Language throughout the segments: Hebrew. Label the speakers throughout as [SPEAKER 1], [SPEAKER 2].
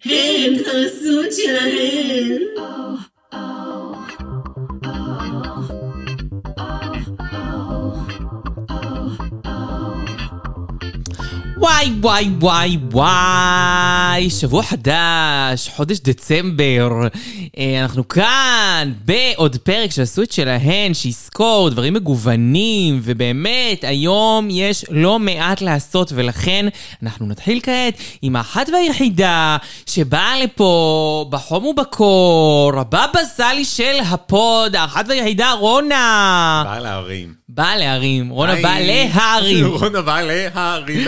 [SPEAKER 1] 嘿，投诉起来！
[SPEAKER 2] וואי וואי וואי וואי, שבוע חדש, חודש דצמבר. אה, אנחנו כאן בעוד פרק של הסוויט שלהן, שיזכור דברים מגוונים, ובאמת, היום יש לא מעט לעשות, ולכן אנחנו נתחיל כעת עם האחת והיחידה שבאה לפה בחום ובקור, הבבא סאלי של הפוד, האחת והיחידה רונה.
[SPEAKER 3] בא להרים.
[SPEAKER 2] באה להרים, רונה באה
[SPEAKER 3] היי.
[SPEAKER 2] להרים.
[SPEAKER 3] רונה באה להרים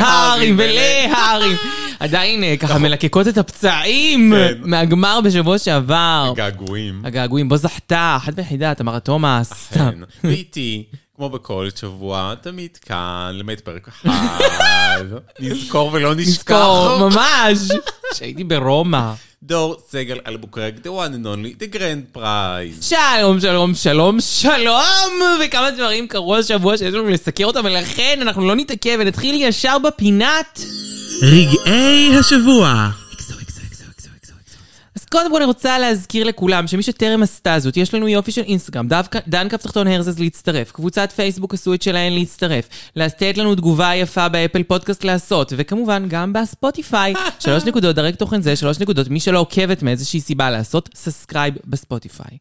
[SPEAKER 2] להרים ולהרים. עדיין אה, ככה מלקקות את הפצעים
[SPEAKER 3] נכון. כן.
[SPEAKER 2] מהגמר בשבוע שעבר.
[SPEAKER 3] געגועים.
[SPEAKER 2] הגעגועים, בו זכתה, אחת ויחידה, תמרה תומאס. סתם.
[SPEAKER 3] כן. ואיתי, כמו בכל שבוע, תמיד כאן, למד פרק אחד. נזכור ולא נשכח.
[SPEAKER 2] נזכור, ממש, שהייתי ברומא.
[SPEAKER 3] דור סגל אלבוקרק, the one and only, the grand prize.
[SPEAKER 2] שלום, שלום, שלום, שלום! וכמה דברים קרו השבוע שיש לנו לסקר אותם, ולכן אנחנו לא נתעכב ונתחיל ישר בפינת.
[SPEAKER 4] רגעי השבוע.
[SPEAKER 2] אז קודם כל אני רוצה להזכיר לכולם שמי שטרם עשתה זאת, יש לנו יופי של אינסטגרם, דווקא- דן קו תחתון הרזז להצטרף, קבוצת פייסבוק עשו את שלהן להצטרף, לתת לנו תגובה יפה באפל פודקאסט לעשות, וכמובן גם בספוטיפיי, שלוש נקודות, דרק תוכן זה, שלוש נקודות, מי שלא עוקבת מאיזושהי סיבה לעשות, סאסקרייב בספוטיפיי.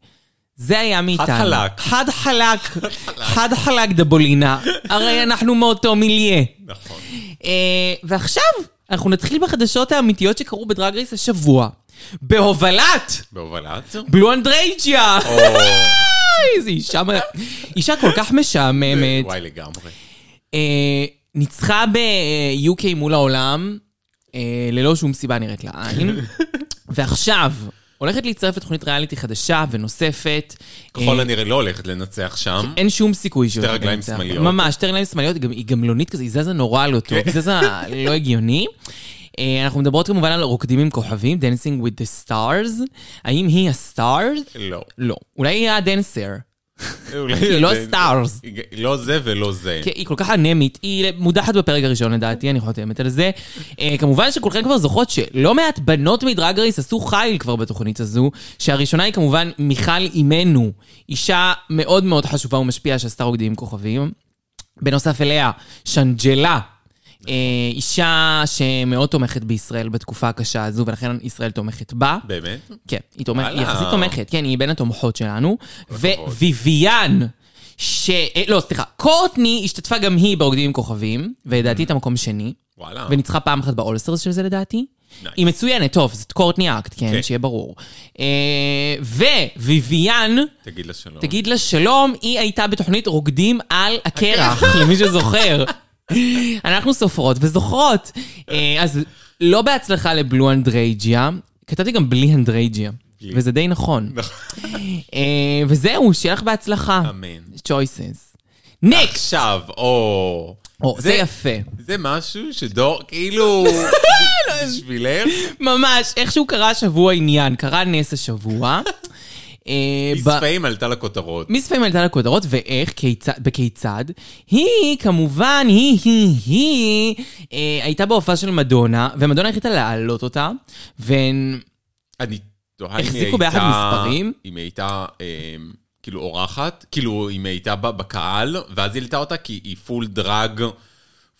[SPEAKER 2] זה היה מאיתנו.
[SPEAKER 3] חלק.
[SPEAKER 2] חד חלק. חד חלק דבולינה. הרי אנחנו מאותו מיליה.
[SPEAKER 3] נכון.
[SPEAKER 2] אה, ועכשיו, אנחנו נתחיל בחדשות האמיתיות שקרו בדרג רייס השבוע. בהובלת
[SPEAKER 3] בהובלת.
[SPEAKER 2] בלו אנדרייג'יה!
[SPEAKER 3] או,
[SPEAKER 2] איזה אישה, מ- אישה כל כך משעממת.
[SPEAKER 3] וואי לגמרי.
[SPEAKER 2] אה, ניצחה ב-UK מול העולם, אה, ללא שום סיבה נראית לעין. ועכשיו, הולכת להצטרף לתוכנית ריאליטי חדשה ונוספת.
[SPEAKER 3] ככל
[SPEAKER 2] אה,
[SPEAKER 3] הנראה לא הולכת לנצח שם.
[SPEAKER 2] אין שום סיכוי שהיא
[SPEAKER 3] שתי
[SPEAKER 2] הולכת
[SPEAKER 3] רגליים
[SPEAKER 2] לנצח.
[SPEAKER 3] שמאליות. כן.
[SPEAKER 2] ממש, שתי רגליים שמאליות, גם- היא גמלונית כזה, היא זזה נורא לא טוב, היא זזה לא הגיוני. אה, אנחנו מדברות כמובן על רוקדים עם כוכבים, Dancing with the Stars. האם היא הסטארס?
[SPEAKER 3] לא.
[SPEAKER 2] לא. אולי היא הדנסר.
[SPEAKER 3] אולי
[SPEAKER 2] כי היא לא כן.
[SPEAKER 3] זה-
[SPEAKER 2] stars.
[SPEAKER 3] היא- לא זה ולא זה.
[SPEAKER 2] כי היא כל כך אנמית, היא מודחת בפרק הראשון לדעתי, אני חותמת על זה. אה, כמובן שכולכן כבר זוכרות שלא מעט בנות מדרג רייס עשו חיל כבר בתוכנית הזו, שהראשונה היא כמובן מיכל אימנו, אישה מאוד מאוד חשובה ומשפיעה שעשתה רוקדים עם כוכבים. בנוסף אליה, שנג'לה. אה, אישה שמאוד תומכת בישראל בתקופה הקשה הזו, ולכן ישראל תומכת בה.
[SPEAKER 3] באמת?
[SPEAKER 2] כן, היא תומכת, היא
[SPEAKER 3] וואלה.
[SPEAKER 2] יחסית תומכת, כן, היא בין התומכות שלנו. וויביאן, ש... אה, לא, סליחה, קורטני השתתפה גם היא ברוקדים עם כוכבים,
[SPEAKER 3] Mm.
[SPEAKER 2] ולדעתי את המקום שני,
[SPEAKER 3] וואלה.
[SPEAKER 2] וניצחה פעם אחת באולסטרס של זה לדעתי.
[SPEAKER 3] אה. Nice.
[SPEAKER 2] היא מצוינת, טוב, זאת קורטני אקט, כן,
[SPEAKER 3] כן.
[SPEAKER 2] שיהיה ברור. אה, וויביאן,
[SPEAKER 3] תגיד לה שלום.
[SPEAKER 2] תגיד לה שלום, היא הייתה בתוכנית רוקדים על הקרח, למי שזוכר. אנחנו סופרות וזוכרות. אה, אז לא בהצלחה לבלו אנדרייג'יה, כתבתי גם בלי אנדרייג'יה,
[SPEAKER 3] בלי.
[SPEAKER 2] וזה די נכון. אה, וזהו, שיהיה לך בהצלחה.
[SPEAKER 3] אמן.
[SPEAKER 2] choices. נקסט!
[SPEAKER 3] עכשיו, או...
[SPEAKER 2] או, אה, זה יפה.
[SPEAKER 3] זה משהו שדור, כאילו,
[SPEAKER 2] לא,
[SPEAKER 3] בשבילך,
[SPEAKER 2] ממש, איכשהו קרה השבוע עניין, קרה נס השבוע. אה, ב-
[SPEAKER 3] מספעים עלתה לכותרות.
[SPEAKER 2] מיס פיימן עלתה לכותרות, ואיך, כיצד, בכיצד. היא, כמובן, היא, היא, היא, אה, הייתה בהופעה של מדונה, ומדונה החליטה להעלות אותה, והן... לא
[SPEAKER 3] אני תוהה אם היא
[SPEAKER 2] החזיקו ביחד
[SPEAKER 3] הייתה-
[SPEAKER 2] מספרים?
[SPEAKER 3] אם היא הייתה, אמ, כאילו, אורחת, כאילו, אם היא הייתה ב- בקהל, ואז היא העלתה אותה כי היא פול דרג,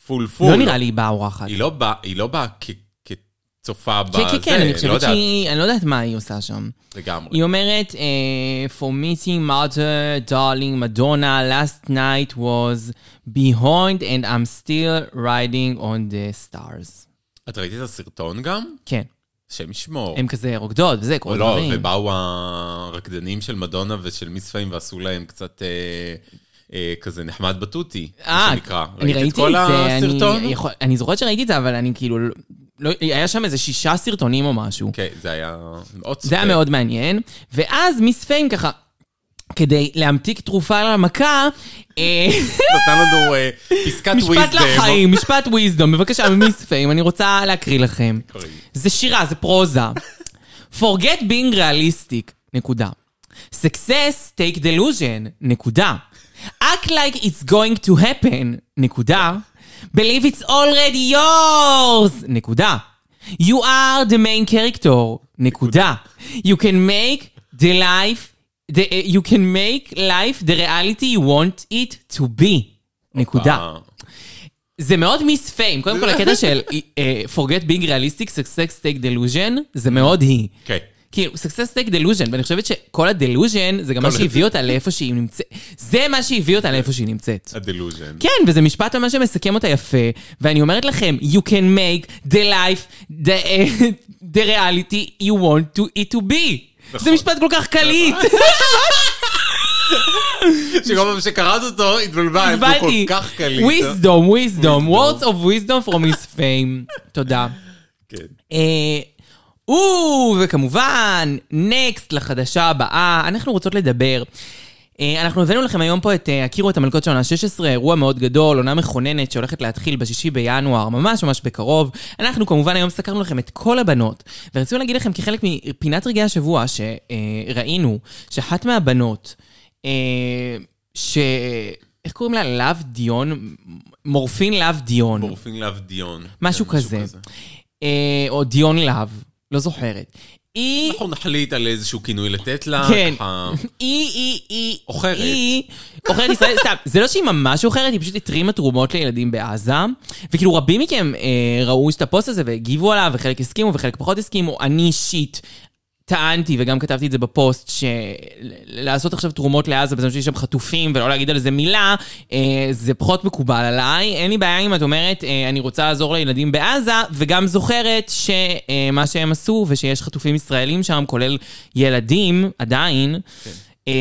[SPEAKER 3] פול פול.
[SPEAKER 2] לא נראה לי היא באה אורחת.
[SPEAKER 3] היא לא באה, היא לא באה כ- כצופה בזה,
[SPEAKER 2] כן, כן, כן, אני
[SPEAKER 3] לא
[SPEAKER 2] חושבת
[SPEAKER 3] יודעת,
[SPEAKER 2] שהיא... אני לא יודעת מה היא עושה שם.
[SPEAKER 3] לגמרי.
[SPEAKER 2] היא אומרת, אה, For meeting mother, darling Madonna, last night was behind and I'm still riding on the stars.
[SPEAKER 3] את ראית את הסרטון גם?
[SPEAKER 2] כן,
[SPEAKER 3] השם ישמור.
[SPEAKER 2] הן כזה רוקדות וזה, כל
[SPEAKER 3] לא,
[SPEAKER 2] הדברים.
[SPEAKER 3] ובאו הרקדנים של מדונה ושל מיס פיים ועשו להם קצת אה, אה, כזה נחמד בטוטי, מה שנקרא.
[SPEAKER 2] אה, אני
[SPEAKER 3] ראית
[SPEAKER 2] ראיתי
[SPEAKER 3] את כל הסרטון?
[SPEAKER 2] אני, יכול, אני זוכרת שראיתי את זה, אבל אני כאילו... לא- לא, היה שם איזה שישה סרטונים או משהו.
[SPEAKER 3] כן, זה היה מאוד
[SPEAKER 2] זה היה מאוד מעניין. ואז מיס פיין ככה, כדי להמתיק תרופה למכה, אה,
[SPEAKER 3] נתן לנו אה, פסקת וויזדם.
[SPEAKER 2] משפט לחיים, משפט וויזדום. בבקשה, מיס פיין, אני רוצה להקריא לכם.
[SPEAKER 3] קראי.
[SPEAKER 2] זה שירה, זה פרוזה. Forget being realistic, נקודה. Success take delusion, נקודה. Act like it's going to happen, נקודה. Believe it's already yours, נקודה. You are the main character. נקודה. You can make the life, the, uh, you can make life the reality you want it to be. נקודה.
[SPEAKER 3] אה,
[SPEAKER 2] זה מאוד מיס פיים. קודם כל הקטע של אה, forget being realistic, success take delusion, זה מאוד היא.
[SPEAKER 3] כן.
[SPEAKER 2] כאילו, success take delusion, ואני חושבת שכל הדלוז'ן זה גם מה
[SPEAKER 3] כל
[SPEAKER 2] שהביא אותה לאיפה שהיא נמצאת. זה מה שהביא אותה לאיפה שהיא נמצאת.
[SPEAKER 3] הדלוז'ן.
[SPEAKER 2] כן, וזה משפט ממש שמסכם אותה יפה, ואני אומרת לכם, you can make the life, the, אה, the reality you want to it to be.
[SPEAKER 3] נכון.
[SPEAKER 2] זה משפט כל כך קליט, כן,
[SPEAKER 3] שכל פעם שקראת אותו, התבלבלת, הוא
[SPEAKER 2] הבנתי.
[SPEAKER 3] כל כך קליט.
[SPEAKER 2] wisdom, wisdom, words of wisdom from his fame. תודה.
[SPEAKER 3] כן.
[SPEAKER 2] אה, או, וכמובן, נקסט לחדשה הבאה, אנחנו רוצות לדבר. אה, אנחנו הבאנו לכם היום פה את אה, הכירו את המלכות של עונה 16, אירוע מאוד גדול, עונה מכוננת שהולכת להתחיל בשישי בינואר, ממש ממש בקרוב. אנחנו כמובן היום סקרנו לכם את כל הבנות, ורצינו להגיד לכם כחלק מפינת רגעי השבוע, שראינו שאחת מהבנות, אה, ש... איך קוראים לה? להב דיון? מורפין להב דיון.
[SPEAKER 3] מורפין להב דיון.
[SPEAKER 2] משהו
[SPEAKER 3] כן,
[SPEAKER 2] כזה. אה, או דיון להב, לא זוכרת. היא...
[SPEAKER 3] אנחנו נחליט על איזשהו כינוי לתת לה.
[SPEAKER 2] כן.
[SPEAKER 3] ככה.
[SPEAKER 2] היא, היא, היא,
[SPEAKER 3] עוכרת.
[SPEAKER 2] היא, עוכרת ישראל, סתם, זה לא שהיא ממש עוכרת, היא פשוט התרימה תרומות לילדים בעזה. וכאילו רבים מכם אה, ראו את הפוסט הזה והגיבו עליו, וחלק הסכימו וחלק פחות הסכימו. אני אישית טענתי, וגם כתבתי את זה בפוסט, שלעשות עכשיו תרומות לעזה בזמן שיש שם חטופים ולא להגיד על זה מילה, אה, זה פחות מקובל עליי. אין לי בעיה אם את אומרת, אה, אני רוצה לעזור לילדים בעזה, וגם זוכרת שמה שהם עשו, ושיש חטופים ישראלים שם, כולל ילדים, עדיין, אה,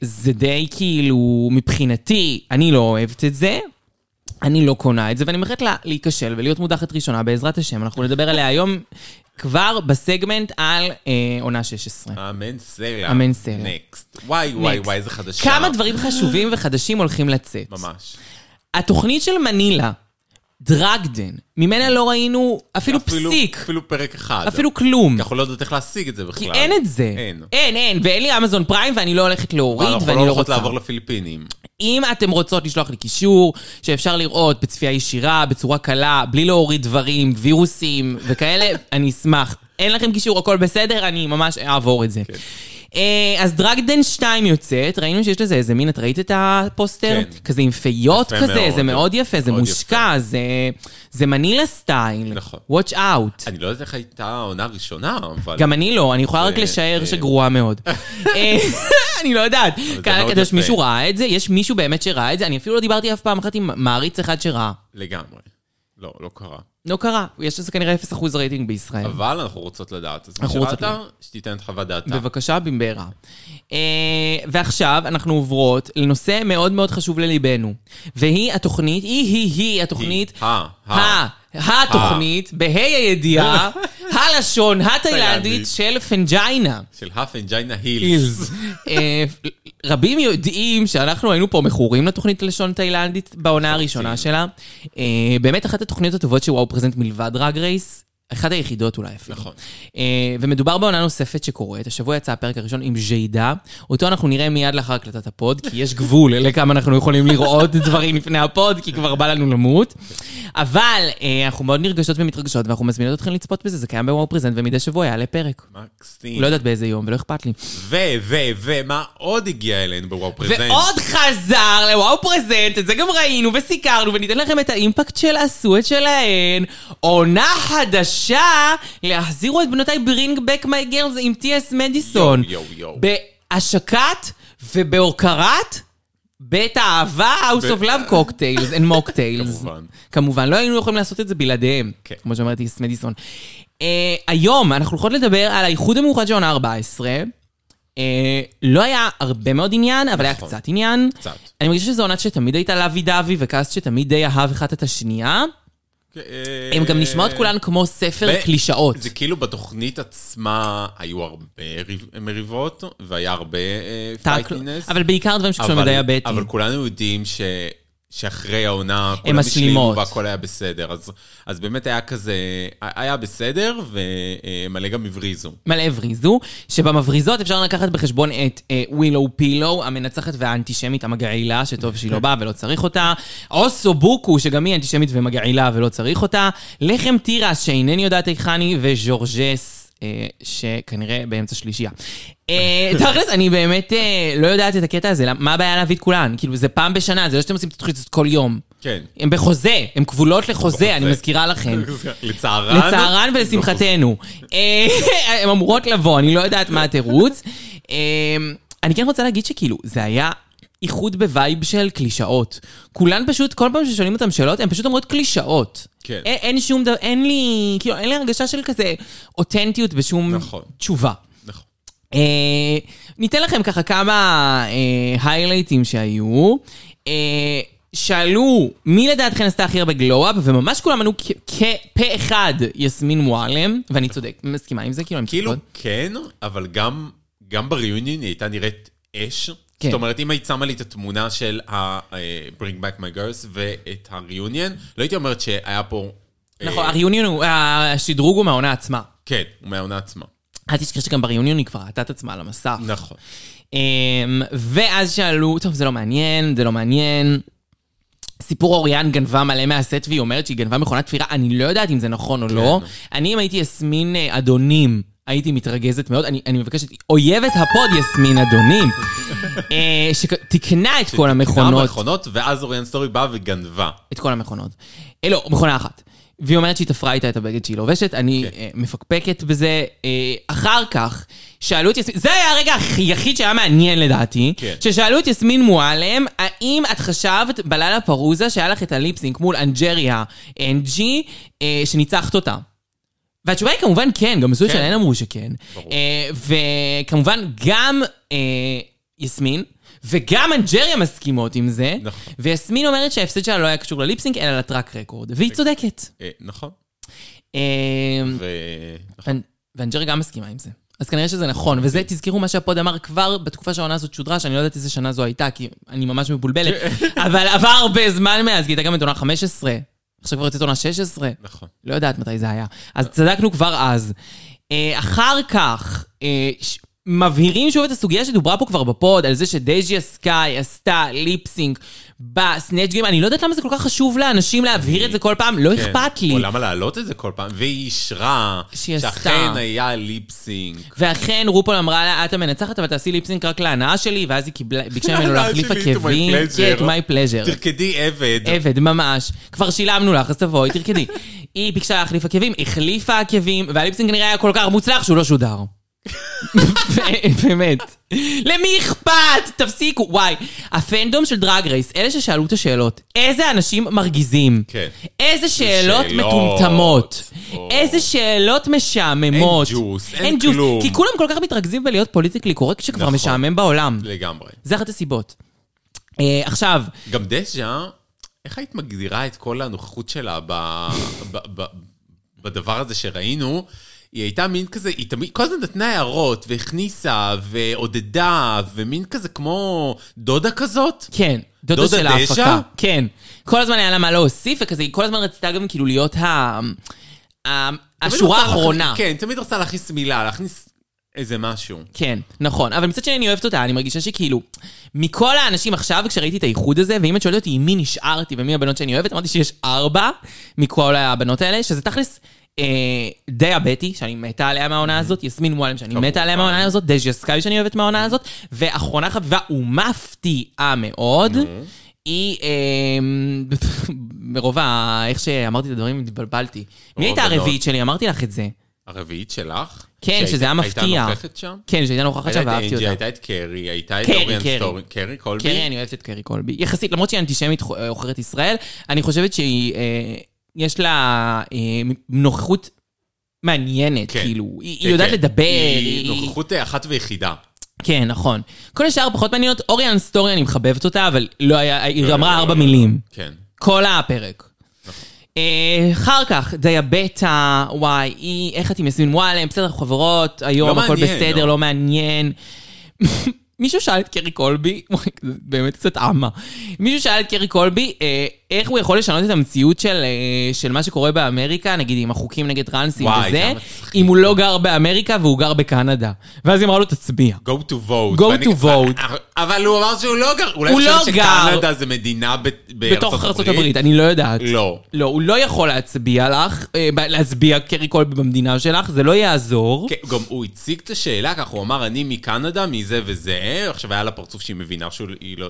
[SPEAKER 2] זה די כאילו, מבחינתי, אני לא אוהבת את זה. אני לא קונה את זה, ואני מאחלת לה להיכשל ולהיות מודחת ראשונה, בעזרת השם. אנחנו נדבר עליה היום כבר בסגמנט על אה, עונה 16.
[SPEAKER 3] אמן סלע.
[SPEAKER 2] אמן סלע.
[SPEAKER 3] נקסט. וואי, וואי,
[SPEAKER 2] Next.
[SPEAKER 3] וואי, איזה חדשה.
[SPEAKER 2] כמה דברים חשובים וחדשים הולכים לצאת.
[SPEAKER 3] ממש.
[SPEAKER 2] התוכנית של מנילה, דרגדן, ממנה לא ראינו אפילו פסיק,
[SPEAKER 3] אפילו פרק אחד.
[SPEAKER 2] אפילו כלום.
[SPEAKER 3] כי אנחנו לא יודעות איך להשיג את זה בכלל.
[SPEAKER 2] כי אין את זה.
[SPEAKER 3] אין.
[SPEAKER 2] אין, אין, ואין לי אמזון פריים ואני לא הולכת
[SPEAKER 3] אבל
[SPEAKER 2] להוריד
[SPEAKER 3] אנחנו לא
[SPEAKER 2] ואני לא
[SPEAKER 3] הולכות
[SPEAKER 2] רוצה.
[SPEAKER 3] לעבור לפיליפינים.
[SPEAKER 2] אם אתם רוצות לשלוח לי קישור, שאפשר לראות בצפייה ישירה, בצורה קלה, בלי להוריד דברים, וירוסים וכאלה, אני אשמח. אין לכם קישור, הכל בסדר, אני ממש אעבור את זה.
[SPEAKER 3] כן.
[SPEAKER 2] אה, אז דרגדן 2 יוצאת, ראינו שיש לזה איזה מין, את ראית את הפוסטר?
[SPEAKER 3] כן.
[SPEAKER 2] כזה עם פיות
[SPEAKER 3] יפה
[SPEAKER 2] כזה,
[SPEAKER 3] מאוד.
[SPEAKER 2] זה מאוד יפה, זה
[SPEAKER 3] מאוד
[SPEAKER 2] מושקע, זה- זה מנילה סטייל.
[SPEAKER 3] נכון.
[SPEAKER 2] Watch out.
[SPEAKER 3] אני לא יודעת איך הייתה העונה הראשונה, אבל...
[SPEAKER 2] גם אני לא, אני יכולה רק
[SPEAKER 3] אה,
[SPEAKER 2] לשער
[SPEAKER 3] אה.
[SPEAKER 2] שגרועה מאוד. אה, אני לא יודעת.
[SPEAKER 3] זה
[SPEAKER 2] קהל
[SPEAKER 3] מאוד
[SPEAKER 2] הקדוש,
[SPEAKER 3] יפה.
[SPEAKER 2] מישהו ראה את זה? יש מישהו באמת שראה את זה? אני אפילו לא דיברתי אף פעם אחת עם מעריץ אחד שראה.
[SPEAKER 3] לגמרי. לא, לא קרה.
[SPEAKER 2] לא קרה, יש לזה כנראה 0% רייטינג בישראל.
[SPEAKER 3] אבל אנחנו רוצות לדעת. אז מי
[SPEAKER 2] אנחנו רוצות
[SPEAKER 3] שראית, שתיתן את חוות דעתה.
[SPEAKER 2] בבקשה, במהרה. אה, ועכשיו אנחנו עוברות לנושא מאוד מאוד חשוב לליבנו, והיא התוכנית, היא-היא-היא התוכנית,
[SPEAKER 3] היא, ה,
[SPEAKER 2] ה,
[SPEAKER 3] ה.
[SPEAKER 2] התוכנית, בה"א הידיעה, הלשון התאילנדית
[SPEAKER 3] תאילנדית.
[SPEAKER 2] של פנג'יינה.
[SPEAKER 3] של הפנג'יינה הילס.
[SPEAKER 2] אילס. אה, רבים יודעים שאנחנו היינו פה מכורים לתוכנית ללשון תאילנדית בעונה הראשונה שלה. אה, באמת אחת התוכניות הטובות שוואו פרזנט מלבד דרג רייס. אחת היחידות אולי אפילו.
[SPEAKER 3] נכון.
[SPEAKER 2] אה, ומדובר בעונה נוספת שקורית. השבוע יצא הפרק הראשון עם ז'יידה. אותו אנחנו נראה מיד לאחר הקלטת הפוד, כי יש גבול לכמה אנחנו יכולים לראות דברים לפני הפוד, כי כבר בא לנו למות. אבל אה, אנחנו מאוד נרגשות ומתרגשות, ואנחנו מזמינות אתכם לצפות בזה, זה קיים בוואו פרזנט, ומדי שבוע יעלה פרק.
[SPEAKER 3] מקסים.
[SPEAKER 2] לא יודעת באיזה יום, ולא אכפת לי.
[SPEAKER 3] ו, ו, ומה עוד הגיע אלינו בוואו פרזנט?
[SPEAKER 2] ועוד חזר לוואו פרזנט, את זה גם ראינו וסיקרנו, וניתן לכם את האימפקט של עשו את שלהן. עונה חדשה, להחזירו את בנותיי ברינג בק מי גרלס עם טי.אס מדיסון.
[SPEAKER 3] יואו, יואו.
[SPEAKER 2] בהשקת ובהוקרת בית האהבה, House
[SPEAKER 3] ב-
[SPEAKER 2] of Love Cocktails and Mocktails.
[SPEAKER 3] כמובן.
[SPEAKER 2] כמובן, לא היינו יכולים לעשות את זה בלעדיהם,
[SPEAKER 3] כן.
[SPEAKER 2] כמו שאמרתי, איס מדיסון. אה, היום אנחנו הולכות לדבר על האיחוד המאוחד של עונה 14. אה, לא היה הרבה מאוד עניין, אבל היה
[SPEAKER 3] נכון.
[SPEAKER 2] קצת עניין.
[SPEAKER 3] קצת.
[SPEAKER 2] אני מרגישה שזו עונת שתמיד הייתה לוי דווי וכעס שתמיד די אהב אחת את השנייה.
[SPEAKER 3] אה,
[SPEAKER 2] הן גם נשמעות כולן כמו ספר
[SPEAKER 3] ו-
[SPEAKER 2] קלישאות.
[SPEAKER 3] זה כאילו בתוכנית עצמה היו הרבה ריב- מריבות, והיה הרבה אה,
[SPEAKER 2] טאקל-
[SPEAKER 3] פייטינס.
[SPEAKER 2] לא. אבל בעיקר דברים שקשורים לדיה בטי.
[SPEAKER 3] אבל כולנו יודעים ש... שאחרי העונה,
[SPEAKER 2] הן
[SPEAKER 3] כולם השלימו
[SPEAKER 2] משלימות.
[SPEAKER 3] והכל היה בסדר. אז, אז באמת היה כזה, היה בסדר, ומלא גם הבריזו.
[SPEAKER 2] מלא הבריזו, שבמבריזות אפשר לקחת בחשבון את אה, ווילו פילו, המנצחת והאנטישמית המגעילה, שטוב שהיא לא באה ולא צריך אותה, או סובוקו, שגם היא אנטישמית ומגעילה ולא צריך אותה, לחם תירס, שאינני יודעת היכן היא, וז'ורג'ס, אה, שכנראה באמצע שלישייה. אה, תכלס, אני באמת אה, לא יודעת את הקטע הזה, למ- מה הבעיה להביא את כולן? כאילו, זה פעם בשנה, זה לא שאתם עושים את התוכנית הזאת כל יום.
[SPEAKER 3] כן.
[SPEAKER 2] הן בחוזה, הן כבולות לחוזה, אני מזכירה לכם.
[SPEAKER 3] לצערן.
[SPEAKER 2] כן. לצערן ולשמחתנו. אה, הן אמורות לבוא, אני לא יודעת מה התירוץ. אה, אני כן רוצה להגיד שכאילו, זה היה איחוד בווייב של קלישאות. כולן פשוט, כל פעם ששואלים אותן שאלות, הן פשוט אומרות קלישאות.
[SPEAKER 3] כן.
[SPEAKER 2] אין, אין שום דבר, אין לי, כאילו, אין לי הרגשה של כזה אותנטיות בשום
[SPEAKER 3] נכון.
[SPEAKER 2] תשובה.
[SPEAKER 3] נכון.
[SPEAKER 2] אה, ניתן לכם ככה כמה אה, היילייטים שהיו. אה, שאלו מי לדעתכן עשתה הכי הרבה גלו-אפ, וממש כולם ענו כ- כפה אחד יסמין מועלם, ואני צודק, מסכימה עם זה, כאילו, אני
[SPEAKER 3] כאילו,
[SPEAKER 2] צודקת.
[SPEAKER 3] כן, אבל גם, גם בריאיוניון היא הייתה נראית אש.
[SPEAKER 2] כן.
[SPEAKER 3] זאת אומרת, אם היית שמה לי את התמונה של ה-Bring Back My Girls ואת הריאיוניון, לא הייתי אומרת שהיה פה... אה,
[SPEAKER 2] נכון, הריאיוניון הוא, השדרוג הוא מהעונה עצמה.
[SPEAKER 3] כן, הוא מהעונה עצמה.
[SPEAKER 2] אל תשכח שגם בריאיוניון היא כבר ראתה את עצמה על המסך.
[SPEAKER 3] נכון.
[SPEAKER 2] אמ, ואז שאלו, טוב, זה לא מעניין, זה לא מעניין. סיפור אוריאן גנבה מלא מהסט והיא אומרת שהיא גנבה מכונת תפירה, אני לא יודעת אם זה נכון או לא. אני, אם הייתי יסמין אה, אדונים, הייתי מתרגזת מאוד. אני, אני מבקשת, אויבת הפוד יסמין אדונים, אה, שתיקנה את כל המכונות.
[SPEAKER 3] המכונות, ואז אוריאן סטורי באה וגנבה.
[SPEAKER 2] את כל המכונות. אה, לא, מכונה אחת. והיא אומרת שהיא תפרה איתה את הבגד שהיא לובשת, אני
[SPEAKER 3] כן.
[SPEAKER 2] אה, מפקפקת בזה. אה, אחר כך, שאלו את יסמין, זה היה הרגע היחיד שהיה מעניין לדעתי,
[SPEAKER 3] כן.
[SPEAKER 2] ששאלו את יסמין מועלם, האם את חשבת בלילה פרוזה שהיה לך את הליפסינק מול אנג'ריה אנג'י, אה, שניצחת אותה? והתשובה היא כמובן כן, גם מסוים
[SPEAKER 3] כן.
[SPEAKER 2] שלהן אמרו שכן.
[SPEAKER 3] ברור.
[SPEAKER 2] אה, וכמובן גם אה, יסמין. וגם אנג'ריה מסכימות עם זה,
[SPEAKER 3] נכון.
[SPEAKER 2] ויסמין אומרת שההפסד שלה לא היה קשור לליפסינק, אלא לטראק רקורד, והיא צודקת.
[SPEAKER 3] אה, נכון.
[SPEAKER 2] אה,
[SPEAKER 3] ו...
[SPEAKER 2] ואנ- ואנג'ריה גם מסכימה עם זה. אז כנראה שזה נכון, וזה,
[SPEAKER 3] אוקיי.
[SPEAKER 2] תזכרו מה שהפוד אמר כבר בתקופה שהעונה הזאת שודרה, שאני לא יודעת איזה שנה זו הייתה, כי אני ממש מבולבלת,
[SPEAKER 3] כן.
[SPEAKER 2] אבל עבר הרבה זמן מאז, כי הייתה גם את עונה 15, עכשיו כבר יוצאת עונה 16.
[SPEAKER 3] נכון.
[SPEAKER 2] לא יודעת מתי זה היה. אז צדקנו כבר אז. אה, אחר כך, אה, ש... מבהירים שוב את הסוגיה שדוברה פה כבר בפוד, על זה שדז'יה סקאי עשתה ליפסינק בסנאצ' גיים. אני לא יודעת למה זה כל כך חשוב לאנשים להבהיר את זה כל פעם, לא
[SPEAKER 3] כן.
[SPEAKER 2] אכפת לי.
[SPEAKER 3] או למה להעלות את זה כל פעם? והיא אישרה
[SPEAKER 2] שהיא עשתה.
[SPEAKER 3] שאכן היה ליפסינק.
[SPEAKER 2] ואכן רופול אמרה לה, את המנצחת, אבל תעשי ליפסינק רק להנאה שלי, ואז היא קיבלה, ביקשה ממנו
[SPEAKER 3] להנאה
[SPEAKER 2] להחליף
[SPEAKER 3] שלי, to my
[SPEAKER 2] עקבים.
[SPEAKER 3] pleasure.
[SPEAKER 2] כן, to my pleasure.
[SPEAKER 3] תרקדי עבד.
[SPEAKER 2] עבד, ממש. כבר שילמנו לך, אז תבואי, תרקדי. היא ביקשה להחליף עקבים, החליפה עקבים, והליפסינג כנראה היה כל כך מוצלח שהוא לא שודר. באמת. למי אכפת? תפסיקו. וואי, הפנדום של דרג רייס, אלה ששאלו את השאלות, איזה אנשים מרגיזים.
[SPEAKER 3] כן.
[SPEAKER 2] איזה שאלות
[SPEAKER 3] שאלות.
[SPEAKER 2] מטומטמות.
[SPEAKER 3] או.
[SPEAKER 2] איזה שאלות משעממות.
[SPEAKER 3] אין ג'וס, אין כלום.
[SPEAKER 2] כי כולם כל כך מתרכזים בלהיות פוליטיקלי קורקט שכבר
[SPEAKER 3] נכון.
[SPEAKER 2] משעמם בעולם.
[SPEAKER 3] לגמרי.
[SPEAKER 2] זה אחת הסיבות. אה, עכשיו,
[SPEAKER 3] גם דז'ה, איך היית מגדירה את כל הנוכחות שלה ב, ב, ב, בדבר הזה שראינו? היא הייתה מין כזה, היא תמיד, כל הזמן נתנה הערות, והכניסה, ועודדה, ומין כזה כמו דודה כזאת.
[SPEAKER 2] כן, דודה,
[SPEAKER 3] דודה
[SPEAKER 2] של
[SPEAKER 3] דשא?
[SPEAKER 2] ההפקה. כן. כל הזמן היה לה מה להוסיף, וכזה, היא כל הזמן רצתה גם כאילו להיות ה... ה...
[SPEAKER 3] תמיד
[SPEAKER 2] השורה
[SPEAKER 3] רוצה
[SPEAKER 2] האחרונה.
[SPEAKER 3] להכניס- כן, תמיד רוצה להכניס מילה, להכניס איזה משהו.
[SPEAKER 2] כן, נכון. אבל מצד שני אני אוהבת אותה, אני מרגישה שכאילו, מכל האנשים עכשיו, כשראיתי את האיחוד הזה, ואם את שואלת אותי עם מי נשארתי ומי הבנות שאני אוהבת, אמרתי שיש ארבע מכל הבנות האלה, שזה תכלס... אה, דיה בטי, שאני מתה עליה מהעונה הזאת, יסמין מועלם, שאני מתה עליה מהעונה הזאת, דז'יה סקאי, שאני אוהבת מהעונה הזאת, ואחרונה חביבה ומפתיעה מאוד, היא, אה, מרוב ה... איך שאמרתי את הדברים, התבלבלתי. מי
[SPEAKER 3] מרוב
[SPEAKER 2] הייתה
[SPEAKER 3] הדעות.
[SPEAKER 2] הרביעית שלי? אמרתי לך את זה.
[SPEAKER 3] הרביעית שלך?
[SPEAKER 2] כן, שזה היה
[SPEAKER 3] שהייתה-
[SPEAKER 2] מפתיע.
[SPEAKER 3] הייתה נוכחת שם?
[SPEAKER 2] כן, שהייתה נוכחת שם
[SPEAKER 3] הייתה את
[SPEAKER 2] ואהבתי
[SPEAKER 3] אנג'י,
[SPEAKER 2] אותה.
[SPEAKER 3] הייתה את קרי, הייתה את
[SPEAKER 2] קרי,
[SPEAKER 3] אוריאן
[SPEAKER 2] קרי.
[SPEAKER 3] סטורי, קרי קולבי.
[SPEAKER 2] קרי, אני אוהבת את קרי קולבי. יחסית, למרות שהיא אנטישמית חו- אה, עוכרת ישראל, אני חושבת שהיא, אה, יש לה אה, נוכחות מעניינת,
[SPEAKER 3] כן.
[SPEAKER 2] כאילו. היא
[SPEAKER 3] כן,
[SPEAKER 2] היא יודעת
[SPEAKER 3] כן.
[SPEAKER 2] לדבר.
[SPEAKER 3] היא
[SPEAKER 2] היא-
[SPEAKER 3] נוכחות אחת ויחידה.
[SPEAKER 2] כן, נכון. כל השאר פחות מעניינות. אוריאן סטורי, אני מחבבת אותה, אבל לא היה, היא אמרה ארבע מילים.
[SPEAKER 3] כן.
[SPEAKER 2] כל הפרק. אה, אחר כך, דייבטה, וואי, היא, איך את עם יסמין וואלה, הם בסדר, אנחנו חברות, היום
[SPEAKER 3] לא
[SPEAKER 2] הכל
[SPEAKER 3] מעניין,
[SPEAKER 2] בסדר,
[SPEAKER 3] לא.
[SPEAKER 2] לא מעניין. מישהו שאל את קרי קולבי, וואי, זה באמת קצת אמה, מישהו שאל את קרי קולבי, אה, איך הוא יכול לשנות את המציאות של, אה, של מה שקורה באמריקה, נגיד עם החוקים נגד טרנסים
[SPEAKER 3] וואי,
[SPEAKER 2] וזה,
[SPEAKER 3] כמה מצחיק.
[SPEAKER 2] אם הוא לא גר באמריקה והוא גר בקנדה. ואז היא אמרה לו, תצביע.
[SPEAKER 3] Go to vote.
[SPEAKER 2] Go
[SPEAKER 3] ואני- אה,
[SPEAKER 2] to vote.
[SPEAKER 3] אבל הוא אמר שהוא לא גר. אולי
[SPEAKER 2] הוא
[SPEAKER 3] הוא חושב
[SPEAKER 2] לא גר.
[SPEAKER 3] שקנדה זה מדינה ב- בארצות
[SPEAKER 2] בתוך ארצות הברית, אני לא יודעת.
[SPEAKER 3] לא.
[SPEAKER 2] לא, הוא לא יכול להצביע לך, אה, להצביע קרי קולבי במדינה שלך, זה לא יעזור.
[SPEAKER 3] כן, גם הוא הציג את השאלה ככה, הוא אמר, אני מקנדה, מזה וזה, עכשיו היה לה פרצוף שהיא מבינה שהיא לא...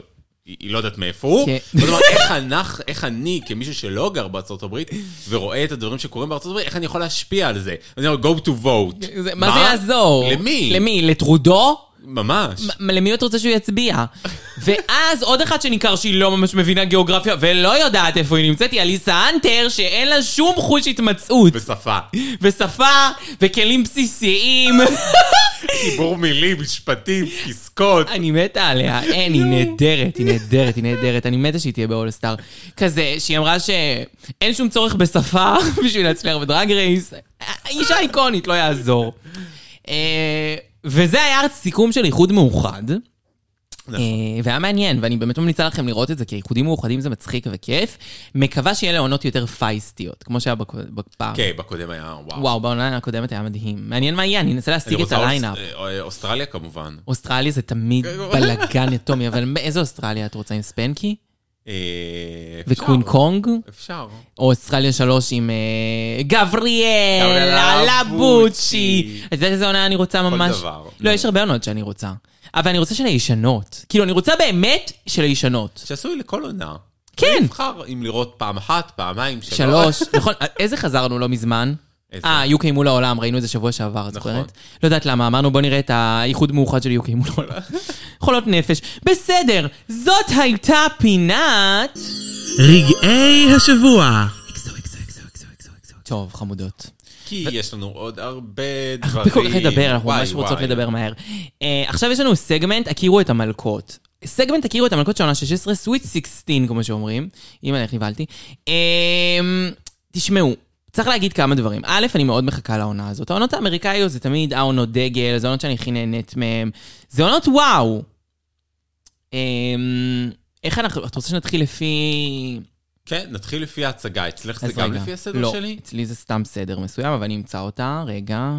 [SPEAKER 3] היא היא לא יודעת מאיפה הוא.
[SPEAKER 2] כן.
[SPEAKER 3] זאת אומרת, איך אנחנו, איך אני, כמישהו שלא גר בארצות הברית, ורואה את הדברים שקורים בארצות הברית, איך אני יכול להשפיע על זה? אני אומר, go to vote.
[SPEAKER 2] כן, זה- מה זה יעזור?
[SPEAKER 3] למי?
[SPEAKER 2] למי? לטרודו?
[SPEAKER 3] ממש.
[SPEAKER 2] מ- למי את רוצה שהוא יצביע? ואז עוד אחת שניכר שהיא לא ממש מבינה גיאוגרפיה ולא יודעת איפה היא נמצאת, היא אליסה אנטר, שאין לה שום חוש התמצאות.
[SPEAKER 3] בשפה.
[SPEAKER 2] ושפה, וכלים בסיסיים.
[SPEAKER 3] דיבור מילים, משפטים, פסקות.
[SPEAKER 2] אני מתה עליה, אין, היא נהדרת, היא נהדרת, היא נהדרת, אני מתה שהיא תהיה באולסטאר. כזה, שהיא אמרה שאין שום צורך בשפה בשביל להצליח בדרג רייס. אישה איקונית, לא יעזור. אה, וזה היה הסיכום של איחוד מאוחד.
[SPEAKER 3] נכון.
[SPEAKER 2] אה, והיה מעניין, ואני באמת ממליצה לכם לראות את זה, כי איחודים מאוחדים זה מצחיק וכיף. מקווה שיהיה לעונות יותר פייסטיות, כמו שהיה בק- בפעם.
[SPEAKER 3] כן, בקודם היה, וואו.
[SPEAKER 2] וואו, בעונה הקודמת היה מדהים. מעניין מה יהיה, אני אנסה
[SPEAKER 3] אני
[SPEAKER 2] להשיג את
[SPEAKER 3] רוצה
[SPEAKER 2] הליינאפ.
[SPEAKER 3] אוס- אה, אוסטרליה כמובן.
[SPEAKER 2] אוסטרליה זה תמיד בלאגן יתומי, אבל איזה אוסטרליה את רוצה עם ספנקי?
[SPEAKER 3] אה, אפשר.
[SPEAKER 2] וקווין קונג?
[SPEAKER 3] אפשר.
[SPEAKER 2] או אוסטרליה שלוש עם אה, גבריאלה
[SPEAKER 3] גבריאלה
[SPEAKER 2] לבוצ'י.
[SPEAKER 3] לבוצ'י.
[SPEAKER 2] את יודעת איזה עונה אני רוצה ממש?
[SPEAKER 3] דבר.
[SPEAKER 2] לא, יש הרבה עונות שאני רוצה. אבל אני רוצה של הישנות. כאילו, אני רוצה באמת של הישנות.
[SPEAKER 3] שעשוי לכל עונה.
[SPEAKER 2] כן.
[SPEAKER 3] נבחר אם לראות פעם אחת, פעמיים, שלוש.
[SPEAKER 2] שלוש, נכון, איזה חזרנו לא מזמן?
[SPEAKER 3] איזה?
[SPEAKER 2] אה, UK מול העולם, ראינו את זה שבוע שעבר, את
[SPEAKER 3] נכון.
[SPEAKER 2] זוכרת? לא יודעת למה, אמרנו בוא נראה את האיחוד מאוחד של UK מול העולם. חולות נפש. בסדר, זאת הייתה פינת...
[SPEAKER 4] רגעי השבוע.
[SPEAKER 2] טוב, חמודות.
[SPEAKER 3] כי יש לנו עוד הרבה דברים.
[SPEAKER 2] הרבה כל כך לדבר, אנחנו
[SPEAKER 3] וואי,
[SPEAKER 2] ממש רוצות
[SPEAKER 3] וואי.
[SPEAKER 2] לדבר מהר. אה, עכשיו יש לנו סגמנט, הכירו את המלכות. סגמנט הכירו את המלכות של עונה 16, סוויט 16, כמו שאומרים. אימא, איך נבהלתי. אה, תשמעו. צריך להגיד כמה דברים. א', אני מאוד מחכה לעונה הזאת. העונות האמריקאיות זה תמיד העונות דגל, זה עונות שאני הכי נהנית מהן. זה עונות וואו. אה, איך אנחנו... את רוצה שנתחיל לפי...
[SPEAKER 3] כן, נתחיל לפי ההצגה. אצלך זה
[SPEAKER 2] אז
[SPEAKER 3] גם
[SPEAKER 2] רגע.
[SPEAKER 3] לפי הסדר
[SPEAKER 2] לא,
[SPEAKER 3] שלי?
[SPEAKER 2] אצלי זה סתם סדר מסוים, אבל אני אמצא אותה. רגע.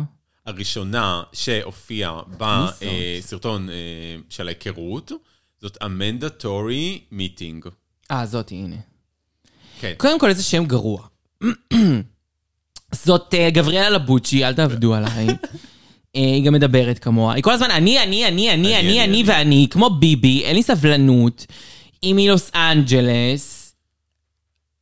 [SPEAKER 3] הראשונה שהופיעה
[SPEAKER 2] זאת?
[SPEAKER 3] בסרטון אה, של ההיכרות, זאת המנדטורי מיטינג.
[SPEAKER 2] אה, זאתי, הנה.
[SPEAKER 3] כן.
[SPEAKER 2] קודם כל, איזה שם גרוע. זאת אה, גבריאלה לבוצ'י, אל תעבדו עליי. אה, היא גם מדברת כמוה. היא כל הזמן אני, אני, אני, אני, אני, אני
[SPEAKER 3] אני.
[SPEAKER 2] ואני, כמו ביבי, אין לי סבלנות. היא מלוס אנג'לס.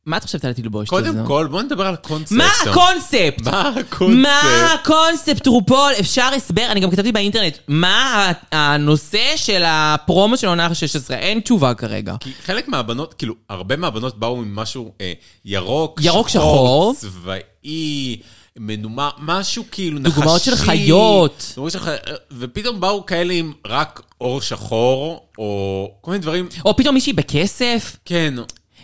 [SPEAKER 2] מה את חושבת על התלבושת הזו?
[SPEAKER 3] קודם כל, בואו נדבר על הקונספט.
[SPEAKER 2] מה הקונספט?
[SPEAKER 3] מה הקונספט?
[SPEAKER 2] מה הקונספט, רופול? אפשר הסבר? אני גם כתבתי באינטרנט. מה הנושא של הפרומו של עונה 16? אין תשובה כרגע.
[SPEAKER 3] כי חלק מהבנות, כאילו, הרבה מהבנות באו עם משהו אה, ירוק,
[SPEAKER 2] ירוק, שחור.
[SPEAKER 3] צבאי, מנומר, משהו כאילו נחשי.
[SPEAKER 2] דוגמאות של חיות.
[SPEAKER 3] דוגמאות של חיות, אה, ופתאום באו כאלה עם רק אור שחור, או כל מיני דברים,
[SPEAKER 2] או פתאום מישהי בכסף?
[SPEAKER 3] כן.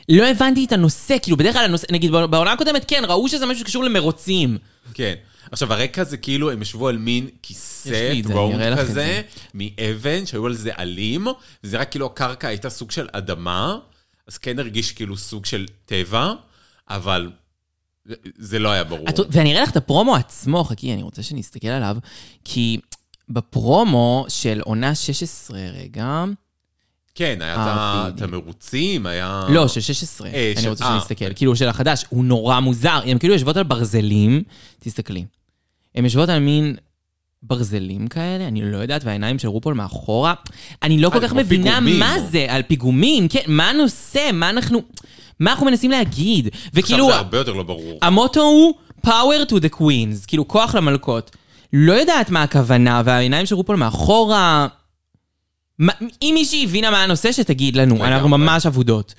[SPEAKER 2] לא הבנתי את הנושא, כאילו בדרך כלל הנושא, נגיד בעונה הקודמת כן, ראו שזה משהו שקשור למרוצים.
[SPEAKER 3] כן. עכשיו, הרקע זה כאילו, הם ישבו על מין
[SPEAKER 2] יש
[SPEAKER 3] כיסא
[SPEAKER 2] לי את זה, אני אראה
[SPEAKER 3] גרונד
[SPEAKER 2] לך את
[SPEAKER 3] כזה,
[SPEAKER 2] זה.
[SPEAKER 3] מאבן, שהיו על זה עלים, וזה רק כאילו הקרקע הייתה סוג של אדמה, אז כן הרגיש כאילו סוג של טבע, אבל זה- זה לא היה ברור.
[SPEAKER 2] את, ואני אראה לך את הפרומו עצמו, חכי, אני רוצה שנסתכל עליו, כי בפרומו של עונה 16, רגע,
[SPEAKER 3] כן, היה את
[SPEAKER 2] אה,
[SPEAKER 3] ה-
[SPEAKER 2] בדיוק.
[SPEAKER 3] את המרוצים, היה...
[SPEAKER 2] לא, של 16,
[SPEAKER 3] אה, של-
[SPEAKER 2] אני רוצה
[SPEAKER 3] אה,
[SPEAKER 2] שנסתכל, כאילו של החדש, הוא נורא מוזר, הם כאילו יושבות על ברזלים, תסתכלי, הן יושבות על מין... ברזלים כאלה, אני לא יודעת, והעיניים של רופול מאחורה. אני לא כל
[SPEAKER 3] אה, זה
[SPEAKER 2] כך
[SPEAKER 3] כמו
[SPEAKER 2] מבינה
[SPEAKER 3] פיגומים. לא?
[SPEAKER 2] מה זה, על פיגומים, כן, מה הנושא, מה אנחנו, מה אנחנו מנסים להגיד.
[SPEAKER 3] עכשיו
[SPEAKER 2] וכאילו,
[SPEAKER 3] זה הרבה יותר לא ברור.
[SPEAKER 2] המוטו הוא power to the queens, כאילו כוח למלכות. לא יודעת מה הכוונה, והעיניים של רופול מאחורה... מה- אם מישהי הבינה מה הנושא, שתגיד לנו,
[SPEAKER 3] לגמרי.
[SPEAKER 2] אנחנו ממש אבודות.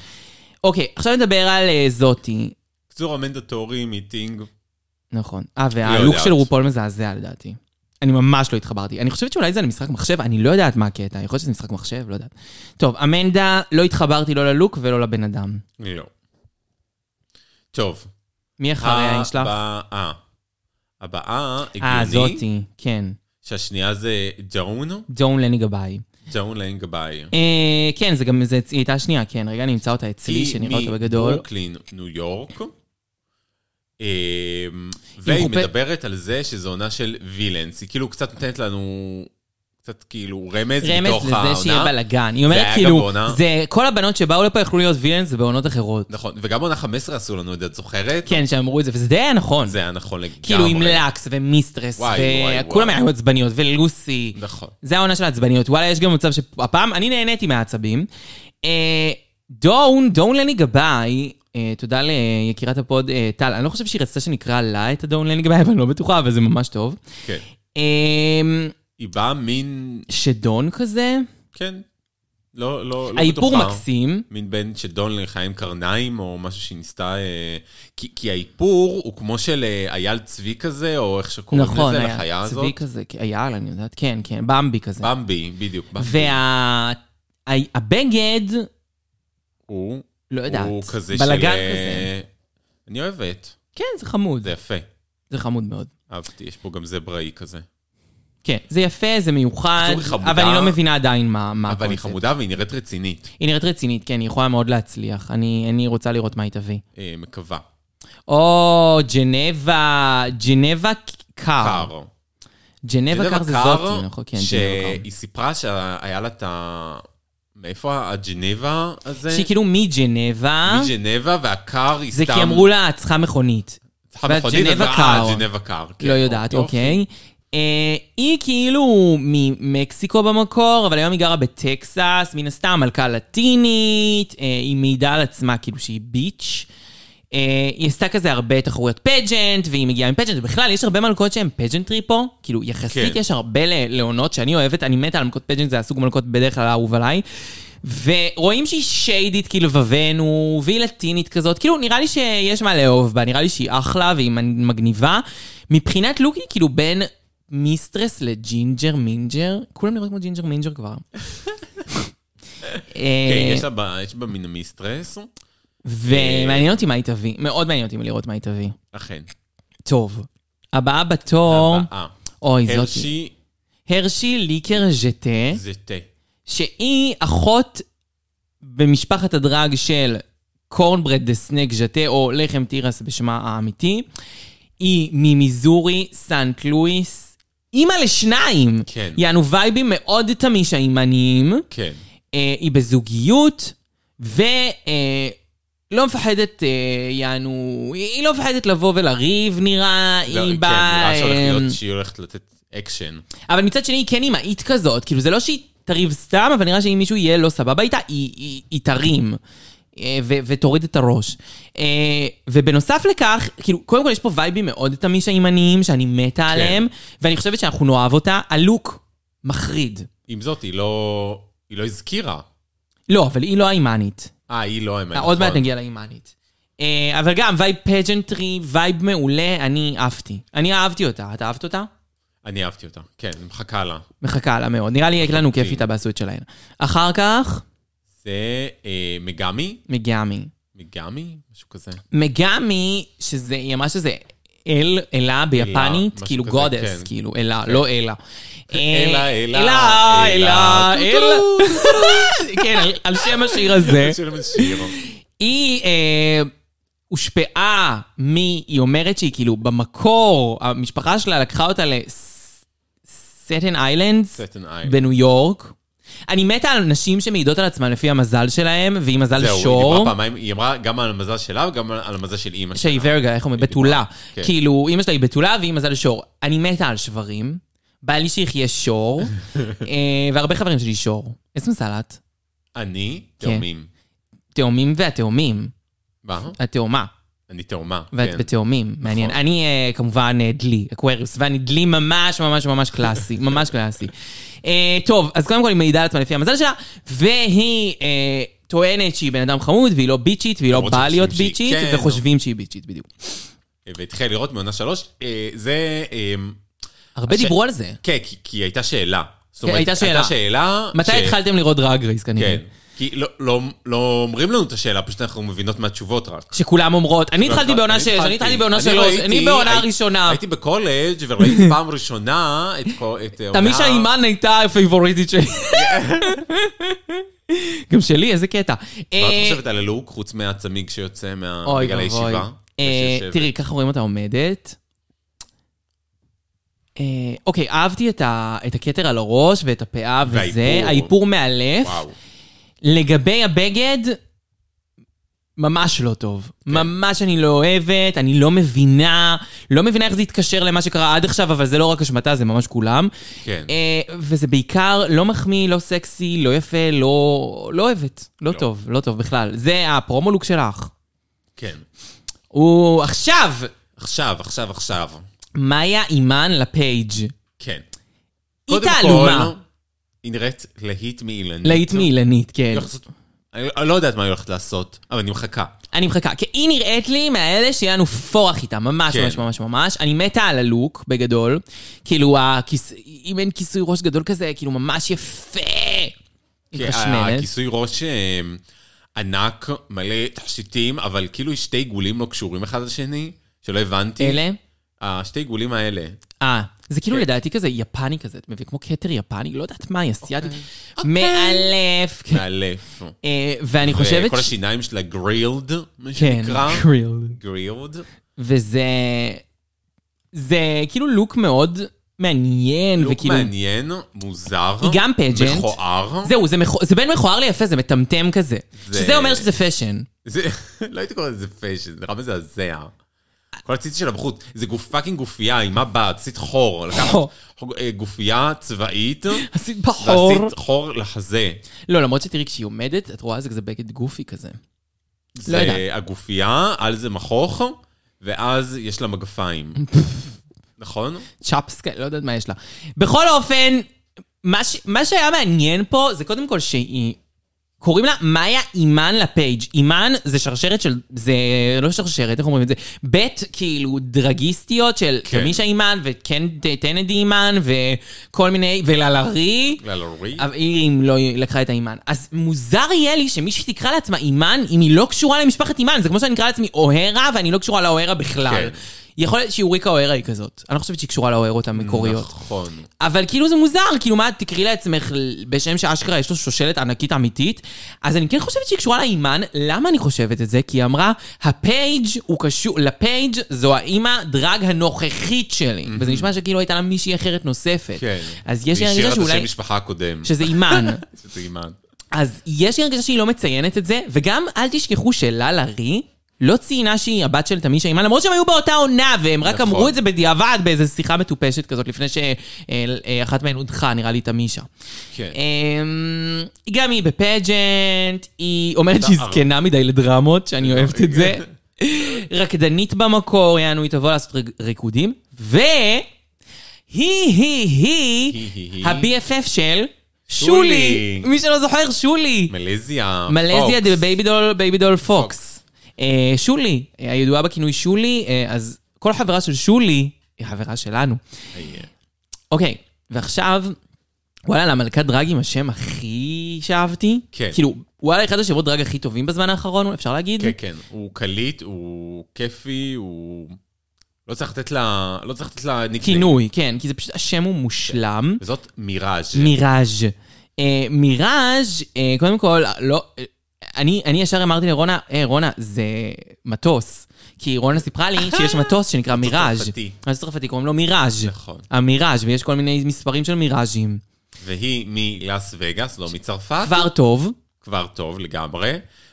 [SPEAKER 2] אוקיי, עכשיו נדבר על אה, זאתי.
[SPEAKER 3] קצור המנדטורי, מיטינג.
[SPEAKER 2] נכון. אה, והלוק
[SPEAKER 3] לא יודעת.
[SPEAKER 2] של רופול מזעזע לדעתי. אני ממש לא התחברתי. אני חושבת שאולי זה על משחק מחשב, אני לא יודעת מה הקטע, יכול להיות שזה משחק מחשב, לא יודעת. טוב, אמנדה, לא התחברתי לא ללוק ולא לבן אדם.
[SPEAKER 3] לא. טוב.
[SPEAKER 2] מי
[SPEAKER 3] אה,
[SPEAKER 2] אחרי העין שלך?
[SPEAKER 3] הבאה. הבאה
[SPEAKER 2] אה,
[SPEAKER 3] הגיוני,
[SPEAKER 2] זאתי, כן.
[SPEAKER 3] שהשנייה זה ג'ון,
[SPEAKER 2] ג'ון לני גבאי.
[SPEAKER 3] ג'און ליין גבאי.
[SPEAKER 2] אה, כן, זה גם, זה, היא הייתה שנייה, כן, רגע, אני אמצא אותה אצלי, שנראה אותה בגדול.
[SPEAKER 3] מברוקלין, ניו יורק. אה, והיא
[SPEAKER 2] מחופ-
[SPEAKER 3] מדברת על זה שזו עונה של וילנס. היא כאילו קצת נותנת לנו, קצת כאילו רמז
[SPEAKER 2] רמז
[SPEAKER 3] מתוך העונה.
[SPEAKER 2] לזה שיהיה בלאגן. היא אומרת
[SPEAKER 3] היה גם
[SPEAKER 2] כאילו,
[SPEAKER 3] בעונה.
[SPEAKER 2] זה, כל הבנות שבאו לפה יכלו להיות וילנס, זה בעונות אחרות.
[SPEAKER 3] נכון, וגם בעונה 15 עשו לנו את זה, את זוכרת?
[SPEAKER 2] כן, שאמרו את זה, וזה די היה נכון.
[SPEAKER 3] זה היה נכון לגמרי.
[SPEAKER 2] כאילו עם לקס ומיסטרס,
[SPEAKER 3] וואי, וואי,
[SPEAKER 2] וכולם
[SPEAKER 3] וואי.
[SPEAKER 2] היו עצבניות, ולוסי.
[SPEAKER 3] נכון.
[SPEAKER 2] זה העונה של העצבניות. וואלה, יש גם מצב שהפעם אני נהניתי מהעצבים. אה, דון, דון לני גבאי, אה, תודה ליקירת הפוד אה, טל. אני לא חושב שהיא רצתה שנקרא לה את הדון לני גבאי, אבל אני לא בטוחה, אבל זה ממש טוב.
[SPEAKER 3] כן.
[SPEAKER 2] אה,
[SPEAKER 3] היא באה מין,
[SPEAKER 2] שדון כזה,
[SPEAKER 3] כן, לא, לא, לא בטוחה.
[SPEAKER 2] האיפור מקסים.
[SPEAKER 3] מין בין שדון לחיים קרניים, או משהו שהיא ניסתה... אה, כי, כי האיפור הוא כמו של אה, אייל צבי כזה, או איך שקוראים
[SPEAKER 2] נכון,
[SPEAKER 3] לזה,
[SPEAKER 2] היה
[SPEAKER 3] לחיה הזאת.
[SPEAKER 2] צבי כזה, כן, אייל, אני יודעת, כן, כן, במבי כזה.
[SPEAKER 3] במבי, בדיוק. במבי.
[SPEAKER 2] והבגד,
[SPEAKER 3] הוא,
[SPEAKER 2] לא יודעת,
[SPEAKER 3] הוא כזה של...
[SPEAKER 2] בלגן
[SPEAKER 3] אה,
[SPEAKER 2] כזה.
[SPEAKER 3] אני אוהבת,
[SPEAKER 2] כן, זה חמוד,
[SPEAKER 3] זה יפה.
[SPEAKER 2] זה חמוד מאוד.
[SPEAKER 3] אהבתי, יש פה גם זבראי כזה.
[SPEAKER 2] כן, זה יפה, זה מיוחד,
[SPEAKER 3] בקיצור, היא חמודה.
[SPEAKER 2] אבל אני לא מבינה עדיין מה מה
[SPEAKER 3] אבל היא
[SPEAKER 2] הקונספט.
[SPEAKER 3] חמודה והיא נראית רצינית,
[SPEAKER 2] היא נראית רצינית, כן, היא יכולה מאוד להצליח. אני אני רוצה לראות מה היא תביא.
[SPEAKER 3] אה, מקווה.
[SPEAKER 2] או, ג'נבה, ג'נבה קאר.
[SPEAKER 3] קר.
[SPEAKER 2] ג'נבה קאר זה זאתי, נכון? כן, ג'נבה קאר.
[SPEAKER 3] שהיא סיפרה שהיה לה את ה... מאיפה הג'נבה הזה?
[SPEAKER 2] שהיא כאילו מג'נבה,
[SPEAKER 3] מג'נבה, והקר היא סתם...
[SPEAKER 2] זה כי אמרו לה, את צריכה מכונית.
[SPEAKER 3] צריכה מכונית,
[SPEAKER 2] והג'נבה
[SPEAKER 3] אז-
[SPEAKER 2] קר.
[SPEAKER 3] אה, ג'נבה קר. כן.
[SPEAKER 2] לא יודעת,
[SPEAKER 3] יופי.
[SPEAKER 2] אוקיי. אה, היא כאילו ממקסיקו במקור, אבל היום היא גרה בטקסס, מן הסתם מלכה לטינית, אה, היא מעידה על עצמה כאילו שהיא ביץ'. אה, היא עשתה כזה הרבה תחרויות פג'נט, והיא מגיעה עם פג'נט, ובכלל, יש הרבה מלכות שהן פג'נטרי פה, כאילו, יחסית
[SPEAKER 3] כן.
[SPEAKER 2] יש הרבה ל- לעונות שאני אוהבת, אני מתה על מלכות פג'נט, זה הסוג מלכות בדרך כלל האהוב עליי. ורואים שהיא שיידית כלבבנו, והיא לטינית כזאת, כאילו נראה לי שיש מה לאהוב בה, נראה לי שהיא אחלה והיא מגניבה. מבחינת לוק היא כאילו בין מיסטרס לג'ינג'ר מינג'ר, כולם נראים כמו ג'ינג'ר מינג'ר כבר.
[SPEAKER 3] כן,
[SPEAKER 2] אה,
[SPEAKER 3] יש לה ב- יש בה מין מיסטרס,
[SPEAKER 2] ומעניין אותי מה היא תביא, מאוד מעניין אותי לראות מה היא תביא.
[SPEAKER 3] אכן. אה,
[SPEAKER 2] טוב, הבאה בתור,
[SPEAKER 3] הבאה.
[SPEAKER 2] אוי אה, זאתי,
[SPEAKER 3] הרשי
[SPEAKER 2] הרשי ליקר ז'טה.
[SPEAKER 3] זה תה.
[SPEAKER 2] שהיא אחות במשפחת הדרג של קורנברד דה סנק ז'תה, או לחם תירס בשמה האמיתי. היא ממיזורי, סנט לואיס, אימא לשניים.
[SPEAKER 3] כן.
[SPEAKER 2] יענו וייבים מאוד תמיש הימניים.
[SPEAKER 3] כן.
[SPEAKER 2] אה, היא בזוגיות, ולא אה, לא מפחדת, אה, יענו, היא היא לא מפחדת לבוא ולריב נראה,
[SPEAKER 3] לא,
[SPEAKER 2] היא
[SPEAKER 3] כן,
[SPEAKER 2] באה...
[SPEAKER 3] נראה שהולך
[SPEAKER 2] אה,
[SPEAKER 3] להיות שהיא הולכת לתת אקשן.
[SPEAKER 2] אבל מצד שני היא כן אימהית כזאת, כאילו זה לא שהיא תריב סתם, אבל נראה שאם מישהו יהיה לא סבבה איתה, היא, היא, היא תרים. אה, ו- ותוריד את הראש. אה, ובנוסף לכך, כאילו, קודם כל יש פה וייבים מאוד תמיש הימניים, שאני מתה עליהם, ואני חושבת שאנחנו נאהב אותה. הלוק מחריד.
[SPEAKER 3] עם זאת, היא לא... היא לא הזכירה.
[SPEAKER 2] לא, אבל היא לא הימנית.
[SPEAKER 3] אה, היא לא האמת.
[SPEAKER 2] עוד מעט
[SPEAKER 3] נכון.
[SPEAKER 2] נגיע להימנית. אה, אבל גם וייב פג'נטרי, וייב מעולה, אני אהבתי. אני אהבתי אותה. את אהבת אותה?
[SPEAKER 3] אני אהבתי אותה. כן, אני מחכה לה.
[SPEAKER 2] מחכה לה מאוד. נראה לי יהיה לנו כיף איתה בעשוי שלהן. אחר כך,
[SPEAKER 3] זה אה, מגמי?
[SPEAKER 2] מגמי.
[SPEAKER 3] מגמי? משהו כזה.
[SPEAKER 2] מגמי, שזה, היא אמרה שזה אל, אלה ביפנית,
[SPEAKER 3] משהו
[SPEAKER 2] כאילו
[SPEAKER 3] כזה,
[SPEAKER 2] גודס,
[SPEAKER 3] כן.
[SPEAKER 2] כאילו אלה, לא אלה.
[SPEAKER 3] אלה,
[SPEAKER 2] אה,
[SPEAKER 3] אלה,
[SPEAKER 2] אלה, אלה,
[SPEAKER 3] אלה,
[SPEAKER 2] אלה. כן, על- על שם השיר הזה.
[SPEAKER 3] של איזה שיר.
[SPEAKER 2] היא אה, הושפעה מ... היא אומרת שהיא כאילו במקור, המשפחה שלה לקחה אותה לסטן איילנדס
[SPEAKER 3] סטן איילנד.
[SPEAKER 2] בניו יורק. אני מתה על נשים שמעידות על עצמן לפי המזל שלהם, והיא מזל
[SPEAKER 3] זהו, היא
[SPEAKER 2] שור.
[SPEAKER 3] דיברה פעמיים, היא אמרה גם על המזל שלה וגם על- על המזל של אימא שלה.
[SPEAKER 2] שהיא ורגה, איך אומרים?
[SPEAKER 3] היא
[SPEAKER 2] בתולה.
[SPEAKER 3] כן.
[SPEAKER 2] כאילו, אימא שלה היא בתולה והיא מזל שור. אני מתה על שברים, בא לי שיחיה שור, אה, והרבה חברים שלי שור. איזה מזל את?
[SPEAKER 3] אני
[SPEAKER 2] כן.
[SPEAKER 3] תאומים.
[SPEAKER 2] תאומים והתאומים.
[SPEAKER 3] מה?
[SPEAKER 2] התאומה.
[SPEAKER 3] אני תאומה.
[SPEAKER 2] ואת
[SPEAKER 3] כן.
[SPEAKER 2] בתאומים, מעניין. אני אה, כמובן אה, דלי, אקווריוס, ואני דלי ממש ממש ממש קלאסי, ממש קלאסי. אה, טוב, אז קודם כל היא מעידה על עצמה לפי המזל שלה, והיא אה, טוענת שהיא בן אדם חמוד, והיא לא ביצ'ית, והיא לא
[SPEAKER 3] למרות
[SPEAKER 2] באה להיות
[SPEAKER 3] שחושבים שהיא-
[SPEAKER 2] ביצ'ית,
[SPEAKER 3] כן,
[SPEAKER 2] וחושבים שהיא ביצ'ית, בדיוק.
[SPEAKER 3] אה, והתחילה לראות מעונה שלוש. אה, זה... אה,
[SPEAKER 2] הרבה
[SPEAKER 3] הש-
[SPEAKER 2] דיברו על זה.
[SPEAKER 3] כן, כי, כי הייתה שאלה. זאת
[SPEAKER 2] כן, הייתה שאלה.
[SPEAKER 3] הייתה שאלה...
[SPEAKER 2] מתי
[SPEAKER 3] ש-
[SPEAKER 2] התחלתם לראות דרג רייס כנראה?
[SPEAKER 3] כן. כי לא- לא- לא אומרים לנו את השאלה, פשוט אנחנו מבינות מהתשובות רק.
[SPEAKER 2] שכולם אומרות.
[SPEAKER 3] לא,
[SPEAKER 2] אני התחלתי בעונה שש, אני התחלתי בעונה שלוש, אני
[SPEAKER 3] ראיתי-
[SPEAKER 2] בעונה
[SPEAKER 3] לא הייתי-
[SPEAKER 2] ראשונה.
[SPEAKER 3] הייתי בקולג' וראיתי פעם ראשונה את כל- את העונה...
[SPEAKER 2] תמישה אימן הייתה הפייבוריטית שלי. גם שלי, איזה קטע.
[SPEAKER 3] מה את
[SPEAKER 2] אה,
[SPEAKER 3] חושבת על הלוק, חוץ מהצמיג שיוצא מה-
[SPEAKER 2] אוי
[SPEAKER 3] בגלל
[SPEAKER 2] ואבוי.
[SPEAKER 3] הישיבה?
[SPEAKER 2] אה,
[SPEAKER 3] ושיושבת?
[SPEAKER 2] תראי, ככה רואים אותה עומדת. אה, אוקיי, אהבתי את ה- את הכתר על הראש ואת הפאה וזה.
[SPEAKER 3] והאיפור.
[SPEAKER 2] האיפור מאלף.
[SPEAKER 3] וואו.
[SPEAKER 2] לגבי הבגד, ממש לא טוב.
[SPEAKER 3] כן.
[SPEAKER 2] ממש אני לא אוהבת, אני לא מבינה, לא מבינה איך זה התקשר למה שקרה עד עכשיו, אבל זה לא רק אשמתה, זה ממש כולם.
[SPEAKER 3] כן.
[SPEAKER 2] אה, וזה בעיקר לא מחמיא, לא סקסי, לא יפה, לא, לא אוהבת. לא,
[SPEAKER 3] לא.
[SPEAKER 2] טוב, לא טוב בכלל. זה הפרומו לוק שלך.
[SPEAKER 3] כן.
[SPEAKER 2] הוא עכשיו,
[SPEAKER 3] עכשיו, עכשיו, עכשיו.
[SPEAKER 2] מאיה אימן לפייג'.
[SPEAKER 3] כן.
[SPEAKER 2] היא
[SPEAKER 3] קודם
[SPEAKER 2] תעלומה.
[SPEAKER 3] כל, לא. היא נראית להיט מאילנית.
[SPEAKER 2] להיט מאילנית, כן.
[SPEAKER 3] היא הולכת לעשות- אני אני לא יודעת מה היא הולכת לעשות, אבל אני מחכה.
[SPEAKER 2] אני מחכה, כי היא נראית לי מהאלה שיהיה לנו פורח איתה, ממש
[SPEAKER 3] כן.
[SPEAKER 2] ממש ממש ממש. אני מתה על הלוק, בגדול. כאילו, הכיס... אם אין כיסוי ראש גדול כזה, כאילו, ממש יפה.
[SPEAKER 3] כי
[SPEAKER 2] היא חשמלת.
[SPEAKER 3] כן, הכיסוי ראש אה, ענק, מלא תכשיטים, אבל כאילו שתי עיגולים לא קשורים אחד לשני, שלא הבנתי.
[SPEAKER 2] אלה?
[SPEAKER 3] השתי עיגולים האלה.
[SPEAKER 2] אה, זה כאילו
[SPEAKER 3] כן.
[SPEAKER 2] לדעתי כזה יפני כזה, אתה מבין? כמו כתר יפני, לא יודעת מה, היא אסיאתית.
[SPEAKER 3] אוקיי.
[SPEAKER 2] אוקיי. מאלף. כן.
[SPEAKER 3] מאלף.
[SPEAKER 2] אה, ואני חושבת...
[SPEAKER 3] וכל
[SPEAKER 2] ש-
[SPEAKER 3] השיניים שלה גרילד, מה
[SPEAKER 2] כן,
[SPEAKER 3] שנקרא.
[SPEAKER 2] grilled.
[SPEAKER 3] גרילד.
[SPEAKER 2] וזה... זה כאילו לוק מאוד מעניין,
[SPEAKER 3] לוק
[SPEAKER 2] וכאילו...
[SPEAKER 3] לא מעניין, מוזר.
[SPEAKER 2] היא גם pageant.
[SPEAKER 3] מכוער.
[SPEAKER 2] זהו, זה, מכו... זה בין מכוער ליפה, זה מטמטם כזה.
[SPEAKER 3] זה-
[SPEAKER 2] שזה אומר שזה פאשן.
[SPEAKER 3] זה- לא הייתי קורא לזה פשן, זה נראה מזעזע. כל הציץ שלה בחוץ, זה גוף פאקינג גופייה, עם מה באת? עשית חור. לקחת
[SPEAKER 2] חור.
[SPEAKER 3] חוג- אה, גופייה צבאית,
[SPEAKER 2] עשית בחור.
[SPEAKER 3] ועשית חור לחזה.
[SPEAKER 2] לא, למרות שתראי, כשהיא עומדת, את רואה איזה כזה בגד גופי כזה. לא
[SPEAKER 3] זה הגופייה, על זה מכוך, ואז יש לה מגפיים. נכון?
[SPEAKER 2] צ'אפס כאלה, לא יודעת מה יש לה. בכל אופן, מה, ש... מה שהיה מעניין פה, זה קודם כל שהיא... קוראים לה מאיה אימן לפייג'. אימן זה שרשרת של... זה לא שרשרת, איך אומרים את זה? בית כאילו דרגיסטיות של
[SPEAKER 3] כן.
[SPEAKER 2] תמישה אימן וקן טנדי אימן וכל מיני... וללרי.
[SPEAKER 3] ללורי?
[SPEAKER 2] אבל היא אם לא היא לקחה את האימן. אז מוזר יהיה לי שמישהי תקרא לעצמה אימן, אם היא לא קשורה למשפחת אימן. זה כמו שאני אקרא לעצמי אוהרה, ואני לא קשורה לאוהרה בכלל.
[SPEAKER 3] כן.
[SPEAKER 2] יכול להיות שיוריקה אוהרה היא כזאת. אני לא חושבת שהיא קשורה לאוהרות המקוריות.
[SPEAKER 3] נכון.
[SPEAKER 2] אבל כאילו זה מוזר, כאילו מה, תקראי לעצמך ל- בשם שאשכרה יש לו שושלת ענקית אמיתית? אז אני כן חושבת שהיא קשורה לאימן. למה אני חושבת את זה? כי היא אמרה, הפייג' הוא קשור, לפייג' זו האימא דרג הנוכחית שלי. וזה נשמע שכאילו הייתה לה מישהי אחרת נוספת.
[SPEAKER 3] כן.
[SPEAKER 2] אז יש לי הרגשה
[SPEAKER 3] היא השאירה את השם
[SPEAKER 2] שאולי...
[SPEAKER 3] משפחה הקודם.
[SPEAKER 2] שזה אימן.
[SPEAKER 3] שזה אימן.
[SPEAKER 2] אז יש לי הרגשה שהיא לא מציינת את זה, וגם אל תשכחו שללה רי לא ציינה שהיא הבת של תמישה אימן, למרות שהם היו באותה עונה, והם רק
[SPEAKER 3] נכון.
[SPEAKER 2] אמרו את זה בדיעבד באיזו שיחה מטופשת כזאת, לפני שאחת מהן הודחה, נראה לי תמישה.
[SPEAKER 3] כן.
[SPEAKER 2] אה, אמ, גם היא בפג'נט, היא אומרת שהיא
[SPEAKER 3] אתה-
[SPEAKER 2] זקנה מדי לדרמות, שאני אוהבת את זה. אוקיי. רקדנית במקור, יענו, היא תבוא לעשות רק- ריקודים, ו... היא, היא,
[SPEAKER 3] היא.
[SPEAKER 2] ה-BFF של שולי.
[SPEAKER 3] שולי.
[SPEAKER 2] מי שלא זוכר, שולי.
[SPEAKER 3] מלזיה.
[SPEAKER 2] מלזיה
[SPEAKER 3] פוקס.
[SPEAKER 2] דה בייבי דול, בייבי דול פוקס. אה, שולי, אה, הידועה בכינוי שולי, אה, אז כל חברה של שולי היא חברה שלנו.
[SPEAKER 3] אה,
[SPEAKER 2] אוקיי, ועכשיו, וואלה, למלכת דרג עם השם הכי שאהבתי.
[SPEAKER 3] כן.
[SPEAKER 2] כאילו, וואלה, אחד השמות דרג הכי טובים בזמן האחרון, אפשר להגיד?
[SPEAKER 3] כן, כן, הוא קליט, הוא כיפי, הוא... לא צריך לתת לה... לא צריך לתת לה ניקניים.
[SPEAKER 2] כינוי, כן, כי זה פשוט, השם הוא מושלם.
[SPEAKER 3] וזאת מיראז'.
[SPEAKER 2] מיראז'. אה, מיראז', אה, קודם כל, לא... אה, אני, אני ישר אמרתי לרונה, אה, רונה, זה מטוס. כי רונה סיפרה לי שיש מטוס שנקרא מיראז'.
[SPEAKER 3] צרפתי.
[SPEAKER 2] אז צרפתי, קוראים לו מיראז'.
[SPEAKER 3] נכון.
[SPEAKER 2] המיראז', ויש כל מיני מספרים של מיראז'ים.
[SPEAKER 3] והיא מלאס וגאס, לא מצרפת.
[SPEAKER 2] כבר טוב.
[SPEAKER 3] כבר טוב לגמרי.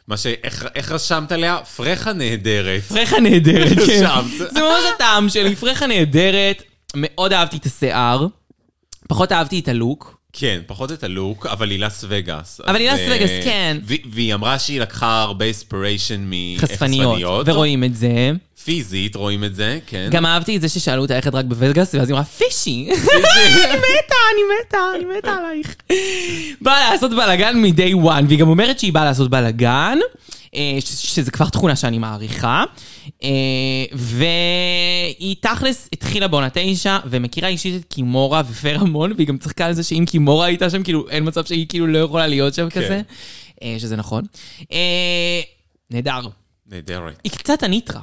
[SPEAKER 3] מה ש... איך, איך רשמת עליה? פרחה נהדרת.
[SPEAKER 2] פרחה נהדרת, כן.
[SPEAKER 3] רשמת.
[SPEAKER 2] זה ממש הטעם שלי, פרחה נהדרת. מאוד אהבתי את השיער. פחות אהבתי את הלוק.
[SPEAKER 3] כן, פחות את הלוק, אבל היא לאס וגאס.
[SPEAKER 2] אבל היא
[SPEAKER 3] אז,
[SPEAKER 2] לאס וגאס,
[SPEAKER 3] אה,
[SPEAKER 2] כן.
[SPEAKER 3] ו- והיא אמרה שהיא לקחה הרבה אינספיריישן מחשפניות.
[SPEAKER 2] חשפניות. ורואים את זה.
[SPEAKER 3] פיזית רואים את זה, כן.
[SPEAKER 2] גם אהבתי את זה ששאלו אותה איך את רק בווגאס, ואז היא אמרה, פישי. אני מתה, אני מתה, אני מתה עלייך. באה לעשות בלאגן מ-day one, והיא גם אומרת שהיא באה לעשות בלאגן, אה, ש- שזה כבר תכונה שאני מעריכה. אה, והיא תכלס התחילה בעונה תשע, ומכירה אישית את קימורה ופרמון, והיא גם צחקה על זה שאם קימורה הייתה שם, כאילו, אין מצב שהיא כאילו לא יכולה להיות שם כזה. אה, שזה נכון. אה, נהדר.
[SPEAKER 3] נהדרת.
[SPEAKER 2] היא קצת הניטרה.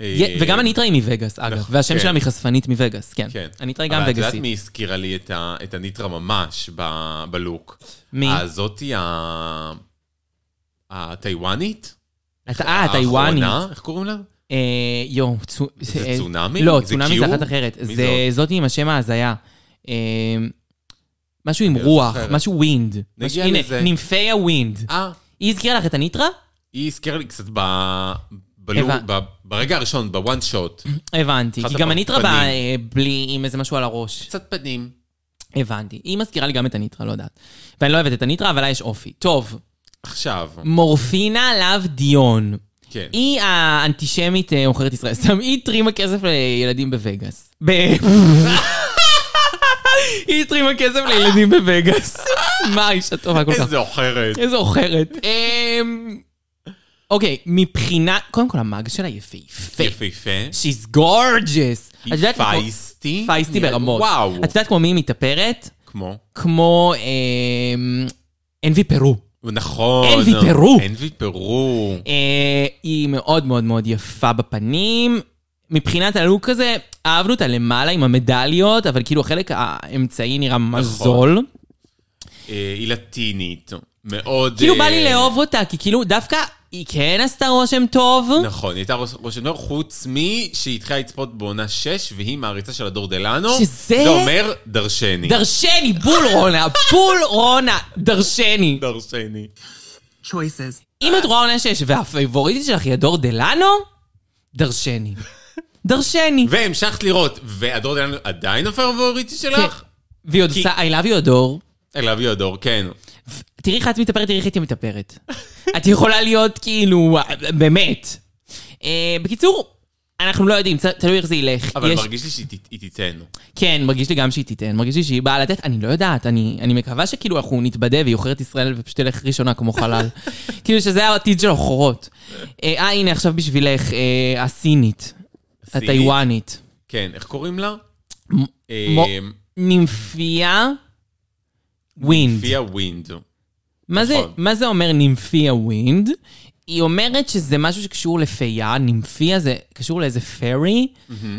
[SPEAKER 3] אה,
[SPEAKER 2] יה- וגם הניטרה היא מווגאס, אגב.
[SPEAKER 3] נכון,
[SPEAKER 2] והשם
[SPEAKER 3] כן.
[SPEAKER 2] שלה מחשפנית מווגאס, כן.
[SPEAKER 3] כן.
[SPEAKER 2] הניטרה היא גם
[SPEAKER 3] אבל את יודעת
[SPEAKER 2] וגאסית.
[SPEAKER 3] מי הזכירה לי את ה- את הניטרה ממש ב- בלוק?
[SPEAKER 2] מי?
[SPEAKER 3] הזאתי אה, ה- הטיוואנית?
[SPEAKER 2] אתה- אה, הטיוואנית.
[SPEAKER 3] האחרונה, איך קוראים לה?
[SPEAKER 2] אה, יואו, צו-
[SPEAKER 3] זה
[SPEAKER 2] אה,
[SPEAKER 3] צונאמי?
[SPEAKER 2] לא,
[SPEAKER 3] זה
[SPEAKER 2] צונאמי
[SPEAKER 3] קיו?
[SPEAKER 2] זה אחת אחרת.
[SPEAKER 3] מי
[SPEAKER 2] זה זאתי עם השם ההזיה. אה, משהו עם
[SPEAKER 3] אני לא
[SPEAKER 2] רוח,
[SPEAKER 3] זוכרת.
[SPEAKER 2] משהו ווינד.
[SPEAKER 3] נגיע
[SPEAKER 2] משהו- הנה,
[SPEAKER 3] לזה.
[SPEAKER 2] נימפי הווינד.
[SPEAKER 3] אה,
[SPEAKER 2] היא הזכירה לך את הניטרה?
[SPEAKER 3] היא הזכירה לי קצת ב- בלוק,
[SPEAKER 2] הבנ-
[SPEAKER 3] ב- ברגע הראשון, בוואן שוט.
[SPEAKER 2] הבנתי.
[SPEAKER 3] אחת
[SPEAKER 2] כי גם הניטרה
[SPEAKER 3] הפנים.
[SPEAKER 2] באה אה, בלי, עם איזה משהו על הראש.
[SPEAKER 3] קצת פנים.
[SPEAKER 2] הבנתי. היא מזכירה לי גם את הניטרה, לא יודעת. ואני לא אוהבת את הניטרה, אבל לה יש אופי. טוב,
[SPEAKER 3] עכשיו,
[SPEAKER 2] מורפינה לאב דיון.
[SPEAKER 3] כן.
[SPEAKER 2] היא האנטישמית אה, עוכרת ישראל. סתם, היא התרימה כסף לילדים בווגאס. ב... היא התרימה כסף לילדים בווגאס. מה האישה טובה כל כך.
[SPEAKER 3] איזה עוכרת.
[SPEAKER 2] איזה עוכרת. אמ, אוקיי, מבחינה... קודם כל, המאג שלה יפהפה.
[SPEAKER 3] יפהפה.
[SPEAKER 2] She's gorgeous. את
[SPEAKER 3] היא
[SPEAKER 2] יודעת כמו-
[SPEAKER 3] פייסטי.
[SPEAKER 2] פייסטי
[SPEAKER 3] נראה-
[SPEAKER 2] ברמות.
[SPEAKER 3] וואו.
[SPEAKER 2] את יודעת כמו מי היא מתאפרת?
[SPEAKER 3] כמו.
[SPEAKER 2] כמו... אמ, אנבי פרו.
[SPEAKER 3] נכון.
[SPEAKER 2] אין ויתרו.
[SPEAKER 3] אין ויתרו.
[SPEAKER 2] אה, היא מאוד מאוד מאוד יפה בפנים. מבחינת הלוק הזה, אהבנו אותה למעלה עם המדליות, אבל כאילו החלק האמצעי נראה ממש
[SPEAKER 3] נכון.
[SPEAKER 2] זול.
[SPEAKER 3] אה, היא לטינית. מאוד...
[SPEAKER 2] כאילו בא
[SPEAKER 3] אה,
[SPEAKER 2] לי לאהוב אותה, כי כאילו דווקא היא כן עשתה רושם טוב.
[SPEAKER 3] נכון, היא הייתה ראש- ראש הנוער, חוץ מי שהיא התחילה לצפות בעונה 6, והיא מעריצה של הדור דלנו.
[SPEAKER 2] שזה-
[SPEAKER 3] זה אומר דרשני.
[SPEAKER 2] דרשני, בול רונה, בול רונה, דרשני.
[SPEAKER 3] דרשני.
[SPEAKER 4] choices.
[SPEAKER 2] אם את רואה עונה שש והפייבוריטית שלך היא הדור דלנו, דרשני. דרשני.
[SPEAKER 3] והמשכת לראות, והדור דלנו עדיין הפרבוריטי שלך?
[SPEAKER 2] כן. והיא עוד
[SPEAKER 3] כי-
[SPEAKER 2] עושה I love you הדור.
[SPEAKER 3] I love you, הדור, כן.
[SPEAKER 2] תראי איך את מתאפרת, תראי איך היא מתאפרת. את יכולה להיות כאילו, באמת. אה, בקיצור, אנחנו לא יודעים, צ- תלוי איך זה ילך.
[SPEAKER 3] אבל
[SPEAKER 2] יש-
[SPEAKER 3] מרגיש לי שהיא ת- היא תיתן.
[SPEAKER 2] כן, מרגיש לי גם שהיא תיתן, מרגיש לי שהיא באה לתת, אני לא יודעת, אני, אני מקווה שכאילו אנחנו נתבדה והיא עוכרת ישראל ופשוט תלך ראשונה כמו חלל. כאילו שזה העתיד של העוכרות. אה, אה, הנה עכשיו בשבילך, אה, הסינית,
[SPEAKER 3] הסינית?
[SPEAKER 2] הטיוואנית.
[SPEAKER 3] כן, איך קוראים לה?
[SPEAKER 2] מ-
[SPEAKER 3] אה,
[SPEAKER 2] מו- נימפיה ווינד.
[SPEAKER 3] פיה ווינד.
[SPEAKER 2] מה זה,
[SPEAKER 3] נכון.
[SPEAKER 2] מה זה אומר נימפיה ווינד? היא אומרת שזה משהו שקשור לפייה, נימפיה זה קשור לאיזה פרי,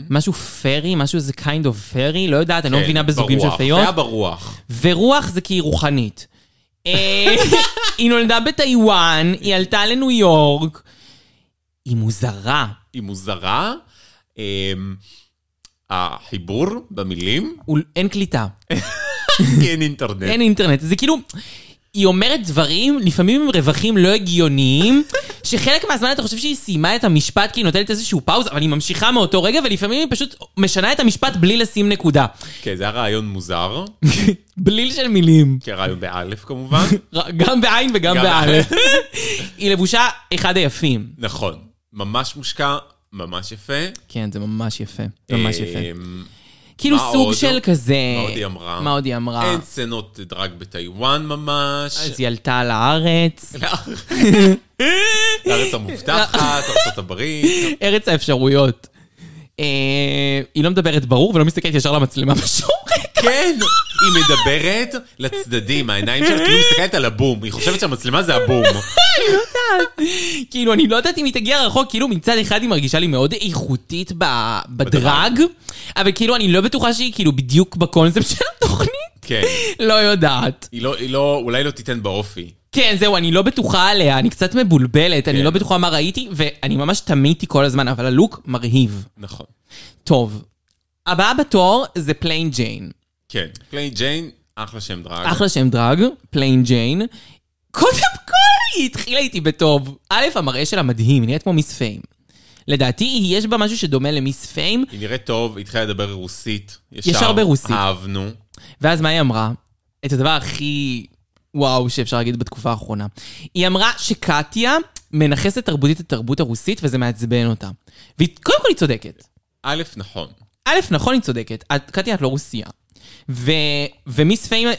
[SPEAKER 2] משהו פרי, משהו איזה kind of פרי, לא יודעת, אני לא
[SPEAKER 3] כן,
[SPEAKER 2] מבינה בזוגים של
[SPEAKER 3] ברוח.
[SPEAKER 2] פיות.
[SPEAKER 3] פיה ברוח.
[SPEAKER 2] ורוח זה כי היא רוחנית. אה, היא נולדה בטיוואן, היא עלתה לניו יורק. היא מוזרה.
[SPEAKER 3] היא מוזרה. אמ, החיבור במילים,
[SPEAKER 2] הוא- אין קליטה,
[SPEAKER 3] כי אין אינטרנט.
[SPEAKER 2] אין אינטרנט. זה כאילו, היא אומרת דברים, לפעמים עם רווחים לא הגיוניים, שחלק מהזמן אתה חושב שהיא סיימה את המשפט כי היא נותנת איזשהו פאוז, אבל היא ממשיכה מאותו רגע, ולפעמים היא פשוט משנה את המשפט בלי לשים נקודה.
[SPEAKER 3] כן, זה היה רעיון מוזר,
[SPEAKER 2] בליל של מילים.
[SPEAKER 3] כי הרעיון באלף כמובן.
[SPEAKER 2] גם בעין וגם
[SPEAKER 3] גם
[SPEAKER 2] באלף. היא לבושה אחד היפים.
[SPEAKER 3] נכון, ממש מושקע, ממש יפה.
[SPEAKER 2] כן, זה ממש יפה. ממש יפה.
[SPEAKER 3] אמ,
[SPEAKER 2] אה, כאילו
[SPEAKER 3] מה
[SPEAKER 2] סוג
[SPEAKER 3] עוד?
[SPEAKER 2] של כזה...
[SPEAKER 3] מה עוד היא אמרה?
[SPEAKER 2] מה עוד היא אמרה?
[SPEAKER 3] אין סצנות דרג בטיוואן ממש.
[SPEAKER 2] אה. אז היא עלתה לארץ,
[SPEAKER 3] לארץ המובטחת, ארצות הברית.
[SPEAKER 2] ארץ האפשרויות. אה, היא לא מדברת ברור ולא מסתכלת ישר למצלמה בשורק.
[SPEAKER 3] כן, היא מדברת לצדדים, העיניים שלה כאילו מסתכלת על הבום, היא חושבת שהמצלמה זה הבום.
[SPEAKER 2] כאילו, אני לא יודעת אם היא תגיע רחוק, כאילו מצד אחד היא מרגישה לי מאוד איכותית ב- בדרג, אבל כאילו אני לא בטוחה שהיא כאילו בדיוק בקונספט של התוכנית.
[SPEAKER 3] כן,
[SPEAKER 2] לא יודעת.
[SPEAKER 3] היא לא, היא לא, אולי לא תיתן באופי.
[SPEAKER 2] כן, זהו, אני לא בטוחה עליה, אני קצת מבולבלת, אני
[SPEAKER 3] כן.
[SPEAKER 2] לא בטוחה מה ראיתי, ואני ממש תמיתי כל הזמן, אבל הלוק מרהיב.
[SPEAKER 3] נכון.
[SPEAKER 2] טוב. הבאה בתור זה פליין ג'יין.
[SPEAKER 3] כן, פליין ג'יין, אחלה שם דרג.
[SPEAKER 2] אחלה שם דרג, פליין ג'יין. קודם כל, היא התחילה איתי בטוב. א', המראה שלה מדהים, היא נראית כמו מיס פיים. לדעתי, יש בה משהו שדומה למיס פיים,
[SPEAKER 3] היא נראית טוב, היא התחילה לדבר רוסית.
[SPEAKER 2] ישר ברוסית.
[SPEAKER 3] אהבנו.
[SPEAKER 2] ואז מה היא אמרה? את הדבר הכי וואו שאפשר להגיד בתקופה האחרונה. היא אמרה שקטיה מנכסת תרבותית את התרבות הרוסית, וזה מעצבן אותה. וקודם כל היא צודקת.
[SPEAKER 3] א', נכון.
[SPEAKER 2] א', נכון, היא צודקת. את, קטיה, את לא רוסייה. ו, ומיס פיים אה,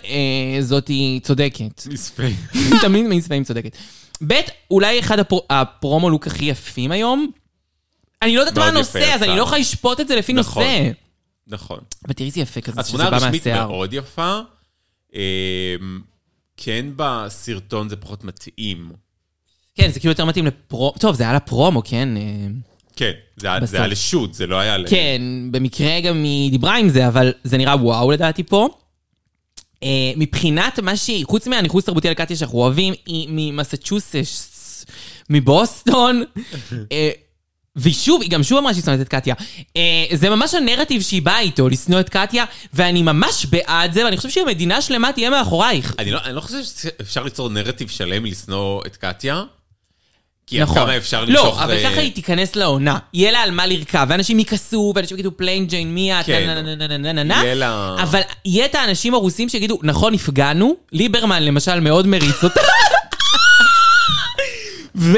[SPEAKER 2] זאת היא צודקת.
[SPEAKER 3] מספיק.
[SPEAKER 2] תמיד מיס פיים צודקת. ב', אולי אחד הפר, הפרומו לוק הכי יפים היום. אני לא יודעת מה
[SPEAKER 3] מאוד יפה
[SPEAKER 2] הנושא, אז
[SPEAKER 3] יצא.
[SPEAKER 2] אני לא יכולה לשפוט את זה לפי
[SPEAKER 3] נכון.
[SPEAKER 2] נושא.
[SPEAKER 3] נכון.
[SPEAKER 2] אבל תראי איזה יפה כזה, שזה
[SPEAKER 3] התמונה
[SPEAKER 2] בא
[SPEAKER 3] הרשמית
[SPEAKER 2] מהשיער.
[SPEAKER 3] מאוד יפה. אמ, כן בסרטון זה פחות מתאים.
[SPEAKER 2] כן, זה כאילו יותר מתאים לפרו... טוב, זה היה לפרומו, כן? אה,
[SPEAKER 3] כן, זה היה-
[SPEAKER 2] בסוף.
[SPEAKER 3] זה היה לשוט, זה לא היה ל...
[SPEAKER 2] כן, במקרה גם היא דיברה עם זה, אבל זה נראה וואו לדעתי פה. אה, מבחינת מה שהיא, חוץ מהניחוס תרבותי על קטיה שאנחנו אוהבים, היא ממסצ'וסטס, מבוסטון. אה, והיא שוב, היא גם שוב אמרה שהיא שונאת את קטיה. אה, זה ממש הנרטיב שהיא באה איתו, לשנוא את קטיה, ואני ממש בעד זה, ואני חושב שהמדינה שלמה תהיה מאחורייך.
[SPEAKER 3] אני לא, אני לא חושב שאפשר ליצור נרטיב שלם מלשנוא את קטיה, כי עד
[SPEAKER 2] נכון.
[SPEAKER 3] כמה אפשר למשוך...
[SPEAKER 2] לא, אבל
[SPEAKER 3] אה,
[SPEAKER 2] ככה היא תיכנס לעונה. יהיה לה על מה לרכב, ואנשים יכעסו, ואנשים יגידו פליין ג'יין מיה,
[SPEAKER 3] כן.
[SPEAKER 2] טה-נה-נה-נה-נה-נה-נה.
[SPEAKER 3] יהיה לה-
[SPEAKER 2] אבל יהיה את האנשים הרוסים שיגידו, נכון, נפגענו, ליברמן למשל מאוד מריץ אותה. ו...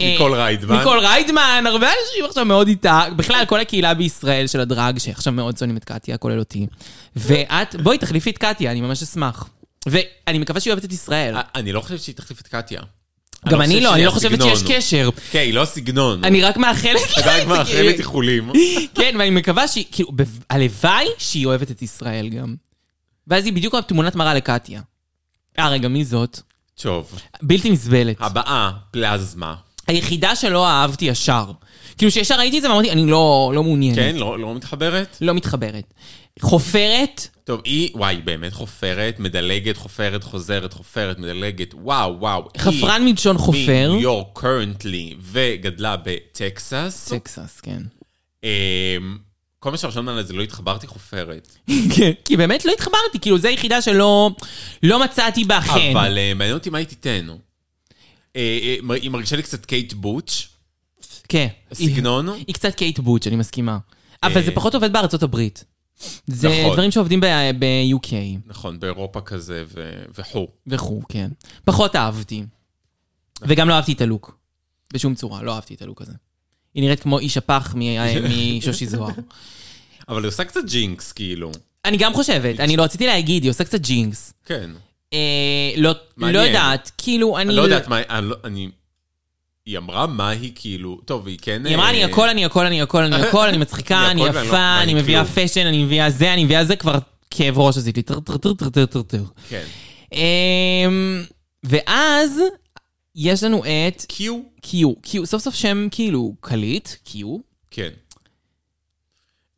[SPEAKER 2] אה,
[SPEAKER 3] ניקול ריידמן.
[SPEAKER 2] ניקול ריידמן, הרבה אנשים עכשיו מאוד איתה. בכלל, כל הקהילה בישראל של הדרג, שעכשיו מאוד שונאים את קטיה, כולל אותי. ואת, בואי תחליפי את קטיה, אני ממש אשמח. ואני מקווה שהיא אוהבת את ישראל.
[SPEAKER 3] אה, אני לא חושב שהיא תחליף את קטיה.
[SPEAKER 2] גם אני לא, אני לא חושבת שיש
[SPEAKER 3] קשר.
[SPEAKER 2] קשר.
[SPEAKER 3] כן, היא לא הסגנון.
[SPEAKER 2] אני רק מאחלת כאילו.
[SPEAKER 3] אתה
[SPEAKER 2] לה
[SPEAKER 3] רק
[SPEAKER 2] את זה.
[SPEAKER 3] מאחלת איחולים.
[SPEAKER 2] כן, ואני מקווה שהיא, כאילו, ב- הלוואי שהיא אוהבת את ישראל גם. ואז היא בדיוק תמונת מראה לקטיה. אה, רגע, מי זאת?
[SPEAKER 3] טוב,
[SPEAKER 2] בלתי נסבלת.
[SPEAKER 3] הבאה, פלזמה.
[SPEAKER 2] היחידה שלא אהבתי ישר. כאילו, שישר ראיתי את זה ואמרתי, אני לא לא מעוניינת.
[SPEAKER 3] כן, לא לא מתחברת?
[SPEAKER 2] לא מתחברת. חופרת,
[SPEAKER 3] טוב, היא, וואי, היא באמת חופרת, מדלגת, חופרת, חוזרת, חופרת, מדלגת, וואו, וואו. היא
[SPEAKER 2] חפרן מלשון חופר.
[SPEAKER 3] מניו יורק קרנטלי, וגדלה בטקסס.
[SPEAKER 2] טקסס, כן.
[SPEAKER 3] אמ, כל מה שרשום עליה זה לא התחברתי חופרת.
[SPEAKER 2] כן, כי באמת לא התחברתי, כאילו, זו היחידה שלא לא מצאתי בה חן.
[SPEAKER 3] אבל אה, מעניין אותי מה היא תיתן. אה, אה, מ- היא מרגישה לי קצת קייט בוטש,
[SPEAKER 2] כן.
[SPEAKER 3] סגנון.
[SPEAKER 2] היא קצת קייט בוטש, אני מסכימה. אבל זה פחות עובד בארצות הברית. זה
[SPEAKER 3] אה. נכון.
[SPEAKER 2] דברים שעובדים ב- ב-UK
[SPEAKER 3] נכון, באירופה כזה ו- וכו'.
[SPEAKER 2] וכו', כן. פחות אהבתי. וגם לא אהבתי את הלוק. בשום צורה, לא אהבתי את הלוק הזה. היא נראית כמו איש הפח מ- משושי זוהר.
[SPEAKER 3] אבל היא עושה קצת ג'ינקס, כאילו.
[SPEAKER 2] אני גם חושבת, אני לא רציתי להגיד, היא עושה קצת ג'ינקס.
[SPEAKER 3] כן.
[SPEAKER 2] אה, לא לא
[SPEAKER 3] מעניין.
[SPEAKER 2] יודעת, כאילו, אני...
[SPEAKER 3] אני לא יודעת מה, אני לא- אני... היא אמרה מה היא כאילו, טוב, היא כן...
[SPEAKER 2] היא אמרה,
[SPEAKER 3] אה,
[SPEAKER 2] אני הכל, אני הכל, אני הכל, אני הכל, אני מצחיקה, אני
[SPEAKER 3] אני הכל ואני לא-
[SPEAKER 2] יפה,
[SPEAKER 3] ואני
[SPEAKER 2] אני מביאה
[SPEAKER 3] כלום.
[SPEAKER 2] פשן, אני מביאה זה, אני מביאה זה, כבר כאב ראש עשיתי. טר, טר, טר, טר, טר, טר, טר.
[SPEAKER 3] כן.
[SPEAKER 2] אמ, ואז יש לנו את
[SPEAKER 3] קיו?
[SPEAKER 2] קיו. קיו, סוף סוף שם כאילו קליט, קיו.
[SPEAKER 3] כן.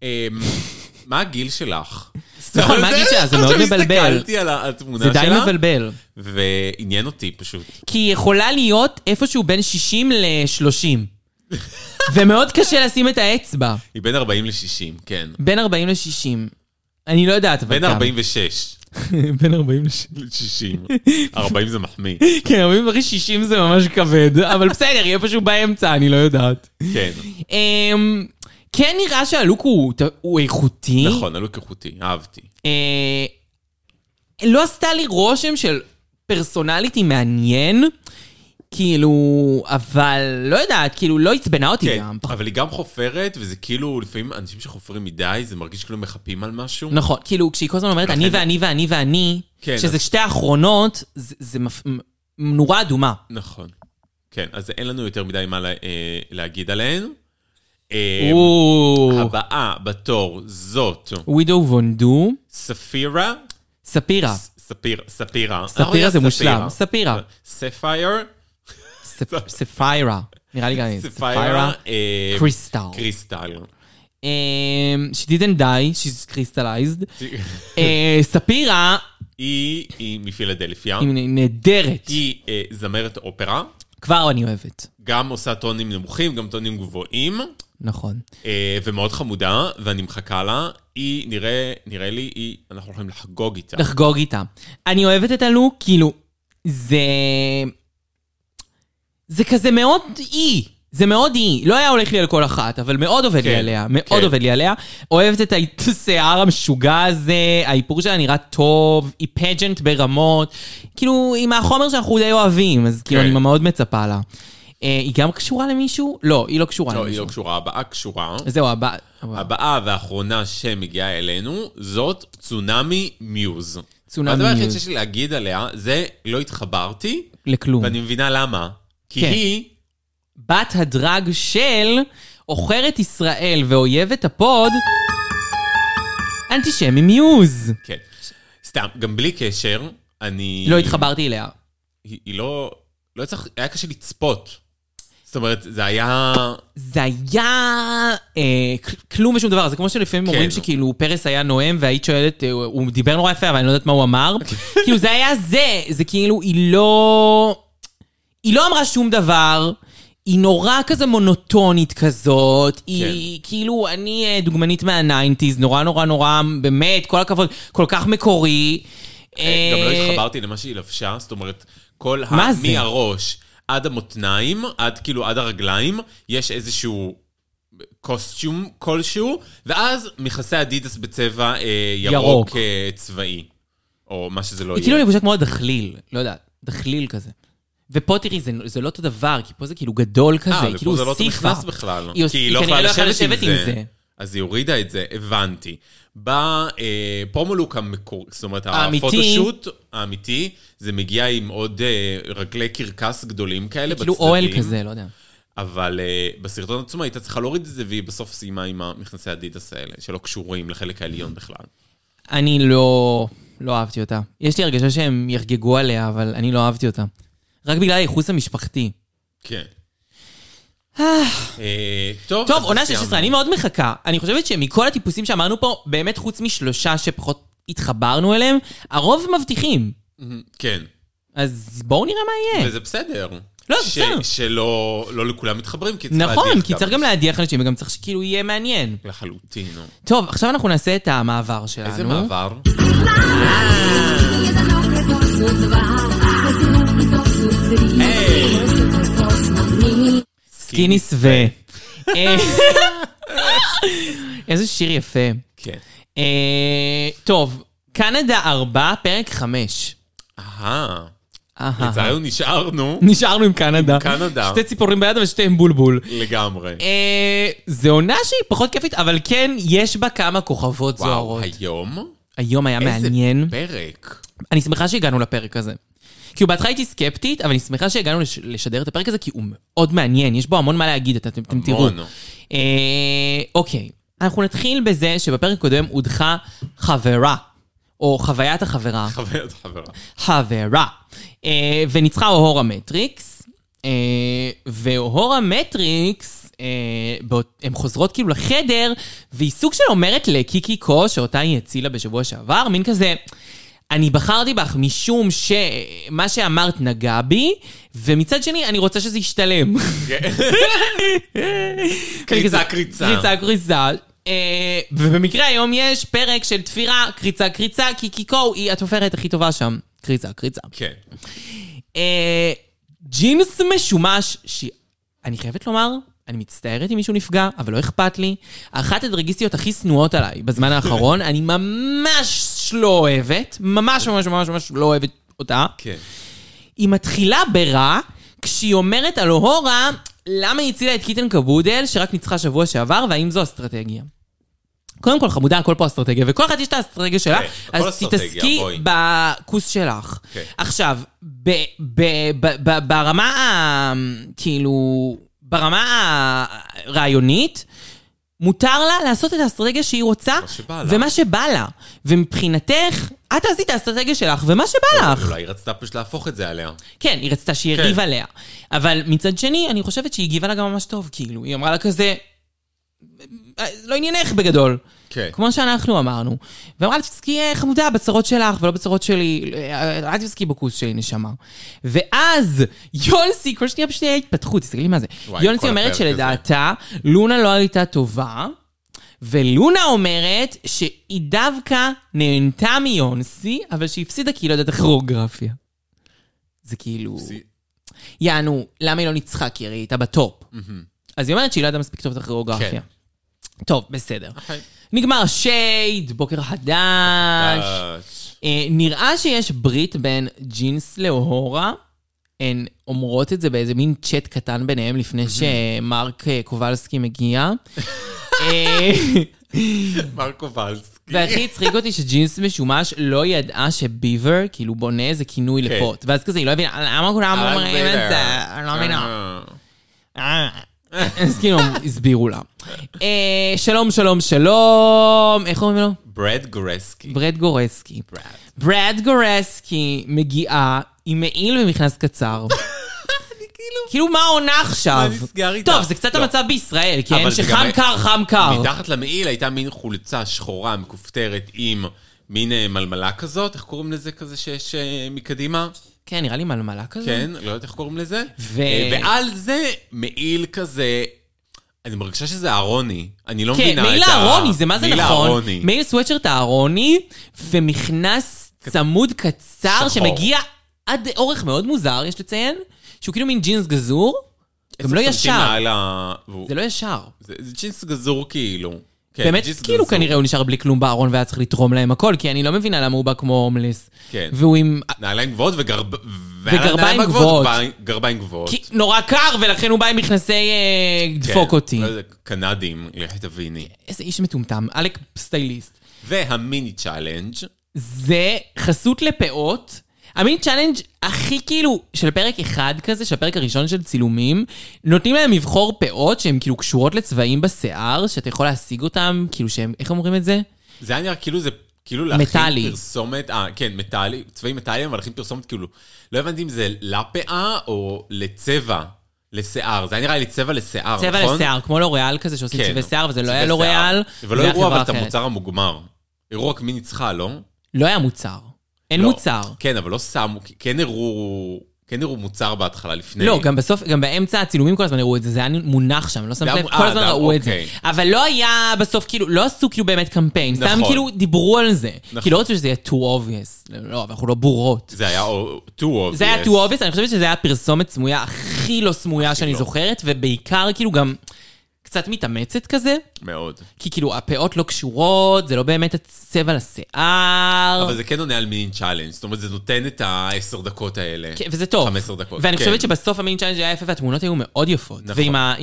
[SPEAKER 3] אמ, מה הגיל שלך?
[SPEAKER 2] נכון, מה הגיל שלה? זה מאוד מבלבל.
[SPEAKER 3] הסתכלתי על התמונה
[SPEAKER 2] זה
[SPEAKER 3] שלה,
[SPEAKER 2] די מבלבל.
[SPEAKER 3] ועניין אותי פשוט.
[SPEAKER 2] כי היא יכולה להיות איפשהו בין 60 ל-30. ומאוד קשה לשים את האצבע.
[SPEAKER 3] היא בין 40 ל-60, כן.
[SPEAKER 2] בין 40 ל-60. אני לא יודעת, אבל
[SPEAKER 3] בין
[SPEAKER 2] כמה.
[SPEAKER 3] 46
[SPEAKER 2] בין 40 ל-60.
[SPEAKER 3] ל-60. 40 זה מחמיא.
[SPEAKER 2] כן, 40 אחרי 60 זה ממש כבד, אבל בסדר, יהיה פשוט באמצע, אני לא יודעת.
[SPEAKER 3] כן.
[SPEAKER 2] אמ, כן נראה שהלוק הוא- הוא איכותי.
[SPEAKER 3] נכון, הלוק איכותי, אהבתי.
[SPEAKER 2] אה, לא עשתה לי רושם של פרסונליטי מעניין, כאילו, אבל לא יודעת, כאילו, לא עצבנה אותי
[SPEAKER 3] כן,
[SPEAKER 2] גם.
[SPEAKER 3] אבל היא גם חופרת, וזה כאילו, לפעמים אנשים שחופרים מדי, זה מרגיש כאילו מחפים על משהו.
[SPEAKER 2] נכון, כאילו, כשהיא כל הזמן אומרת, אני
[SPEAKER 3] לכן-
[SPEAKER 2] ואני ואני ואני,
[SPEAKER 3] כן,
[SPEAKER 2] שזה
[SPEAKER 3] אז-
[SPEAKER 2] שתי האחרונות, זה זה מפ- מ- נורה אדומה.
[SPEAKER 3] נכון. כן, אז אין לנו יותר מדי מה לה- אה, להגיד עליהן. אה,
[SPEAKER 2] או,
[SPEAKER 3] הבאה בתור זאת
[SPEAKER 2] ווידו וונדו,
[SPEAKER 3] ספירה.
[SPEAKER 2] ספירה.
[SPEAKER 3] ס- ספיר, ספירה.
[SPEAKER 2] ספירה זה מושלם, ספירה.
[SPEAKER 3] ספייר.
[SPEAKER 2] ספ- ספיירה, נראה לי גם
[SPEAKER 3] ספירה. אה,
[SPEAKER 2] ספיירה. קריסטל.
[SPEAKER 3] קריסטל.
[SPEAKER 2] אמ, She didn't die, she's crystallized.
[SPEAKER 3] כן.
[SPEAKER 2] אה, ספירה
[SPEAKER 3] היא היא מפילדלפיה.
[SPEAKER 2] היא נהדרת.
[SPEAKER 3] היא אה, זמרת אופרה.
[SPEAKER 2] כבר אני אוהבת.
[SPEAKER 3] גם עושה טונים נמוכים, גם טונים גבוהים.
[SPEAKER 2] נכון.
[SPEAKER 3] אה, ומאוד חמודה, ואני מחכה לה. היא, נראה, נראה לי, היא, אנחנו הולכים לחגוג איתה.
[SPEAKER 2] לחגוג איתה. אני אוהבת את הלוק, כאילו, זה... זה כזה מאוד אי. זה מאוד אי. לא היה הולך לי על כל אחת, אבל מאוד עובד לי
[SPEAKER 3] כן,
[SPEAKER 2] עליה. מאוד
[SPEAKER 3] כן.
[SPEAKER 2] עובד לי עליה. אוהבת את השיער המשוגע הזה, האיפור שלה נראה טוב, היא פג'נט ברמות. כאילו, היא מהחומר שאנחנו די אוהבים, אז כאילו,
[SPEAKER 3] כן.
[SPEAKER 2] אני מאוד מצפה לה. אה, היא גם קשורה למישהו? לא, היא לא קשורה
[SPEAKER 3] לא, היא
[SPEAKER 2] למישהו.
[SPEAKER 3] לא קשורה, הבאה קשורה.
[SPEAKER 2] זהו, הבא. הבא.
[SPEAKER 3] הבאה והאחרונה שמגיעה אלינו, זאת צונאמי מיוז.
[SPEAKER 2] צונאמי
[SPEAKER 3] כאילו, הדבר היחיד
[SPEAKER 2] מיוז.
[SPEAKER 3] שיש לי להגיד עליה, זה לא התחברתי,
[SPEAKER 2] לכלום.
[SPEAKER 3] ואני מבינה למה. כי
[SPEAKER 2] כן.
[SPEAKER 3] היא,
[SPEAKER 2] בת הדרג של עוכרת ישראל ואויבת הפוד, אנטישמי מיוז.
[SPEAKER 3] כן, סתם, גם בלי קשר, אני...
[SPEAKER 2] לא התחברתי אליה.
[SPEAKER 3] היא היא לא... לא צריך... היה קשה לצפות. זאת אומרת, זה היה...
[SPEAKER 2] זה היה אה, כל- כלום ושום דבר, זה כמו שלפעמים
[SPEAKER 3] כן.
[SPEAKER 2] אומרים שכאילו פרס היה נואם והיית שואלת, אה, הוא- הוא דיבר נורא יפה, אבל אני לא יודעת מה הוא אמר. כאילו זה היה זה, זה כאילו היא לא... היא לא אמרה שום דבר, היא נורא כזה מונוטונית כזאת,
[SPEAKER 3] כן.
[SPEAKER 2] היא כאילו, אני אה, דוגמנית מהניינטיז, נורא נורא נורא, באמת, כל הכבוד, כל כך מקורי.
[SPEAKER 3] גם לא
[SPEAKER 2] אה,
[SPEAKER 3] התחברתי למה שהיא לבשה, זאת אומרת, כל ה...
[SPEAKER 2] מה זה?
[SPEAKER 3] מהראש עד המותניים, עד כאילו עד הרגליים, יש איזשהו קוסטיום כלשהו, ואז מכסי אדידס בצבע אה, ירוק,
[SPEAKER 2] ירוק.
[SPEAKER 3] אה, צבאי, או מה שזה לא
[SPEAKER 2] היא
[SPEAKER 3] יהיה.
[SPEAKER 2] כאילו לבושה כמו הדחליל, לא יודעת, דחליל כזה. ופה תראי, זה, זה לא אותו דבר, כי פה זה כאילו גדול כזה, היא
[SPEAKER 3] ופה
[SPEAKER 2] כאילו
[SPEAKER 3] זה לא
[SPEAKER 2] הוסיפה.
[SPEAKER 3] נכנס בכלל.
[SPEAKER 2] היא הוס-
[SPEAKER 3] כי היא לא
[SPEAKER 2] היא
[SPEAKER 3] יכולה
[SPEAKER 2] כנראה
[SPEAKER 3] לשבת,
[SPEAKER 2] לא יכלה
[SPEAKER 3] עם,
[SPEAKER 2] לשבת
[SPEAKER 3] זה.
[SPEAKER 2] עם זה.
[SPEAKER 3] אז היא הורידה את זה, הבנתי. בא אה, פרומולוק המקור, זאת אומרת,
[SPEAKER 2] האמיתי.
[SPEAKER 3] הפוטושוט האמיתי, זה מגיע עם עוד אה, רגלי קרקס גדולים כאלה
[SPEAKER 2] כאילו
[SPEAKER 3] בצדדים.
[SPEAKER 2] אוהל כזה, לא יודע.
[SPEAKER 3] אבל אה, בסרטון עצמו הייתה צריכה להוריד את זה, והיא בסוף סיימה עם המכנסי אדידס האלה, שלא קשורים לחלק העליון בכלל.
[SPEAKER 2] אני לא... לא אהבתי אותה. יש לי הרגשה שהם יחגגו עליה, אבל אני לא אהבתי אותה. רק בגלל הייחוס המשפחתי.
[SPEAKER 3] כן. אה, טוב,
[SPEAKER 2] טוב,
[SPEAKER 3] אז
[SPEAKER 2] עונה
[SPEAKER 3] סיימנו.
[SPEAKER 2] 16, אני מאוד מחכה. אני חושבת שמכל הטיפוסים שאמרנו פה, באמת חוץ משלושה שפחות התחברנו אליהם, הרוב מבטיחים.
[SPEAKER 3] מהמם, כן.
[SPEAKER 2] אז בואו נראה מה יהיה.
[SPEAKER 3] וזה בסדר.
[SPEAKER 2] כן. לא, זה
[SPEAKER 3] ש-
[SPEAKER 2] בסדר.
[SPEAKER 3] שלא לא לכולם מתחברים, כי צריך
[SPEAKER 2] נכון,
[SPEAKER 3] להדיח
[SPEAKER 2] כי צריך גם להדיח אנשים, וגם צריך שכאילו יהיה מעניין.
[SPEAKER 3] לחלוטין, נו.
[SPEAKER 2] טוב, עכשיו אנחנו נעשה את המעבר שלנו.
[SPEAKER 3] איזה מעבר?
[SPEAKER 2] סקיני סווה. אה, איזה שיר יפה.
[SPEAKER 3] כן.
[SPEAKER 2] אה, טוב, קנדה 4, פרק 5.
[SPEAKER 3] אהה. לצערנו נשארנו
[SPEAKER 2] נשארנו עם קנדה.
[SPEAKER 3] קנדה.
[SPEAKER 2] שתי ציפורים ביד ושתי עם בולבול.
[SPEAKER 3] לגמרי.
[SPEAKER 2] אה, זה עונה שהיא פחות כיפית, אבל כן, יש בה כמה כוכבות
[SPEAKER 3] וואו,
[SPEAKER 2] זוהרות.
[SPEAKER 3] היום?
[SPEAKER 2] היום היה מעניין.
[SPEAKER 3] איזה פרק.
[SPEAKER 2] אני שמחה שהגענו לפרק הזה. כאילו בהתחלה הייתי סקפטית, אבל אני שמחה שהגענו לש- לשדר את הפרק הזה, כי הוא מאוד מעניין, יש בו המון מה להגיד, את- אתם, אתם תראו.
[SPEAKER 3] המון.
[SPEAKER 2] אה, אוקיי, אנחנו נתחיל בזה שבפרק הקודם הודחה חברה, או חוויית החברה,
[SPEAKER 3] חברת חברה.
[SPEAKER 2] חברה, אה, וניצחה אוהורה מטריקס, אה, ואוהורה מטריקס, אה, באות- הן חוזרות כאילו לחדר, והיא סוג של אומרת לקיקי קו, שאותה היא הצילה בשבוע שעבר, מין כזה... אני בחרתי בך משום שמה שאמרת נגע בי, ומצד שני, אני רוצה שזה ישתלם.
[SPEAKER 3] כן. קריצה, קריצה.
[SPEAKER 2] קריצה, קריצה. אה, ובמקרה היום יש פרק של תפירה, קריצה, קריצה, כי קיקו היא התופרת הכי טובה שם. קריצה, קריצה.
[SPEAKER 3] כן.
[SPEAKER 2] אה, ג'ינס משומש, שאני חייבת לומר, אני מצטערת אם מישהו נפגע, אבל לא אכפת לי. אחת הדרגיסטיות הכי שנואות עליי בזמן האחרון, אני ממש לא אוהבת, ממש ממש ממש ממש לא אוהבת אותה.
[SPEAKER 3] כן.
[SPEAKER 2] היא מתחילה ברע, כשהיא אומרת על אוהורה, למה היא הצילה את קיטן קבודל, שרק ניצחה שבוע שעבר, והאם זו אסטרטגיה. קודם כל, חמודה, הכל פה אסטרטגיה, וכל אחת יש את האסטרטגיה שלה,
[SPEAKER 3] כן, הכל
[SPEAKER 2] אז
[SPEAKER 3] אסטרטגיה,
[SPEAKER 2] תתעסקי
[SPEAKER 3] בואי.
[SPEAKER 2] בכוס שלך.
[SPEAKER 3] כן.
[SPEAKER 2] עכשיו, ב- ב- ב- ב- ברמה ה... כאילו... ברמה הרעיונית, מותר לה לעשות את האסטרטגיה שהיא רוצה,
[SPEAKER 3] מה שבא לה.
[SPEAKER 2] ומה שבא לה. ומבחינתך, את עשית את האסטרטגיה שלך, ומה שבא לך.
[SPEAKER 3] אולי היא רצתה פשוט להפוך את זה עליה.
[SPEAKER 2] כן, היא רצתה שהיא
[SPEAKER 3] כן.
[SPEAKER 2] יריב עליה. אבל מצד שני, אני חושבת שהיא הגיבה לה גם ממש טוב, כאילו. היא אמרה לה כזה, "אה, לא עניינך בגדול.
[SPEAKER 3] כן.
[SPEAKER 2] כמו שאנחנו אמרנו. ואמרה לה, תפסקי אה, חמודה בצרות שלך ולא בצרות שלי. אה, אל תפסקי בכוס שלי, נשמה. ואז יונסי, כל שנייה פשוט הייתה התפתחות, תסתכלי מה זה.
[SPEAKER 3] וואי,
[SPEAKER 2] יונסי
[SPEAKER 3] כל
[SPEAKER 2] אומרת
[SPEAKER 3] הפרק הזה.
[SPEAKER 2] שלדעתה, לונה לא הייתה טובה. ולונה אומרת שהיא דווקא נהנתה מיונסי, אבל שהיא הפסידה כי היא לא יודעת כוריאוגרפיה. זה כאילו...
[SPEAKER 3] זה-
[SPEAKER 2] יענו, למה היא לא ניצחה? כי הרי היא הייתה בטופ. אז היא אומרת שהיא לא ידעה מספיק טוב את הכוריאוגרפיה.
[SPEAKER 3] כן.
[SPEAKER 2] טוב, בסדר.
[SPEAKER 3] אוקיי.
[SPEAKER 2] נגמר שייד, בוקר חדש. אה, נראה שיש ברית בין ג'ינס לאוהורה. הן אומרות את זה באיזה מין צ'אט קטן ביניהם לפני שמרק אה, קובלסקי מגיע. אה,
[SPEAKER 3] מרקו ולסקי.
[SPEAKER 2] והכי הצחיק אותי שג'ינס משומש לא ידעה שביבר, כאילו, בונה איזה כינוי לפוט. ואז כזה, היא לא הבינה, למה כולם
[SPEAKER 3] אה,
[SPEAKER 2] אומרים את זה?
[SPEAKER 3] בסדר.
[SPEAKER 2] אני לא מבינה. אה.
[SPEAKER 3] אה,
[SPEAKER 2] אז כאילו, הסבירו לה. אה, שלום, שלום, שלום, איך אומרים לו?
[SPEAKER 3] ברד גורסקי.
[SPEAKER 2] ברד גורסקי.
[SPEAKER 3] ברד.
[SPEAKER 2] ברד גורסקי מגיעה עם מעיל ומכנס קצר. כאילו, מה העונה עכשיו?
[SPEAKER 3] נסגר איתך?
[SPEAKER 2] טוב, זה קצת
[SPEAKER 3] לא.
[SPEAKER 2] המצב בישראל, כן?
[SPEAKER 3] אבל זה גם-
[SPEAKER 2] שחם קר, חם קר.
[SPEAKER 3] מתחת למעיל הייתה מין חולצה שחורה מכופתרת עם מין אה, מלמלה כזאת, איך קוראים לזה כזה שיש אה, מקדימה?
[SPEAKER 2] כן, נראה לי מלמלה כזו.
[SPEAKER 3] כן, לא יודעת איך קוראים לזה.
[SPEAKER 2] ו-
[SPEAKER 3] אה, ועל זה מעיל כזה... אני מרגישה שזה אהרוני. אני לא
[SPEAKER 2] כן,
[SPEAKER 3] מבינה את ה...
[SPEAKER 2] מעיל אהרוני, זה מה זה
[SPEAKER 3] מעיל
[SPEAKER 2] נכון.
[SPEAKER 3] אהרוני.
[SPEAKER 2] מעיל סוואטשרט אהרוני, ומכנס צמוד קצר
[SPEAKER 3] שחור.
[SPEAKER 2] שמגיע עד אורך מאוד מוזר, יש לציין, שהוא כאילו מין ג'ינס גזור, גם לא
[SPEAKER 3] איפה שמים
[SPEAKER 2] ישר.
[SPEAKER 3] מעל ה... והוא-
[SPEAKER 2] זה לא ישר.
[SPEAKER 3] זה זה ג'ינס גזור כאילו. כן,
[SPEAKER 2] באמת,
[SPEAKER 3] ג'ינס
[SPEAKER 2] כאילו
[SPEAKER 3] גזור.
[SPEAKER 2] כנראה הוא נשאר בלי כלום בארון והיה צריך לתרום להם הכל, כי אני לא מבינה למה הוא בא כמו הומלס.
[SPEAKER 3] כן.
[SPEAKER 2] והוא עם...
[SPEAKER 3] נעליים גבוהות וגרב...
[SPEAKER 2] וגרביים
[SPEAKER 3] והנעליים הגבוהות,
[SPEAKER 2] גבוהות.
[SPEAKER 3] גרביים- גרביים גבוהות.
[SPEAKER 2] כי נורא קר, ולכן הוא בא עם מכנסי אה,
[SPEAKER 3] כן,
[SPEAKER 2] דפוק אותי.
[SPEAKER 3] לא יודע, קנדים, לכי תביני.
[SPEAKER 2] איזה איש מטומטם, עלק סטייליסט.
[SPEAKER 3] והמיני צ'אלנג',
[SPEAKER 2] זה חסות לפאות. המין צ'אלנג' הכי כאילו של פרק אחד כזה, של הפרק הראשון של צילומים, נותנים להם לבחור פאות שהן כאילו קשורות לצבעים בשיער, שאתה יכול להשיג אותם, כאילו שהם, איך אומרים את זה?
[SPEAKER 3] זה היה נראה כאילו זה... כאילו להכין
[SPEAKER 2] מטאלי.
[SPEAKER 3] פרסומת, אה, כן, מטאלי, צבעים מטאליים, אבל להכין פרסומת כאילו, לא הבנתי אם זה לפאה או לצבע, לשיער. זה היה נראה לי צבע לשיער, נכון? כן,
[SPEAKER 2] צבע לשיער, כמו לוריאל כזה שעושים צבעי שיער, וזה לא
[SPEAKER 3] צבעי
[SPEAKER 2] היה לוריאל,
[SPEAKER 3] שיער. ולא
[SPEAKER 2] זה היה
[SPEAKER 3] הראו אבל
[SPEAKER 2] חברה
[SPEAKER 3] את
[SPEAKER 2] אחרת.
[SPEAKER 3] המוצר המוגמר. הראו רק מי ניצחה, לא?
[SPEAKER 2] לא היה מוצר. אין
[SPEAKER 3] לא.
[SPEAKER 2] מוצר.
[SPEAKER 3] כן, אבל לא שמו, כן הראו, כן הראו מוצר בהתחלה לפני.
[SPEAKER 2] לא, גם בסוף, גם באמצע הצילומים כל הזמן הראו את זה, זה היה מונח שם, לא שמת
[SPEAKER 3] זה היה
[SPEAKER 2] לב,
[SPEAKER 3] מ-
[SPEAKER 2] כל
[SPEAKER 3] אה,
[SPEAKER 2] הזמן
[SPEAKER 3] זה היה-
[SPEAKER 2] ראו את זה.
[SPEAKER 3] אוקיי.
[SPEAKER 2] אבל לא היה בסוף, כאילו, לא עשו כאילו באמת קמפיין, סתם
[SPEAKER 3] נכון.
[SPEAKER 2] כאילו דיברו על זה.
[SPEAKER 3] נכון.
[SPEAKER 2] כי לא רצו שזה יהיה too obvious. לא, אבל אנחנו לא בורות.
[SPEAKER 3] זה היה או- too obvious.
[SPEAKER 2] זה היה too obvious, אני חושבת שזה היה פרסומת סמויה הכי לא סמויה שאני
[SPEAKER 3] לא.
[SPEAKER 2] זוכרת, ובעיקר כאילו גם קצת מתאמצת כזה,
[SPEAKER 3] מאוד.
[SPEAKER 2] כי כאילו הפאות לא קשורות, זה לא באמת הצבע לשיער.
[SPEAKER 3] אבל זה כן עונה על מין צ'אלנג', זאת אומרת, זה נותן את העשר דקות האלה.
[SPEAKER 2] כן, וזה טוב.
[SPEAKER 3] 15 דקות,
[SPEAKER 2] ואני
[SPEAKER 3] כן.
[SPEAKER 2] חושבת שבסוף המיין צ'אלנג' היה יפה, והתמונות היו מאוד יפות.
[SPEAKER 3] נכון.
[SPEAKER 2] ועם ה...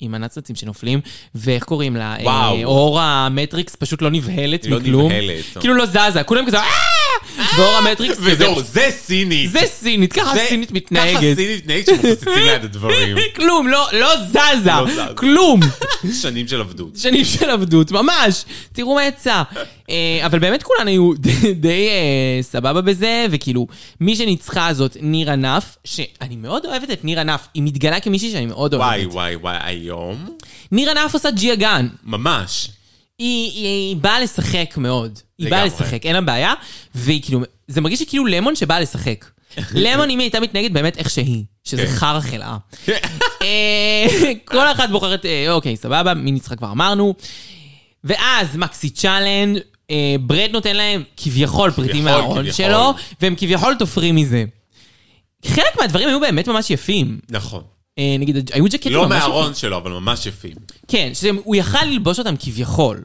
[SPEAKER 2] עם הנאצנצים שנופלים, ואיך קוראים לה?
[SPEAKER 3] וואו.
[SPEAKER 2] אה, אור המטריקס פשוט לא נבהלת
[SPEAKER 3] לא
[SPEAKER 2] מכלום.
[SPEAKER 3] נבהלת. אה!
[SPEAKER 2] כאילו לא זזה, כולם כזה... "אה!" ואור המטריקס...
[SPEAKER 3] וזהו, זה סינית.
[SPEAKER 2] זה סינית, ככה
[SPEAKER 3] זה-
[SPEAKER 2] סינית
[SPEAKER 3] ככה
[SPEAKER 2] מתנהגת.
[SPEAKER 3] סינית מתנהגת שמפוצצים ליד הדברים.
[SPEAKER 2] כלום, לא לא
[SPEAKER 3] לא
[SPEAKER 2] זזה,
[SPEAKER 3] זזה.
[SPEAKER 2] כלום.
[SPEAKER 3] שנים של עבדות.
[SPEAKER 2] שנים של עבדות, ממש. תראו מה יצא. אה, אבל באמת כולן היו די- די אה, סבבה בזה, וכאילו, מי שניצחה זאת ניר ענף, שאני מאוד אוהבת את ניר ענף, היא מתגלה כמישהי שאני מאוד
[SPEAKER 3] וואי,
[SPEAKER 2] אוהבת.
[SPEAKER 3] וואי, וואי, היום?
[SPEAKER 2] ניר ענף עושה ג'יה גן.
[SPEAKER 3] ממש.
[SPEAKER 2] היא- היא היא באה לשחק מאוד. היא באה
[SPEAKER 3] לגמרי.
[SPEAKER 2] לשחק, אין לה בעיה, והיא כאילו, זה מרגיש שכאילו למון שבאה לשחק. למון, אם היא הייתה מתנהגת באמת איך שהיא, שזה
[SPEAKER 3] כן.
[SPEAKER 2] חרא חלאה. אה, כל אחת בוחרת, אה, אוקיי, סבבה, מי ניצחה כבר אמרנו. ואז מקסי צ'אלנג', אה, ברד נותן להם כביכול פריטים
[SPEAKER 3] כביכול,
[SPEAKER 2] מהארון
[SPEAKER 3] כביכול.
[SPEAKER 2] שלו, והם כביכול תופרים מזה. חלק מהדברים היו באמת ממש יפים.
[SPEAKER 3] נכון.
[SPEAKER 2] אה, נגיד, היו ג'קטים
[SPEAKER 3] לא
[SPEAKER 2] ממש יפים.
[SPEAKER 3] מהארון שלו, אבל ממש יפים.
[SPEAKER 2] כן, שהוא יכל ללבוש אותם כביכול.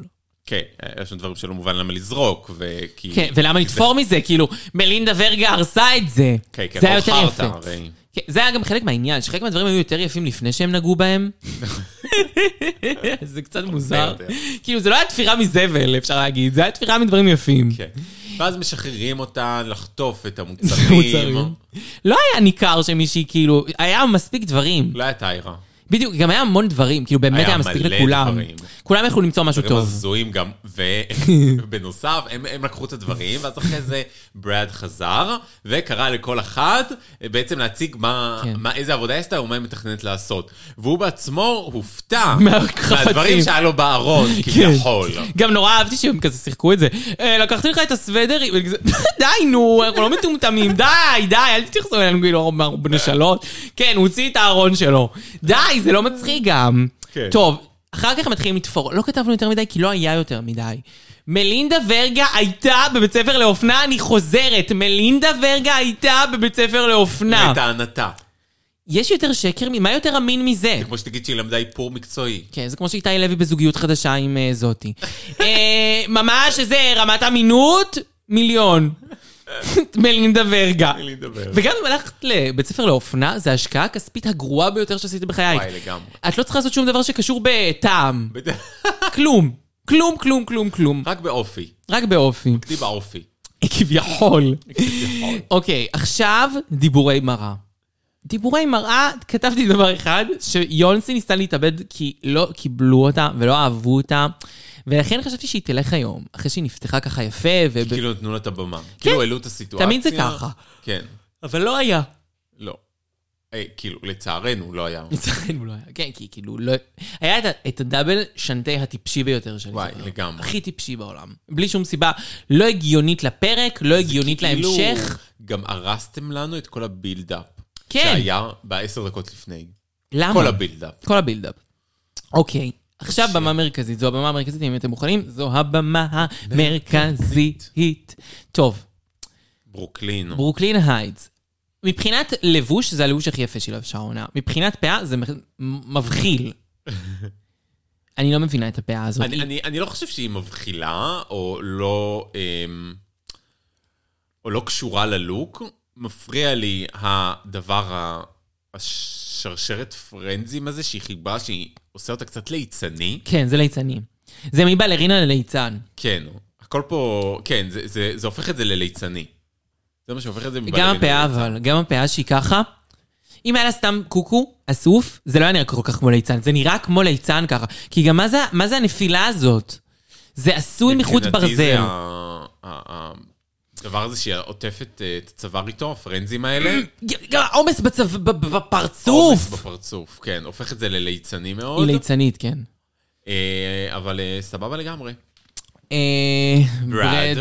[SPEAKER 3] כן, יש שם דברים שלא מובן למה לזרוק, וכי...
[SPEAKER 2] כן, ולמה לתפור מזה? כאילו, מלינדה ורגה הרסה את זה.
[SPEAKER 3] כן, כן,
[SPEAKER 2] זה היה
[SPEAKER 3] לא
[SPEAKER 2] יותר
[SPEAKER 3] חרטא,
[SPEAKER 2] יפה.
[SPEAKER 3] הרי.
[SPEAKER 2] כן, זה היה גם חלק מהעניין, שחלק מהדברים היו יותר יפים לפני שהם נגעו בהם. זה קצת מוזר.
[SPEAKER 3] יותר.
[SPEAKER 2] כאילו, זה לא היה תפירה מזבל, אפשר להגיד, זה היה תפירה מדברים יפים.
[SPEAKER 3] כן. ואז משחררים אותה לחטוף את
[SPEAKER 2] מוצרים.
[SPEAKER 3] המוצרים.
[SPEAKER 2] לא היה ניכר שמישהי, כאילו, היה מספיק דברים.
[SPEAKER 3] אולי הטיירה.
[SPEAKER 2] בדיוק, גם היה המון דברים, כאילו, באמת
[SPEAKER 3] לא. היה
[SPEAKER 2] היה מספיק
[SPEAKER 3] מלא
[SPEAKER 2] לכולם.
[SPEAKER 3] דברים.
[SPEAKER 2] כולם יכלו למצוא משהו
[SPEAKER 3] דברים
[SPEAKER 2] טוב.
[SPEAKER 3] הזויים גם, ובנוסף, הם, הם לקחו את הדברים, ואז אחרי זה ברד חזר, וקרא לכל אחת אה, בעצם להציג מה,
[SPEAKER 2] כן.
[SPEAKER 3] מה, איזה עבודה היא עשתה ומה היא מתכננת לעשות. והוא בעצמו הופתע
[SPEAKER 2] מהחפצים.
[SPEAKER 3] מהדברים שהיה לו בארון,
[SPEAKER 2] כן.
[SPEAKER 3] כביכול.
[SPEAKER 2] גם נורא אהבתי שהם כזה שיחקו את זה. "אה, לקחתי לך את הסוודר, וכזה, די נו, אנחנו לא מטומטמים, די, די, אל תתייחסו אלינו כאילו אנחנו בנשלות. כן, הוא הוציא את הארון שלו. די, זה לא מצחיק גם.
[SPEAKER 3] כן.
[SPEAKER 2] טוב, אחר כך הם מתחילים לתפור. לא כתבנו יותר מדי, כי לא היה יותר מדי. מלינדה ורגה הייתה בבית ספר לאופנה, אני חוזרת. מלינדה ורגה הייתה בבית ספר לאופנה.
[SPEAKER 3] לטענתה.
[SPEAKER 2] יש יותר שקר, מ- מה יותר אמין מזה?
[SPEAKER 3] כמו שתגיד שהיא למדה איפור מקצועי.
[SPEAKER 2] כן, זה כמו שאיתי לוי בזוגיות חדשה עם אה, זאתי. אה, ממש, איזה רמת אמינות, מיליון. מלינדה ורגה.
[SPEAKER 3] אין לי לדבר.
[SPEAKER 2] וגם אם הלכת לבית ספר לאופנה, זו ההשקעה הכספית הגרועה ביותר שעשית בחייך.
[SPEAKER 3] וואי, לגמרי.
[SPEAKER 2] את לא צריכה לעשות שום דבר שקשור בטעם. כלום. כלום, כלום, כלום, כלום.
[SPEAKER 3] רק באופי.
[SPEAKER 2] רק באופי.
[SPEAKER 3] תהיי באופי.
[SPEAKER 2] כביכול. אוקיי, עכשיו דיבורי מראה. דיבורי מראה, כתבתי דבר אחד, שיונסי ניסתה להתאבד כי לא קיבלו אותה ולא אהבו אותה, ולכן חשבתי שהיא תלך היום, אחרי שהיא נפתחה ככה יפה, וב...
[SPEAKER 3] כאילו נתנו לה את הבמה. כאילו העלו את הסיטואציה.
[SPEAKER 2] כן. תמיד זה ככה.
[SPEAKER 3] כן,
[SPEAKER 2] אבל לא היה.
[SPEAKER 3] לא. אה, כאילו, לצערנו לא היה.
[SPEAKER 2] לצערנו לא היה. כן, כי כאילו לא... היה את, ה- את הדאבל שנטי הטיפשי ביותר שלי.
[SPEAKER 3] וואי, לגמרי.
[SPEAKER 2] הכי טיפשי בעולם. בלי שום סיבה. לא הגיונית לפרק, לא הגיונית
[SPEAKER 3] כאילו,
[SPEAKER 2] להמשך.
[SPEAKER 3] גם הרסתם לנו את כל הבילדאפ.
[SPEAKER 2] כן. אה.
[SPEAKER 3] שהיה בעשר דקות לפני.
[SPEAKER 2] למה?
[SPEAKER 3] כל הבילדאפ.
[SPEAKER 2] כל הבילדאפ. אוקיי, עכשיו במה מרכזית. זו הבמה המרכזית, אם אתם מוכנים, זו הבמה המרכזית. טוב,
[SPEAKER 3] ברוקלין.
[SPEAKER 2] ברוקלין היידס. מבחינת לבוש, זה הלבוש הכי יפה של אפשר העונה. מבחינת פאה, זה מ- מבחיל. אני לא מבינה את הפאה הזאת.
[SPEAKER 3] אני, אני, אני לא חושב שהיא מבחילה, או לא, אמ, או לא קשורה ללוק. מפריע לי הדבר, ה- השרשרת פרנזים הזה, שהיא חיבה, שהיא עושה אותה קצת ליצני.
[SPEAKER 2] כן, זה ליצני. זה מבלרינה לליצן.
[SPEAKER 3] כן, הכל פה, כן, זה, זה, זה הופך את זה לליצני. זה מה שהופך את זה מבלרינה.
[SPEAKER 2] גם הפאה
[SPEAKER 3] לליצן.
[SPEAKER 2] אבל, גם הפאה שהיא ככה. אם היה לה סתם קוקו, אסוף, זה לא היה נראה כל כך כמו ליצן, זה נראה כמו ליצן ככה. כי גם מה זה, מה זה הנפילה הזאת? זה עשוי מחוט
[SPEAKER 3] מבחינתי
[SPEAKER 2] ברזל.
[SPEAKER 3] זה ה- ה- הדבר הזה שהיא עוטפת אה, את הצוואר איתו, הפרנזים האלה.
[SPEAKER 2] גם העומס בצו- ב- ב-
[SPEAKER 3] עומס
[SPEAKER 2] בפרצוף!
[SPEAKER 3] בפרצוף, כן, הופך את זה לליצני
[SPEAKER 2] היא
[SPEAKER 3] מאוד.
[SPEAKER 2] ליצנית, כן.
[SPEAKER 3] אה, אבל אה, סבבה לגמרי.
[SPEAKER 2] אה, ברד.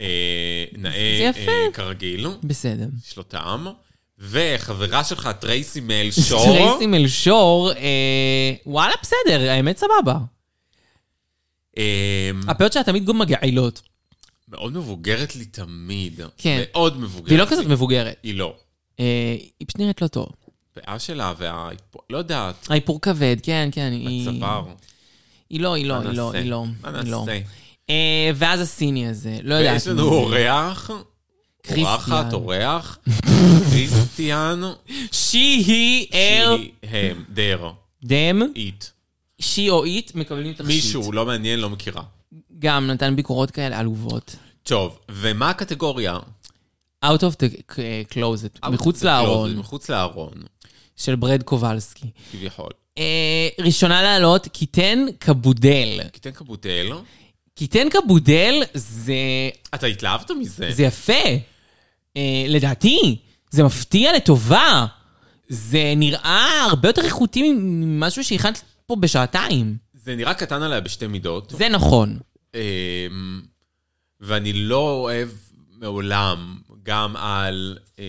[SPEAKER 3] אה, נאה
[SPEAKER 2] זה יפה.
[SPEAKER 3] אה, כרגיל,
[SPEAKER 2] בסדר.
[SPEAKER 3] יש לו טעם. וחברה שלך, טרייסי מל שור,
[SPEAKER 2] טרייסי מלשור, אה, וואלה, בסדר, האמת סבבה.
[SPEAKER 3] אה,
[SPEAKER 2] הפאות שלה תמיד גם לא- מגעילות,
[SPEAKER 3] מאוד מבוגרת לי תמיד.
[SPEAKER 2] כן.
[SPEAKER 3] מאוד מבוגרת
[SPEAKER 2] והיא לא
[SPEAKER 3] לי.
[SPEAKER 2] כזאת מבוגרת.
[SPEAKER 3] היא לא.
[SPEAKER 2] אה, היא פשוט נראית לא טוב.
[SPEAKER 3] הפאה שלה וה... לא יודעת,
[SPEAKER 2] האיפור כבד, כן, כן. היא-
[SPEAKER 3] הצוואר.
[SPEAKER 2] היא לא, היא לא, היא לא,
[SPEAKER 3] נעשה?
[SPEAKER 2] היא לא.
[SPEAKER 3] מה
[SPEAKER 2] היא לא.
[SPEAKER 3] נעשה?
[SPEAKER 2] אה, ואז הסיני הזה, לא יודעת.
[SPEAKER 3] ויש
[SPEAKER 2] מי
[SPEAKER 3] לנו
[SPEAKER 2] זה.
[SPEAKER 3] אורח,
[SPEAKER 2] כריסטיאן.
[SPEAKER 3] אורחת, אורח, כריסטיאן,
[SPEAKER 2] She, he, her,
[SPEAKER 3] שהיא הם, דר,
[SPEAKER 2] them,
[SPEAKER 3] איט.
[SPEAKER 2] she או it מקבלים תכשיט.
[SPEAKER 3] מישהו, לא מעניין, לא מכירה.
[SPEAKER 2] גם נתן ביקורות כאלה עלובות.
[SPEAKER 3] טוב, ומה הקטגוריה?
[SPEAKER 2] Out of the uh, closet, מחוץ
[SPEAKER 3] זה
[SPEAKER 2] לארון,
[SPEAKER 3] closed, מחוץ לארון,
[SPEAKER 2] של ברד קובלסקי.
[SPEAKER 3] כביכול.
[SPEAKER 2] אה, ראשונה לעלות, קיטן קבודל.
[SPEAKER 3] קיטן קבוטל,
[SPEAKER 2] קיטן קבודל זה
[SPEAKER 3] אתה התלהבת מזה?
[SPEAKER 2] זה יפה. אה, לדעתי, זה מפתיע לטובה. זה נראה הרבה יותר איכותי ממשהו שהכנת פה בשעתיים.
[SPEAKER 3] זה נראה קטן עליה בשתי מידות,
[SPEAKER 2] זה נכון.
[SPEAKER 3] אמ, ואני לא אוהב מעולם, גם על, אה,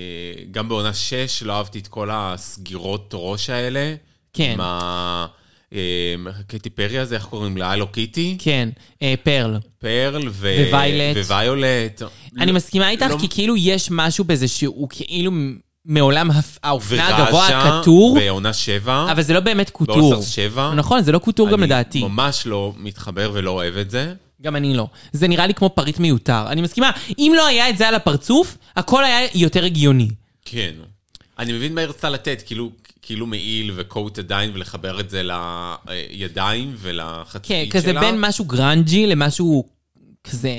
[SPEAKER 3] גם בעונה 6 לא אהבתי את כל הסגירות ראש האלה.
[SPEAKER 2] כן.
[SPEAKER 3] עם ה... אמ, קטי פרי הזה, איך קוראים לה? הלו קיטי?
[SPEAKER 2] כן, אה, פרל.
[SPEAKER 3] לא- פרל ו...
[SPEAKER 2] וויולט.
[SPEAKER 3] וויולט.
[SPEAKER 2] אני
[SPEAKER 3] לא-
[SPEAKER 2] מסכימה איתך,
[SPEAKER 3] לא-
[SPEAKER 2] כי כאילו יש משהו בזה שהוא כאילו מעולם הפ- האופנה הגבוה
[SPEAKER 3] ורשע
[SPEAKER 2] הקטור,
[SPEAKER 3] בעונה 7.
[SPEAKER 2] אבל זה לא באמת קוטור.
[SPEAKER 3] באוסטר 7.
[SPEAKER 2] נכון, זה לא קוטור גם לדעתי.
[SPEAKER 3] אני ממש לא מתחבר ולא אוהב את זה.
[SPEAKER 2] גם אני לא. זה נראה לי כמו פריט מיותר. אני מסכימה, אם לא היה את זה על הפרצוף, הכל היה יותר הגיוני.
[SPEAKER 3] כן. אני מבין מה היא רצתה לתת, כאילו, כאילו מעיל וקוט עדיין, ולחבר את זה לידיים
[SPEAKER 2] כן,
[SPEAKER 3] ולחצאית שלה.
[SPEAKER 2] כזה בין משהו גרנג'י למשהו כזה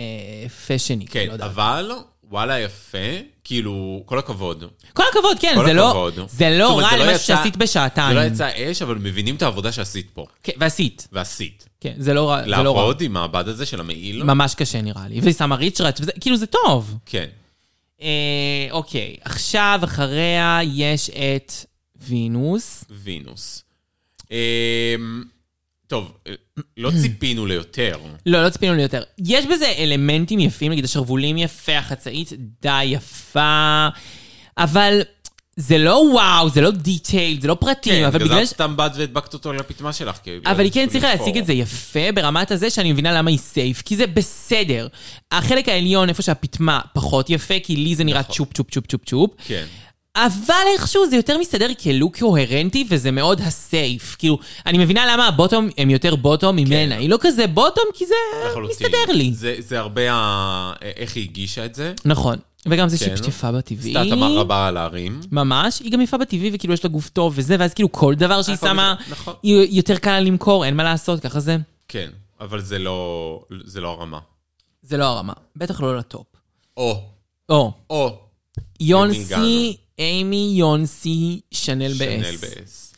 [SPEAKER 2] פשני,
[SPEAKER 3] כן,
[SPEAKER 2] כן, לא יודע.
[SPEAKER 3] אבל וואלה יפה, כאילו, כל הכבוד.
[SPEAKER 2] כל הכבוד, כן,
[SPEAKER 3] כל
[SPEAKER 2] זה לא,
[SPEAKER 3] הכבוד.
[SPEAKER 2] זה
[SPEAKER 3] זאת
[SPEAKER 2] לא
[SPEAKER 3] אומרת,
[SPEAKER 2] רע
[SPEAKER 3] זה לא
[SPEAKER 2] למשהו
[SPEAKER 3] יצא-
[SPEAKER 2] שעשית
[SPEAKER 3] זה
[SPEAKER 2] בשעתיים.
[SPEAKER 3] לא יצא אש, אבל מבינים את העבודה שעשית פה.
[SPEAKER 2] כן, ועשית,
[SPEAKER 3] ועשית.
[SPEAKER 2] כן, זה לא רע, זה לא רע.
[SPEAKER 3] לעבוד עם המעבד הזה של המעיל?
[SPEAKER 2] ממש קשה נראה לי. והיא שמה ריצ'ראץ', וזה- כאילו זה טוב.
[SPEAKER 3] כן.
[SPEAKER 2] אה, אוקיי, עכשיו אחריה יש את וינוס.
[SPEAKER 3] וינוס. אמ, טוב, לא ציפינו ליותר.
[SPEAKER 2] לא, לא ציפינו ליותר. יש בזה אלמנטים יפים, נגיד השרוולים יפה, החצאית די יפה, אבל זה לא וואו, זה לא דיטייל, זה לא פרטים,
[SPEAKER 3] כן,
[SPEAKER 2] אבל
[SPEAKER 3] בגלל
[SPEAKER 2] בגלל ש...
[SPEAKER 3] סתם באת והדבקת אותו לפטמה שלך. כי לא
[SPEAKER 2] אבל היא
[SPEAKER 3] ניסו
[SPEAKER 2] כן הצליחה
[SPEAKER 3] לבחור.
[SPEAKER 2] להציג את זה יפה ברמת הזה שאני מבינה למה היא סייף, כי זה בסדר. החלק העליון, איפה שהפטמה, פחות יפה, כי לי זה נראה
[SPEAKER 3] נכון.
[SPEAKER 2] צ'ופ צ'ופ צ'ופ צ'ופ צ'ופ.
[SPEAKER 3] כן.
[SPEAKER 2] אבל איכשהו זה יותר מסתדר כלוק קוהרנטי, וזה מאוד הסייף. כאילו, אני מבינה למה הבוטום הם יותר בוטום ממנה. היא לא כזה בוטום, כי זה
[SPEAKER 3] כן. לחלוטין.
[SPEAKER 2] מסתדר לי.
[SPEAKER 3] זה, זה הרבה ה... איך היא הגישה את זה.
[SPEAKER 2] נכון. וגם זה
[SPEAKER 3] כן.
[SPEAKER 2] שהיא פשפה בטבעי.
[SPEAKER 3] עשתה את המר רבה על ההרים.
[SPEAKER 2] ממש, היא גם יפה בטבעי, וכאילו יש לה גוף טוב וזה, ואז כאילו כל דבר שהיא
[SPEAKER 3] הכל
[SPEAKER 2] שמה,
[SPEAKER 3] בסדר, נכון.
[SPEAKER 2] היא- יותר קל לה למכור, אין מה לעשות, ככה זה.
[SPEAKER 3] כן, אבל זה לא, זה לא הרמה.
[SPEAKER 2] זה לא הרמה, בטח לא לטופ.
[SPEAKER 3] או,
[SPEAKER 2] או,
[SPEAKER 3] או,
[SPEAKER 2] יונסי,
[SPEAKER 3] הגענו?
[SPEAKER 2] אימי יונסי, שנל
[SPEAKER 3] שנל
[SPEAKER 2] באס.
[SPEAKER 3] באס.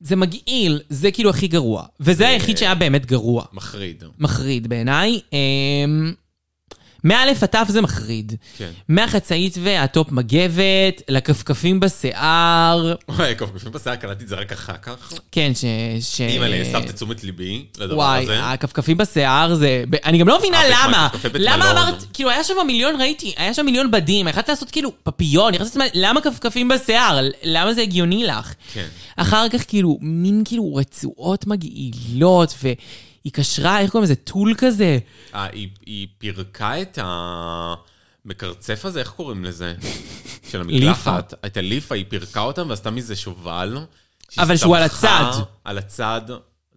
[SPEAKER 2] זה מגעיל, זה כאילו הכי גרוע. וזה היחיד שהיה באמת גרוע.
[SPEAKER 3] מחריד.
[SPEAKER 2] מחריד בעיניי. אמ, מאלף עד תף זה מחריד.
[SPEAKER 3] כן.
[SPEAKER 2] מהחצאית והטופ מגבת, לכפכפים בשיער.
[SPEAKER 3] וואי, כפכפים בשיער, קלטתי את זה רק אחר כך.
[SPEAKER 2] כן, ש... ש...
[SPEAKER 3] אימא'לה, הסבת תשומת ליבי לדבר
[SPEAKER 2] אה, וואי, אה,
[SPEAKER 3] הזה.
[SPEAKER 2] הכפכפים בשיער זה... ב- אני גם לא מבינה
[SPEAKER 3] אה, בית
[SPEAKER 2] למה.
[SPEAKER 3] מלון, קפה בית
[SPEAKER 2] למה
[SPEAKER 3] מלון.
[SPEAKER 2] אמרת, כאילו, היה שם מיליון, ראיתי, היה שם מיליון בדים, יכלת לעשות כאילו פפיון, יכלת לעשות... למה כפכפים בשיער? למה זה הגיוני לך?
[SPEAKER 3] כן.
[SPEAKER 2] אחר כך, כאילו, מין כאילו רצועות מגעילות, והיא קשרה, איך קוראים לזה? טול כזה.
[SPEAKER 3] אה, היא- היא פירקה את המקרצף הזה, איך קוראים לזה? של המקלחת. את הליפה, היא פירקה אותם ועשתה מזה שובל.
[SPEAKER 2] אבל שהוא על
[SPEAKER 3] שהסתבכה
[SPEAKER 2] הצד.
[SPEAKER 3] על הצד,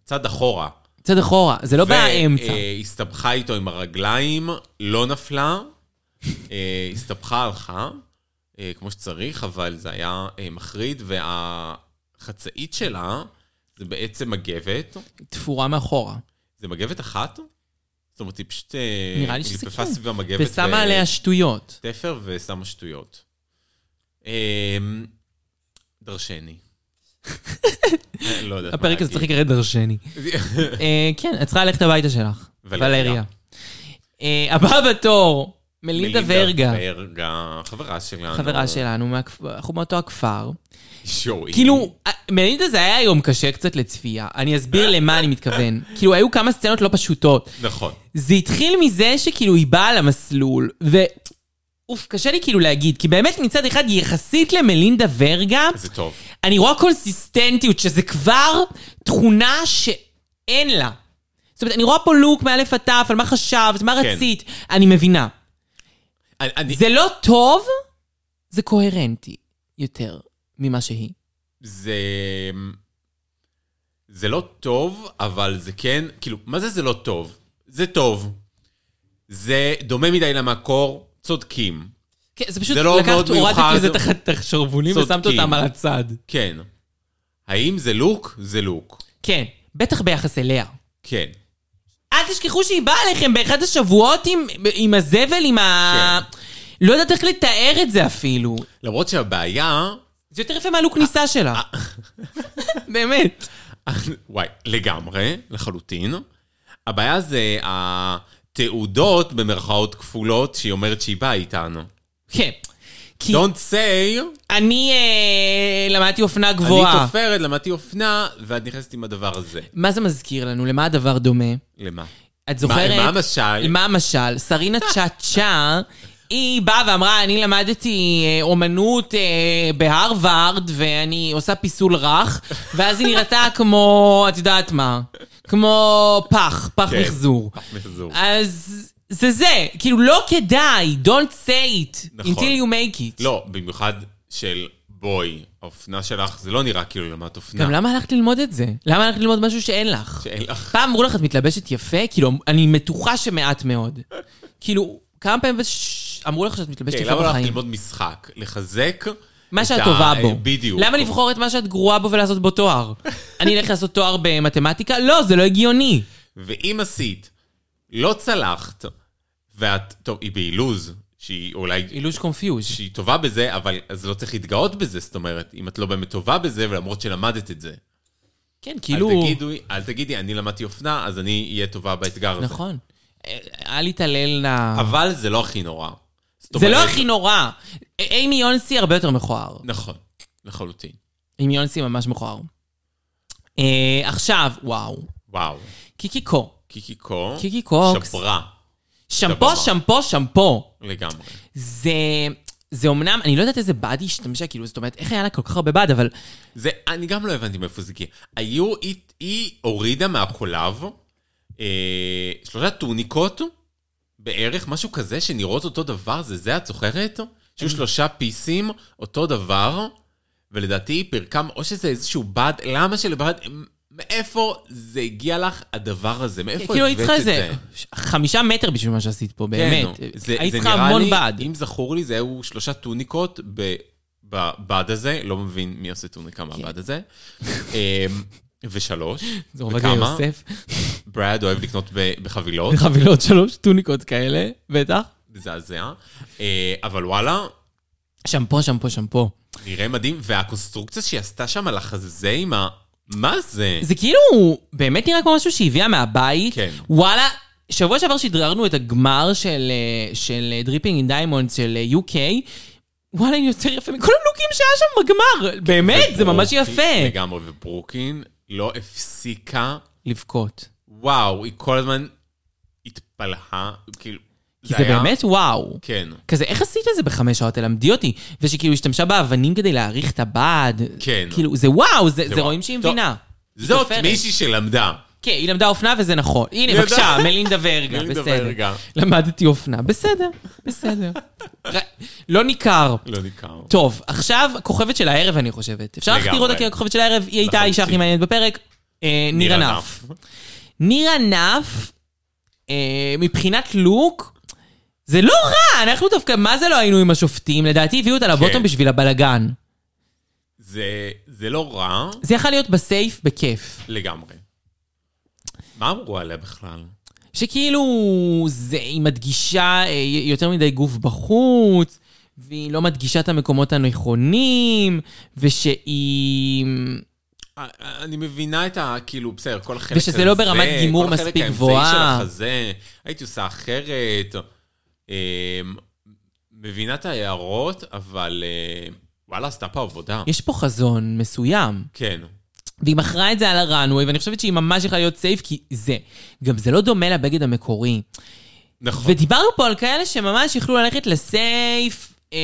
[SPEAKER 3] צד אחורה.
[SPEAKER 2] צד אחורה, זה לא באמצע.
[SPEAKER 3] אה, והסתבכה איתו עם הרגליים, לא נפלה, אה, הסתבכה הלכה, אה, כמו שצריך, אבל זה היה אה, מחריד, והחצאית שלה זה בעצם מגבת.
[SPEAKER 2] תפורה מאחורה.
[SPEAKER 3] זה מגבת אחת? זאת אומרת, היא פשוט... אה,
[SPEAKER 2] נראה לי שזה
[SPEAKER 3] ליפפה
[SPEAKER 2] כן.
[SPEAKER 3] סביב המגבת.
[SPEAKER 2] ושמה
[SPEAKER 3] ו-
[SPEAKER 2] עליה שטויות.
[SPEAKER 3] תפר ושמה שטויות. אה, דרשני. לא יודעת מה
[SPEAKER 2] הפרק הזה צריך
[SPEAKER 3] להגיד.
[SPEAKER 2] להיקרא דרשני. אה, כן, את צריכה ללכת הביתה שלך.
[SPEAKER 3] ולריה.
[SPEAKER 2] ולריה. אה, הבא בתור, מלינדה ורגה,
[SPEAKER 3] ורגה, חברה שלנו.
[SPEAKER 2] חברה שלנו, מהכפ- אנחנו מאותו הכפר.
[SPEAKER 3] שואי.
[SPEAKER 2] כאילו, אה, מלינדה זה היה יום קשה קצת לצפייה. אני אסביר למה אני מתכוון. כאילו, היו כמה סצנות לא פשוטות.
[SPEAKER 3] נכון.
[SPEAKER 2] זה התחיל מזה שכאילו היא באה למסלול, ו... אוף, קשה לי כאילו להגיד, כי באמת מצד אחד, יחסית למלינדה ורגה,
[SPEAKER 3] זה טוב.
[SPEAKER 2] אני רואה קונסיסטנטיות, שזה כבר תכונה שאין לה. זאת אומרת, אני רואה פה לוק מאלף עד תף, על מה חשבת, מה
[SPEAKER 3] כן.
[SPEAKER 2] רצית, אני מבינה.
[SPEAKER 3] אני- אני-
[SPEAKER 2] זה לא טוב, זה קוהרנטי יותר ממה שהיא.
[SPEAKER 3] זה... זה לא טוב, אבל זה כן... כאילו, מה זה זה לא טוב? זה טוב. זה דומה מדי למקור, צודקים.
[SPEAKER 2] כן, זה פשוט
[SPEAKER 3] זה לא
[SPEAKER 2] לקחת,
[SPEAKER 3] מאוד
[SPEAKER 2] הורדת
[SPEAKER 3] מיוחד.
[SPEAKER 2] לזה תחת השרוולים ושמת
[SPEAKER 3] צודקים.
[SPEAKER 2] אותם על הצד.
[SPEAKER 3] כן. האם זה לוק? זה לוק.
[SPEAKER 2] כן, בטח ביחס אליה.
[SPEAKER 3] כן.
[SPEAKER 2] אל תשכחו שהיא באה אליכם באחד השבועות עם, עם הזבל, עם ה...
[SPEAKER 3] כן.
[SPEAKER 2] לא יודעת איך לתאר את זה אפילו.
[SPEAKER 3] למרות שהבעיה...
[SPEAKER 2] זה יותר יפה מהלוק כניסה שלה. באמת.
[SPEAKER 3] וואי, לגמרי, לחלוטין. הבעיה זה התעודות, במרכאות כפולות, שהיא אומרת שהיא באה איתנו.
[SPEAKER 2] כן. כי
[SPEAKER 3] Don't say...
[SPEAKER 2] אני אה, למדתי אופנה
[SPEAKER 3] אני
[SPEAKER 2] גבוהה.
[SPEAKER 3] תופרת, למדתי אופנה, ואת נכנסת עם הדבר הזה.
[SPEAKER 2] מה זה מזכיר לנו? למה הדבר דומה?
[SPEAKER 3] למה?
[SPEAKER 2] את זוכרת?
[SPEAKER 3] מה המשל?
[SPEAKER 2] מה המשל? סרינה צ'אצ'ה, היא באה ואמרה, אני למדתי אה, אומנות אה, בהרווארד, ואני עושה פיסול רך, ואז היא נראתה כמו, את יודעת מה? כמו פח, פח
[SPEAKER 3] כן,
[SPEAKER 2] מחזור. אה,
[SPEAKER 3] פח מחזור.
[SPEAKER 2] אז זה זה, כאילו לא כדאי, don't say it,
[SPEAKER 3] נכון.
[SPEAKER 2] until you make it.
[SPEAKER 3] לא, במיוחד של בואי, האופנה שלך, זה לא נראה כאילו למדת אופנה.
[SPEAKER 2] גם למה הלכת ללמוד את זה? למה הלכת ללמוד משהו שאין לך?
[SPEAKER 3] שאין לך.
[SPEAKER 2] פעם אמרו לך, את מתלבשת יפה? כאילו, אני מתוחה שמעט מאוד. כאילו, כמה פעמים בש- אמרו לך שאת מתלבשת
[SPEAKER 3] כן,
[SPEAKER 2] יפה
[SPEAKER 3] למה לא הלכת
[SPEAKER 2] בחיים?
[SPEAKER 3] ללמוד משחק? לחזק
[SPEAKER 2] מה
[SPEAKER 3] את
[SPEAKER 2] שאת
[SPEAKER 3] ה-
[SPEAKER 2] טובה בו.
[SPEAKER 3] בדיוק.
[SPEAKER 2] למה לבחור את מה שאת גרועה בו ולעשות בו תואר? אני אלך לעשות תואר במתמטיקה? לא, זה לא הגיוני.
[SPEAKER 3] ואם עשית, לא צלחת, ואת, טוב, היא באילוז, שהיא אולי,
[SPEAKER 2] אילוש קונפיוז.
[SPEAKER 3] שהיא טובה בזה, אבל אז לא צריך להתגאות בזה, זאת אומרת, אם את לא באמת טובה בזה, ולמרות שלמדת את זה.
[SPEAKER 2] כן, כאילו...
[SPEAKER 3] אל תגידי, אל תגידי, אני למדתי אופנה, אז אני אהיה טובה באתגר הזה.
[SPEAKER 2] נכון. אה, אל יתעלל נא...
[SPEAKER 3] אבל זה לא הכי נורא. זאת
[SPEAKER 2] זה לא
[SPEAKER 3] אומרת-
[SPEAKER 2] הכי נורא. אימי יונסי הרבה יותר מכוער.
[SPEAKER 3] נכון, לחלוטין.
[SPEAKER 2] אימי יונסי ממש מכוער. אה, עכשיו, וואו.
[SPEAKER 3] וואו.
[SPEAKER 2] קיקיקו.
[SPEAKER 3] קיקיקו.
[SPEAKER 2] קיקי קוקס.
[SPEAKER 3] שברה
[SPEAKER 2] שמפו,
[SPEAKER 3] הבמה.
[SPEAKER 2] שמפו, שמפו.
[SPEAKER 3] לגמרי.
[SPEAKER 2] זה... זה אמנם, אני לא יודעת איזה בד היא השתמשה, כאילו, זאת אומרת, איך היה לה כל כך הרבה בד, אבל...
[SPEAKER 3] זה, אני גם לא הבנתי מאיפה זה הגיע. היו, היא, היא הורידה מהקולב אה, שלושה טוניקות בערך, משהו כזה, שנראות אותו דבר, זה זה, את זוכרת?
[SPEAKER 2] Mm.
[SPEAKER 3] שהיו שלושה פיסים, אותו דבר, ולדעתי היא פירקה, או שזה איזשהו בד, למה שלבד, מאיפה זה הגיע לך הדבר הזה? מאיפה
[SPEAKER 2] כאילו, היית
[SPEAKER 3] הבאת
[SPEAKER 2] צריכה
[SPEAKER 3] את
[SPEAKER 2] איזה חמישה מטר בשביל מה שעשית פה, באמת. אה,
[SPEAKER 3] כן, נו. זה-
[SPEAKER 2] היית
[SPEAKER 3] זה
[SPEAKER 2] צריכה
[SPEAKER 3] נראה
[SPEAKER 2] המון
[SPEAKER 3] לי,
[SPEAKER 2] בד.
[SPEAKER 3] אם זכור לי, זה היו שלושה טוניקות ב- בבד הזה, לא מבין מי עושה טוניקה
[SPEAKER 2] כן.
[SPEAKER 3] מהבד הזה. אמ, ושלוש,
[SPEAKER 2] זה עובדיה
[SPEAKER 3] וכמה?
[SPEAKER 2] יוסף. נכון.
[SPEAKER 3] ברד אוהב לקנות ב- בחבילות,
[SPEAKER 2] חבילות שלוש טוניקות כאלה, בטח.
[SPEAKER 3] מזעזע. אה, אבל וואלה,
[SPEAKER 2] שמפו, שמפו, שמפו.
[SPEAKER 3] נראה מדהים, והקונסטרוקציה שהיא עשתה שם על החזה עם ה... מה זה?
[SPEAKER 2] זה כאילו, באמת נראה כמו משהו שהביאה מהבית.
[SPEAKER 3] כן.
[SPEAKER 2] וואלה, שבוע שעבר שדררנו את הגמר של, אה, של דריפינג אין דיימונד של אה, UK. וואלה, היא יותר יפה מכל הלוקים שהיה שם בגמר. באמת, זה ממש
[SPEAKER 3] וברוקין-
[SPEAKER 2] יפה.
[SPEAKER 3] כן, לגמרי, וברוקין לא הפסיקה,
[SPEAKER 2] לבכות.
[SPEAKER 3] וואו, היא כל הזמן התפלחה, כאילו,
[SPEAKER 2] כי זה
[SPEAKER 3] היה-
[SPEAKER 2] באמת וואו.
[SPEAKER 3] כן,
[SPEAKER 2] כזה, איך עשית את זה בחמש שעות? תלמדי אותי. ושכאילו השתמשה באבנים כדי להעריך את הבד.
[SPEAKER 3] כן.
[SPEAKER 2] כאילו, זה וואו, זה, זה
[SPEAKER 3] וואו.
[SPEAKER 2] רואים שהיא
[SPEAKER 3] טוב,
[SPEAKER 2] מבינה. היא
[SPEAKER 3] זאת
[SPEAKER 2] תופרת.
[SPEAKER 3] מישהי שלמדה.
[SPEAKER 2] כן, היא למדה אופנה וזה נכון. הנה,
[SPEAKER 3] היא
[SPEAKER 2] בבקשה,
[SPEAKER 3] למדה-
[SPEAKER 2] מלינדה ורגה,
[SPEAKER 3] מלינדה
[SPEAKER 2] בסדר.
[SPEAKER 3] ורגה.
[SPEAKER 2] למדתי אופנה, בסדר, בסדר. ר- לא ניכר.
[SPEAKER 3] לא ניכר.
[SPEAKER 2] טוב, עכשיו הכוכבת של הערב, אני חושבת. אפשר
[SPEAKER 3] לגמרי.
[SPEAKER 2] להכתיר אותה ככוכבת של הערב, היא הייתה האישה הכי
[SPEAKER 3] לחלוטין.
[SPEAKER 2] מעניינת בפרק. אה, נירה
[SPEAKER 3] נירה
[SPEAKER 2] נף. נירה נף, אה, מבחינת לוק, זה לא רע, אנחנו דווקא, מה זה לא היינו עם השופטים? לדעתי הביאו אותה
[SPEAKER 3] כן.
[SPEAKER 2] לבוטום בשביל הבלגן.
[SPEAKER 3] זה, זה לא רע
[SPEAKER 2] זה יכול להיות בסייף בכיף.
[SPEAKER 3] לגמרי. מה אמרו עליה בכלל?
[SPEAKER 2] שכאילו, זה, היא מדגישה אה, יותר מדי גוף בחוץ, והיא לא מדגישה את המקומות הנכונים, ושהיא...
[SPEAKER 3] אה, אה, אני מבינה את ה... כאילו, בסדר, כל החלק
[SPEAKER 2] ושזה
[SPEAKER 3] הזה,
[SPEAKER 2] לא ברמת גימור מספיק גבוהה.
[SPEAKER 3] כל החלק האמצעי של החזה, הייתי עושה אחרת. אה, מבינה את ההערות, אבל אה, וואלה, עשתה פה עבודה.
[SPEAKER 2] יש פה חזון מסוים.
[SPEAKER 3] כן.
[SPEAKER 2] והיא מכרה את זה על הראנווי, ואני חושבת שהיא ממש יכולה להיות סייף, כי זה. גם זה לא דומה לבגד המקורי.
[SPEAKER 3] נכון.
[SPEAKER 2] ודיברנו פה על כאלה שממש יכלו ללכת לסייף, אה,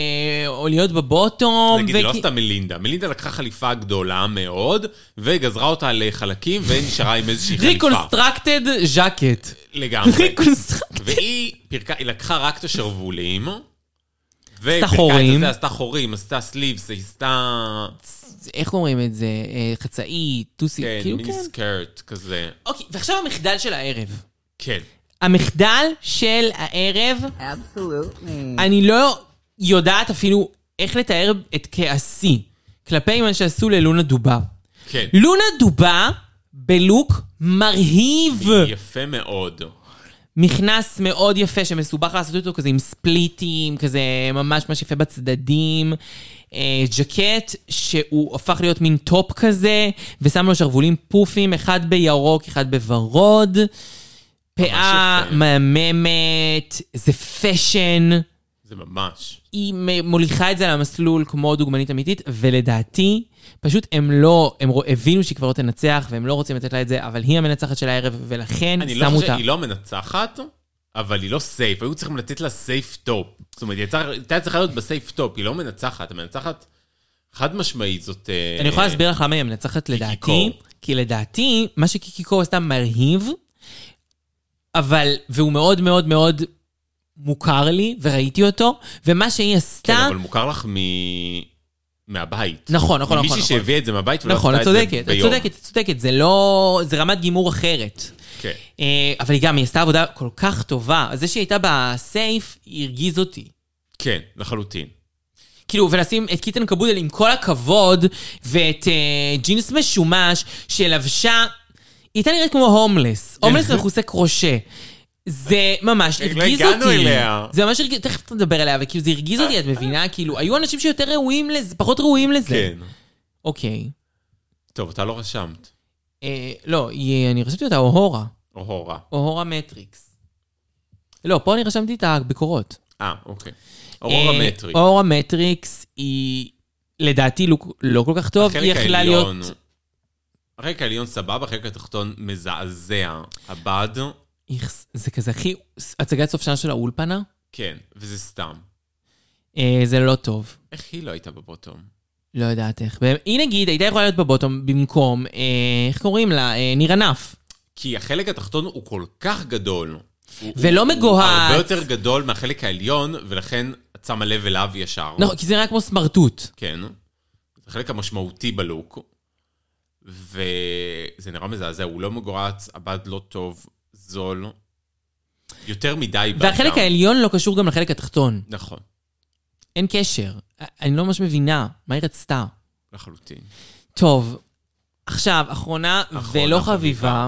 [SPEAKER 2] או להיות בבוטום.
[SPEAKER 3] נגיד, היא לא
[SPEAKER 2] וכי-
[SPEAKER 3] עשתה מלינדה. מלינדה לקחה חליפה גדולה מאוד, וגזרה אותה לחלקים, ונשארה עם איזושהי חליפה.
[SPEAKER 2] ריקונסטרקטד ז'קט.
[SPEAKER 3] אה, לגמרי.
[SPEAKER 2] ריקונסטרקטד.
[SPEAKER 3] והיא פירקה, היא לקחה רק את השרוולים. ופירקה
[SPEAKER 2] חורים.
[SPEAKER 3] את זה, עשתה חורים, עשתה סליבס, עשתה...
[SPEAKER 2] איך אומרים את זה? אה, חצאי, טוסי,
[SPEAKER 3] כן,
[SPEAKER 2] כאילו
[SPEAKER 3] מיני
[SPEAKER 2] כן.
[SPEAKER 3] סקרט כזה.
[SPEAKER 2] אוקיי, ועכשיו המחדל של הערב.
[SPEAKER 3] כן.
[SPEAKER 2] המחדל של הערב,
[SPEAKER 5] Absolutely.
[SPEAKER 2] אני לא יודעת אפילו איך לתאר את כעסי כלפי מה שעשו ללונה דובה.
[SPEAKER 3] כן.
[SPEAKER 2] לונה דובה בלוק מרהיב.
[SPEAKER 3] יפה מאוד.
[SPEAKER 2] מכנס מאוד יפה שמסובך לעשות אותו, כזה עם ספליטים, כזה ממש ממש יפה בצדדים. אה, ג'קט שהוא הפך להיות מין טופ כזה, ושם לו שרוולים פופים, אחד בירוק, אחד בוורוד. פאה
[SPEAKER 3] יפה.
[SPEAKER 2] מהממת, זה פאשן.
[SPEAKER 3] זה ממש.
[SPEAKER 2] היא מ- מוליכה את זה למסלול כמו דוגמנית אמיתית, ולדעתי, פשוט הם לא, הם רוא- הבינו שהיא כבר לא תנצח, והם לא רוצים לתת לה את זה, אבל היא המנצחת של הערב, ולכן
[SPEAKER 3] אני
[SPEAKER 2] שמו
[SPEAKER 3] לא
[SPEAKER 2] אותה.
[SPEAKER 3] חושב, היא לא מנצחת, אבל היא לא סייף. היו צריכים לתת לה סייף טופ. זאת אומרת, היא יצא- היא הייתה צריכה להיות בסייף טופ, היא לא מנצחת. המנצחת, חד משמעית, זאת... אה,
[SPEAKER 2] אני יכול להסביר לך למה היא מנצחת לדעתי,
[SPEAKER 3] קור.
[SPEAKER 2] כי לדעתי, מה שקיקי קור עשתה מרהיב, אבל, והוא מאוד מאוד מאוד מוכר לי, וראיתי אותו, ומה שהיא
[SPEAKER 3] כן,
[SPEAKER 2] עשתה,
[SPEAKER 3] אבל מוכר לך מ... מהבית.
[SPEAKER 2] נכון, נכון, נכון,
[SPEAKER 3] מישהי
[SPEAKER 2] נכון.
[SPEAKER 3] שהביאה את זה מהבית ולא
[SPEAKER 2] נכון,
[SPEAKER 3] עשתה
[SPEAKER 2] את
[SPEAKER 3] את זה ביום.
[SPEAKER 2] צודקת, את צודקת, את צודקת, זה לא, זה רמת גימור אחרת.
[SPEAKER 3] כן.
[SPEAKER 2] אה, אבל היא גם, היא עשתה עבודה כל כך טובה, אז זה שהיא הייתה בסייף, היא הרגיז אותי.
[SPEAKER 3] כן, לחלוטין.
[SPEAKER 2] כאילו, ולשים את קיטן קבודל עם כל הכבוד, ואת אה, ג'ינס משומש, שלבשה... היא הייתה נראית כמו
[SPEAKER 3] כן.
[SPEAKER 2] הומלס. הומלס מכוסה קרושה. זה ממש
[SPEAKER 3] לא
[SPEAKER 2] הרגיז אותי.
[SPEAKER 3] הגענו אליה. אה.
[SPEAKER 2] זה ממש הרגיז, תכף נדבר עליה, אבל כאילו זה הרגיז אותי, את מבינה? כאילו, היו אנשים שיותר ראויים לזה, פחות ראויים לזה.
[SPEAKER 3] כן.
[SPEAKER 2] אוקיי.
[SPEAKER 3] טוב, אתה לא רשמת.
[SPEAKER 2] אה, לא, היא- אני רשמתי אותה אוהורה.
[SPEAKER 3] אוהורה.
[SPEAKER 2] אוהורה מטריקס. לא, פה אני רשמתי את הביקורות.
[SPEAKER 3] אה, אוקיי. אוהורה
[SPEAKER 2] אה,
[SPEAKER 3] מטריק.
[SPEAKER 2] אורה מטריקס היא, לדעתי, לא, לא כל כך טוב. היא
[SPEAKER 3] החלק
[SPEAKER 2] יכלה
[SPEAKER 3] העליון...
[SPEAKER 2] להיות...
[SPEAKER 3] החלק העליון סבבה, החלק התחתון מזעזע. הבד,
[SPEAKER 2] איך- זה כזה הכי... הצגת סוף שנה של האולפנה?
[SPEAKER 3] כן, וזה סתם.
[SPEAKER 2] אה, זה לא טוב.
[SPEAKER 3] איך היא לא הייתה בבוטום?
[SPEAKER 2] לא יודעת איך. והם- היא נגיד הייתה יכולה להיות בבוטום במקום, אה, איך קוראים לה? אה, ניר ענף.
[SPEAKER 3] כי החלק התחתון הוא כל כך גדול. הוא-
[SPEAKER 2] ולא
[SPEAKER 3] הוא-
[SPEAKER 2] מגוהץ.
[SPEAKER 3] הוא הרבה יותר גדול מהחלק העליון, ולכן את שמה לב אליו ישר.
[SPEAKER 2] נכון, כי זה נראה כמו סמרטוט.
[SPEAKER 3] כן. זה החלק המשמעותי בלוק. וזה נראה מזעזע, הוא לא מגורץ, הבד לא טוב, זול. יותר מדי באדם.
[SPEAKER 2] והחלק העליון לא קשור גם לחלק התחתון.
[SPEAKER 3] נכון,
[SPEAKER 2] אין קשר. א- אני לא ממש מבינה מה היא רצתה.
[SPEAKER 3] לחלוטין.
[SPEAKER 2] טוב, עכשיו, אחרונה,
[SPEAKER 3] אחרונה
[SPEAKER 2] ולא חביבה,
[SPEAKER 3] חביבה.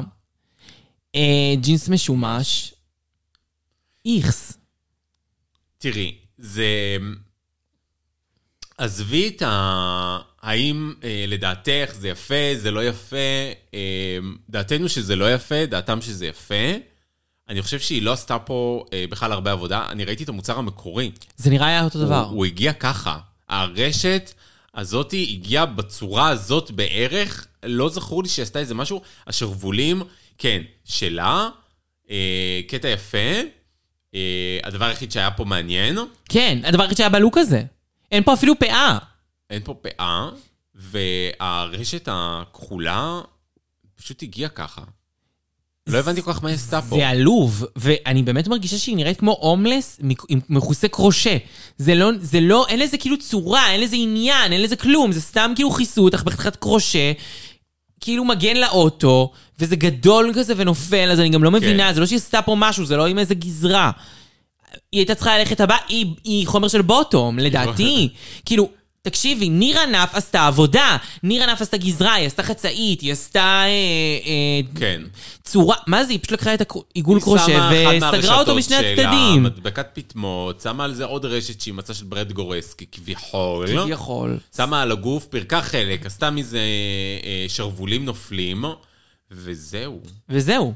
[SPEAKER 2] אה, ג'ינס משומש. איכס.
[SPEAKER 3] תראי, זה... עזבי את ה... האם אה, לדעתך זה יפה, זה לא יפה, אה, דעתנו שזה לא יפה, דעתם שזה יפה. אני חושב שהיא לא עשתה פה אה, בכלל הרבה עבודה. אני ראיתי את המוצר המקורי.
[SPEAKER 2] זה נראה היה אותו דבר.
[SPEAKER 3] הוא, הוא הגיע ככה. הרשת הזאתי הגיעה בצורה הזאת בערך, לא זכור לי שהיא עשתה איזה משהו. השרוולים, כן, שלה, אה, קטע יפה. אה, הדבר היחיד שהיה פה מעניין,
[SPEAKER 2] כן, הדבר היחיד שהיה בלוק הזה. אין פה אפילו פאה.
[SPEAKER 3] אין פה פאה, והרשת הכחולה פשוט הגיעה ככה. לא הבנתי כל כך מה היא עשתה פה.
[SPEAKER 2] זה עלוב, ואני באמת מרגישה שהיא נראית כמו הומלס מק- עם מכוסה קרושה. זה לא, זה לא, אין לזה כאילו צורה, אין לזה עניין, אין לזה כלום, זה סתם כאילו כיסות, אך בחתיכת קרושה, כאילו מגן לאוטו, וזה גדול כזה ונופל, אז אני גם לא מבינה, זה לא שהיא עשתה פה משהו, זה לא עם איזה גזרה. היא הייתה צריכה ללכת הבאה, היא, היא חומר של בוטום, לדעתי. כאילו, תקשיבי, נירה נף עשתה עבודה, נירה נף עשתה גזרה, היא עשתה חצאית, היא עשתה... אה, אה,
[SPEAKER 3] כן.
[SPEAKER 2] צורה, מה זה, היא פשוט לקחה את הקר- עיגול
[SPEAKER 3] היא שמה
[SPEAKER 2] קרושה
[SPEAKER 3] אחת
[SPEAKER 2] וסגרה אותו
[SPEAKER 3] מהרשתות
[SPEAKER 2] משני
[SPEAKER 3] שלה,
[SPEAKER 2] הצדדים.
[SPEAKER 3] מדבקת פטמות, שמה על זה עוד רשת שהיא מצאה של ברד גורסקי, כביכול.
[SPEAKER 2] כביכול.
[SPEAKER 3] שמה על הגוף, פירקה חלק, עשתה מזה אה, שרוולים נופלים, וזהו.
[SPEAKER 2] וזהו.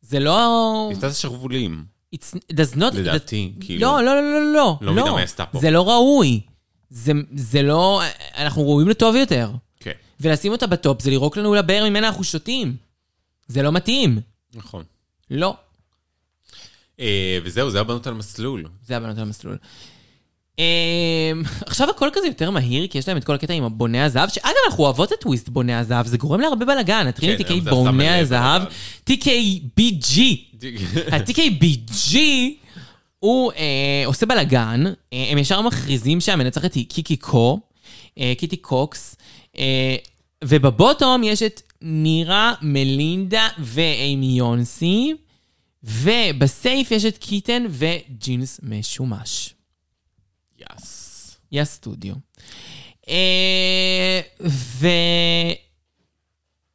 [SPEAKER 2] זה לא...
[SPEAKER 3] היא עשתה את השרוולים.
[SPEAKER 2] It's... does not...
[SPEAKER 3] לדעתי,
[SPEAKER 2] that-
[SPEAKER 3] כאילו.
[SPEAKER 2] לא, לא, לא, לא, לא.
[SPEAKER 3] לא מבינה מה היא עשתה פה.
[SPEAKER 2] זה לא ראוי. זה, זה לא... אנחנו ראויים לטוב יותר.
[SPEAKER 3] כן,
[SPEAKER 2] ולשים אותה בטופ זה לירוק לנו לבאר ממנה אנחנו שותים. זה לא מתאים.
[SPEAKER 3] נכון.
[SPEAKER 2] לא.
[SPEAKER 3] אה, וזהו, זה הבנות על מסלול.
[SPEAKER 2] זה הבנות על המסלול. אמ, עכשיו הכל כזה יותר מהיר, כי יש להם את כל הקטע עם הבוני הזהב, שאגב, אנחנו אוהבות את טוויסט בוני הזהב, זה גורם להרבה בלאגן, נתחיל
[SPEAKER 3] כן,
[SPEAKER 2] עם
[SPEAKER 3] היום זה
[SPEAKER 2] TK
[SPEAKER 3] עשה
[SPEAKER 2] בוני
[SPEAKER 3] מלא
[SPEAKER 2] הזהב,
[SPEAKER 3] בלאגן.
[SPEAKER 2] TKBG. ה-TKBG הוא אה, עושה בלאגן, אה, הם ישר מכריזים שהמנצחת היא קיקי קו, אה, קיטי קוקס, אה, ובבוטום יש את נירה, מלינדה ואימי יונסי. ובסייף יש את קיטן וג'ינס משומש.
[SPEAKER 3] יאס.
[SPEAKER 2] יא סטודיו. אה, ו...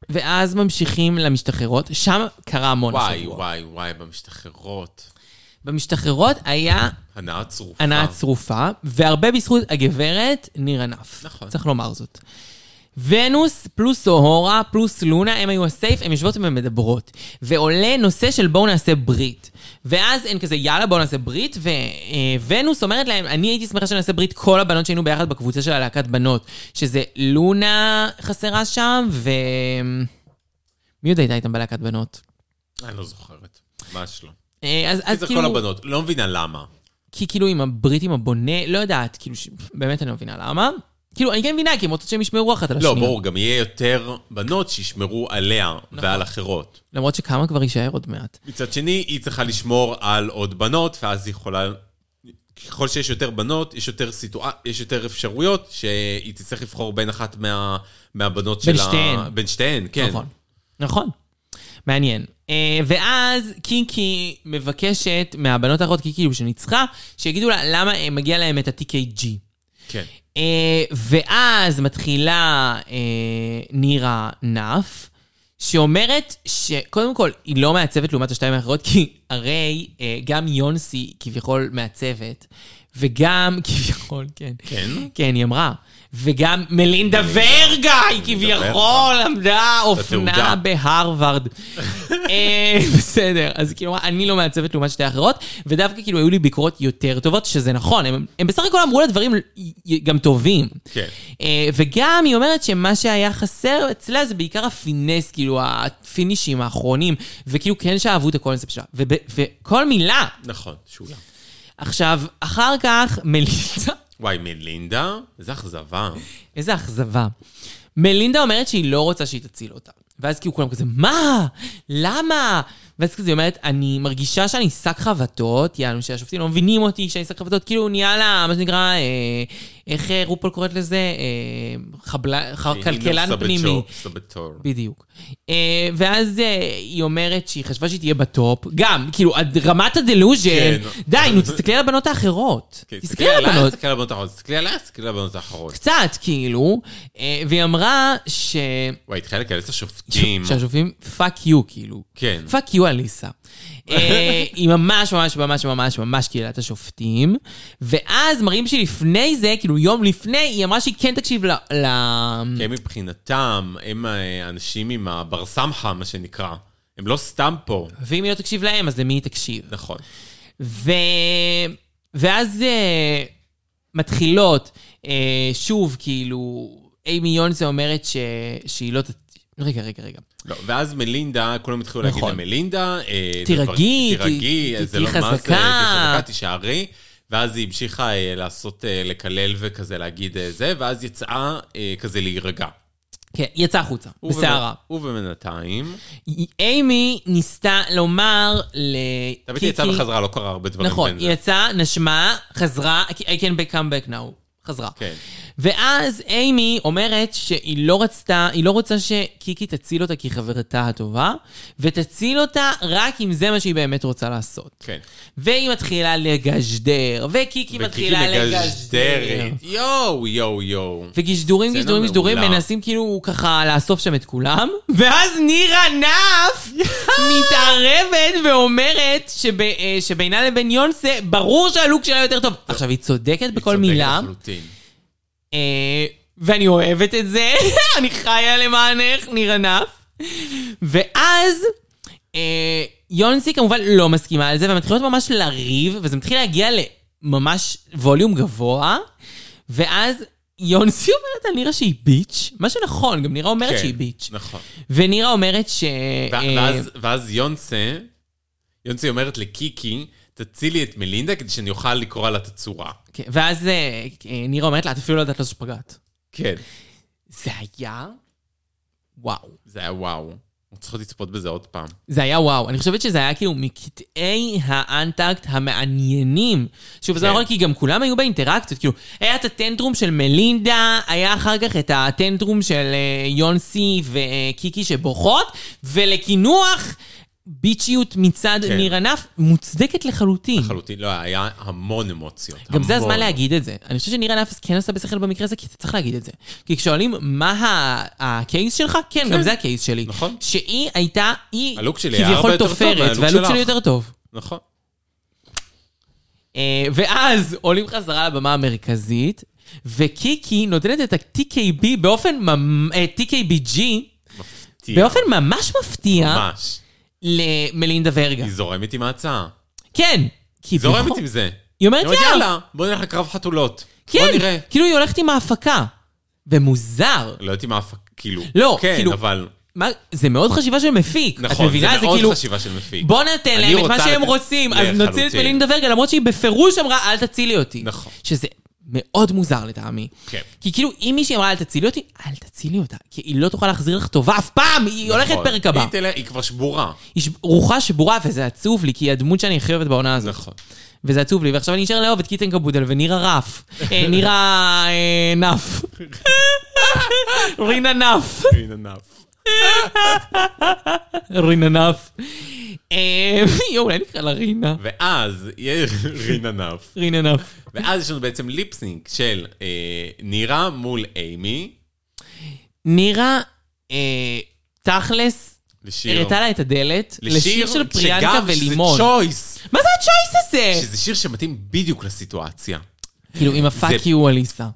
[SPEAKER 2] ואז ממשיכים למשתחררות, שם קרה המון
[SPEAKER 3] וואי,
[SPEAKER 2] השבוע.
[SPEAKER 3] וואי, וואי, במשתחררות.
[SPEAKER 2] במשתחררות היה
[SPEAKER 3] הנאה צרופה.
[SPEAKER 2] הנאה צרופה, והרבה בזכות הגברת ניר ענף.
[SPEAKER 3] נכון.
[SPEAKER 2] צריך לומר זאת. ונוס פלוס סוהורה פלוס לונה, הם היו הסייף, הן יושבות ומדברות. ועולה נושא של בואו נעשה ברית. ואז הן כזה, יאללה, בואו נעשה ברית, וונוס אומרת להם, אני הייתי שמחה שנעשה ברית כל הבנות שהיינו ביחד בקבוצה של הלהקת בנות, שזה לונה חסרה שם, ו... מי עוד הייתה איתם בלהקת בנות?
[SPEAKER 3] אני לא זוכרת. ממש לא.
[SPEAKER 2] אה, אז, אז
[SPEAKER 3] זה
[SPEAKER 2] כאילו...
[SPEAKER 3] כל הבנות, לא מבינה למה.
[SPEAKER 2] כי כאילו עם הברית עם הבונה, לא יודעת, כאילו, ש... באמת אני לא מבינה למה. כאילו, אני כן מבינה, כי הם רוצות שהם ישמרו אחת על
[SPEAKER 3] לא,
[SPEAKER 2] השנייה.
[SPEAKER 3] ברור, גם יהיה יותר בנות שישמרו עליה
[SPEAKER 2] נכון.
[SPEAKER 3] ועל אחרות.
[SPEAKER 2] למרות שכמה כבר יישאר עוד מעט.
[SPEAKER 3] מצד שני, היא צריכה לשמור על עוד בנות, ואז היא יכולה... ככל שיש יותר בנות, יש יותר, סיטואר... יש יותר אפשרויות שהיא תצטרך לבחור בין אחת מה... מהבנות שלה.
[SPEAKER 2] בין שתיהן.
[SPEAKER 3] בין שתיהן, כן.
[SPEAKER 2] נכון. נכון. מעניין. אה, ואז קינקי מבקשת מהבנות האחרות, קינקי כאילו שניצחה, שיגידו לה למה אה, מגיע להם את ה-TKG.
[SPEAKER 3] כן.
[SPEAKER 2] אה, ואז מתחילה אה, נירה נף, שאומרת שקודם כל, היא לא מעצבת לעומת השתיים האחרות, כי הרי אה, גם יונסי כביכול מעצבת, וגם כביכול, כן.
[SPEAKER 3] כן?
[SPEAKER 2] כן, היא אמרה. וגם מלינדה ורגה, היא כביכול למדה אופנה
[SPEAKER 3] התעודה.
[SPEAKER 2] בהרווארד. אה, בסדר, אז כאילו, אני לא מעצבת לעומת שתי האחרות, ודווקא כאילו היו לי ביקורות יותר טובות, שזה נכון, הם, הם בסך הכל אמרו לה דברים גם טובים.
[SPEAKER 3] כן.
[SPEAKER 2] אה, וגם היא אומרת שמה שהיה חסר אצלה זה בעיקר הפינס, כאילו הפינישים האחרונים, וכאילו כן שאהבו את הקונספט שלה. וב, וכל מילה.
[SPEAKER 3] נכון, שולה.
[SPEAKER 2] עכשיו, אחר כך מלינדה...
[SPEAKER 3] וואי, מלינדה? איזה אכזבה.
[SPEAKER 2] איזה אכזבה. מלינדה אומרת שהיא לא רוצה שהיא תציל אותה. ואז כאילו כולם כזה, מה? למה? ואז כזה היא אומרת, אני מרגישה שאני שק חבטות, יענו שהשופטים לא מבינים אותי שאני שק חבטות, כאילו נהיה לה, מה שנקרא, אה, איך אה, רופול קוראת לזה? אה, חבלה, ח- כלכלן
[SPEAKER 3] סבתו-
[SPEAKER 2] פנימי.
[SPEAKER 3] סבתור.
[SPEAKER 2] בדיוק. אה, ואז אה, היא אומרת שהיא חשבה שהיא תהיה בטופ, גם, כאילו, עד רמת הדלוז'ן,
[SPEAKER 3] כן.
[SPEAKER 2] די, נו, תסתכלי על הבנות האחרות.
[SPEAKER 3] כן,
[SPEAKER 2] תסתכלי על הבנות.
[SPEAKER 3] תסתכלי על הבנות האחרות. תסתכלי עליה, תסתכלי על הבנות האחרות.
[SPEAKER 2] קצת, כאילו, אה, והיא אמרה ש...
[SPEAKER 3] וואי, התחילה לקלל את השופטים.
[SPEAKER 2] שהשופטים פאק יו, כאילו.
[SPEAKER 3] כן.
[SPEAKER 2] פאק יו, דואליסה. אה, היא ממש ממש ממש ממש ממש קהילת השופטים. ואז מראים שלפני זה, כאילו יום לפני, היא אמרה שהיא כן תקשיב ל... ל...
[SPEAKER 3] כי הם מבחינתם, הם אה, האנשים עם הבר סמכה, מה שנקרא. הם לא סתם פה.
[SPEAKER 2] ואם היא לא תקשיב להם, אז למי היא תקשיב?
[SPEAKER 3] נכון.
[SPEAKER 2] ו... ואז אה, מתחילות, אה, שוב, כאילו, אימי יונסה אומרת ש... שהיא לא ת... רגע, רגע, רגע.
[SPEAKER 3] לא, ואז מלינדה, כולם התחילו להגיד
[SPEAKER 2] נכון.
[SPEAKER 3] למלינדה, אה,
[SPEAKER 2] תירגעי,
[SPEAKER 3] זה כבר- תירגעי,
[SPEAKER 2] ת- ת-
[SPEAKER 3] זה
[SPEAKER 2] תהיי
[SPEAKER 3] לא מה זה,
[SPEAKER 2] חזקה.
[SPEAKER 3] תהיי חזקה, תישארי. ואז היא המשיכה אה, לעשות, אה, לקלל וכזה להגיד אה, זה, ואז יצאה אה, כזה להירגע.
[SPEAKER 2] כן, היא יצאה החוצה,
[SPEAKER 3] ובמ-
[SPEAKER 2] בסערה.
[SPEAKER 3] ובינתיים,
[SPEAKER 2] אימי ניסתה לומר
[SPEAKER 3] תמיד היא
[SPEAKER 2] לקיקי...
[SPEAKER 3] יצאה וחזרה, לא קרה הרבה דברים
[SPEAKER 2] נכון,
[SPEAKER 3] בין
[SPEAKER 2] היא
[SPEAKER 3] זה.
[SPEAKER 2] יצאה, נשמה, חזרה, I can back come back now. חזרה.
[SPEAKER 3] כן.
[SPEAKER 2] ואז אימי אומרת שהיא לא רצתה, היא לא רוצה שקיקי תציל אותה כי היא חברתה הטובה, ותציל אותה רק אם זה מה שהיא באמת רוצה לעשות.
[SPEAKER 3] כן.
[SPEAKER 2] והיא מתחילה לגשדר, וקיקי מתחילה לגשדר.
[SPEAKER 3] יואו, יואו, יואו.
[SPEAKER 2] וגישדורים,
[SPEAKER 3] סצנה
[SPEAKER 2] גישדורים, גישדורים,
[SPEAKER 3] מעולה.
[SPEAKER 2] מנסים כאילו ככה לאסוף שם את כולם. ואז נירה נף מתערבת ואומרת שב, אה, שבינה לבין יונסה, ברור שהלוק שלה יותר טוב. עכשיו, היא צודקת בכל
[SPEAKER 3] צודק
[SPEAKER 2] מילה,
[SPEAKER 3] לחלוטין.
[SPEAKER 2] אה, ואני אוהבת את זה, אני חיה למענך, נירה נף. ואז... אה, יונסי כמובן לא מסכימה לזה, והן מתחילות ממש לריב, וזה מתחיל להגיע לממש ווליום גבוה, ואז יונסי אומרת על נירה שהיא ביץ', מה שנכון, גם נירה אומרת
[SPEAKER 3] כן,
[SPEAKER 2] שהיא ביץ'.
[SPEAKER 3] נכון.
[SPEAKER 2] ונירה אומרת ש...
[SPEAKER 3] ו-
[SPEAKER 2] אה,
[SPEAKER 3] ואז- ואז יונסה, יונסה אומרת לקיקי, תצילי את מלינדה כדי שאני אוכל לקרוא לה את הצורה.
[SPEAKER 2] כן, ואז אה, אה, נירה אומרת לה, את אפילו לא יודעת לעשות שפגאט.
[SPEAKER 3] כן.
[SPEAKER 2] זה היה... וואו.
[SPEAKER 3] זה היה וואו. אנחנו צריכות לצפות בזה עוד פעם.
[SPEAKER 2] זה היה וואו. אני חושבת שזה היה כאילו מקטעי האנטקט המעניינים. שוב, זה
[SPEAKER 3] כן.
[SPEAKER 2] נכון, כי גם כולם היו באינטראקציות. כאילו, היה את הטנטרום של מלינדה, היה אחר כך את הטנטרום של אה, יונסי וקיקי שבוכות, ולקינוח, ביצ'יות מצד
[SPEAKER 3] כן.
[SPEAKER 2] ניר ענף, מוצדקת לחלוטין.
[SPEAKER 3] לחלוטין, לא, היה המון אמוציות.
[SPEAKER 2] גם זה הזמן
[SPEAKER 3] המון.
[SPEAKER 2] להגיד את זה. אני חושבת שניר ענף כן עשה בשכל במקרה הזה, כי אתה צריך להגיד את זה. כי כששואלים מה ה- הקייס שלך, כן, גם זה הקייס שלי.
[SPEAKER 3] נכון.
[SPEAKER 2] שהיא הייתה, היא
[SPEAKER 3] הלוק שלי היה הרבה
[SPEAKER 2] כביכול
[SPEAKER 3] יותר טוב
[SPEAKER 2] תופרת,
[SPEAKER 3] מהלוק
[SPEAKER 2] והלוק שלי
[SPEAKER 3] שלך.
[SPEAKER 2] יותר טוב.
[SPEAKER 3] נכון.
[SPEAKER 2] אה, ואז עולים חזרה לבמה המרכזית, וקיקי נותנת את ה-TKB באופן, ממ- אה, TKBG,
[SPEAKER 3] תהיה,
[SPEAKER 2] באופן ממש מפתיע,
[SPEAKER 3] ממש.
[SPEAKER 2] למלינדה ורגה.
[SPEAKER 3] היא זורמת עם ההצעה.
[SPEAKER 2] כן. כי
[SPEAKER 3] זורמת
[SPEAKER 2] בכל-
[SPEAKER 3] עם זה.
[SPEAKER 2] היא אומרת יאללה.
[SPEAKER 3] יאללה, בוא נלך לקרב חתולות. בוא נראה.
[SPEAKER 2] כן, כאילו היא הולכת עם ההפקה. ומוזר.
[SPEAKER 3] לא יודעת אם ההפק... כאילו.
[SPEAKER 2] לא,
[SPEAKER 3] כן,
[SPEAKER 2] כאילו-
[SPEAKER 3] אבל...
[SPEAKER 2] מה, זה מאוד חשיבה של מפיק.
[SPEAKER 3] נכון,
[SPEAKER 2] את מבינה?
[SPEAKER 3] זה מאוד
[SPEAKER 2] כאילו,
[SPEAKER 3] חשיבה של מפיק.
[SPEAKER 2] בוא נתן
[SPEAKER 3] אני
[SPEAKER 2] להם את
[SPEAKER 3] רוצה
[SPEAKER 2] מה שהם
[SPEAKER 3] לתת-
[SPEAKER 2] רוצים, אז
[SPEAKER 3] לחלוטין.
[SPEAKER 2] נוציא את מלינדה ורגה, למרות שהיא בפירוש אמרה, אל תצילי אותי.
[SPEAKER 3] נכון.
[SPEAKER 2] שזה מאוד מוזר לטעמי.
[SPEAKER 3] כן.
[SPEAKER 2] כי כאילו, אם מישהי אמרה, אל תצילי אותי, אל תצילי אותה. כי היא לא תוכל להחזיר לך טובה אף פעם, היא הולכת
[SPEAKER 3] נכון.
[SPEAKER 2] פרק הבא.
[SPEAKER 3] היא תלך- היא כבר שבורה.
[SPEAKER 2] היא ש- רוחה שבורה, וזה עצוב לי, כי היא הדמות שאני הכי אוהבת בעונה הזאת.
[SPEAKER 3] נכון.
[SPEAKER 2] וזה עצוב לי, ועכשיו אני נשאר לאהוב את קיטן קבודל ונירה רף. אה, נירה אה, נף. רינה נף.
[SPEAKER 3] הנה נף.
[SPEAKER 2] רינה נף. אה, יואו, אולי נקרא לה רינה.
[SPEAKER 3] ואז יהיה רינה נף.
[SPEAKER 2] רינה נף.
[SPEAKER 3] ואז יש לנו בעצם ליפסינק של אה, נירה מול אימי.
[SPEAKER 2] נירה, אה, תכלס,
[SPEAKER 3] לשיר.
[SPEAKER 2] הראתה לה את הדלת לשיר של פריאנקה
[SPEAKER 3] שגם-
[SPEAKER 2] ולימון.
[SPEAKER 3] שזה צ'וייס.
[SPEAKER 2] מה זה הצ'וייס הזה?
[SPEAKER 3] שזה שיר שמתאים בדיוק לסיטואציה.
[SPEAKER 2] כאילו, עם הפאק יו אליסה.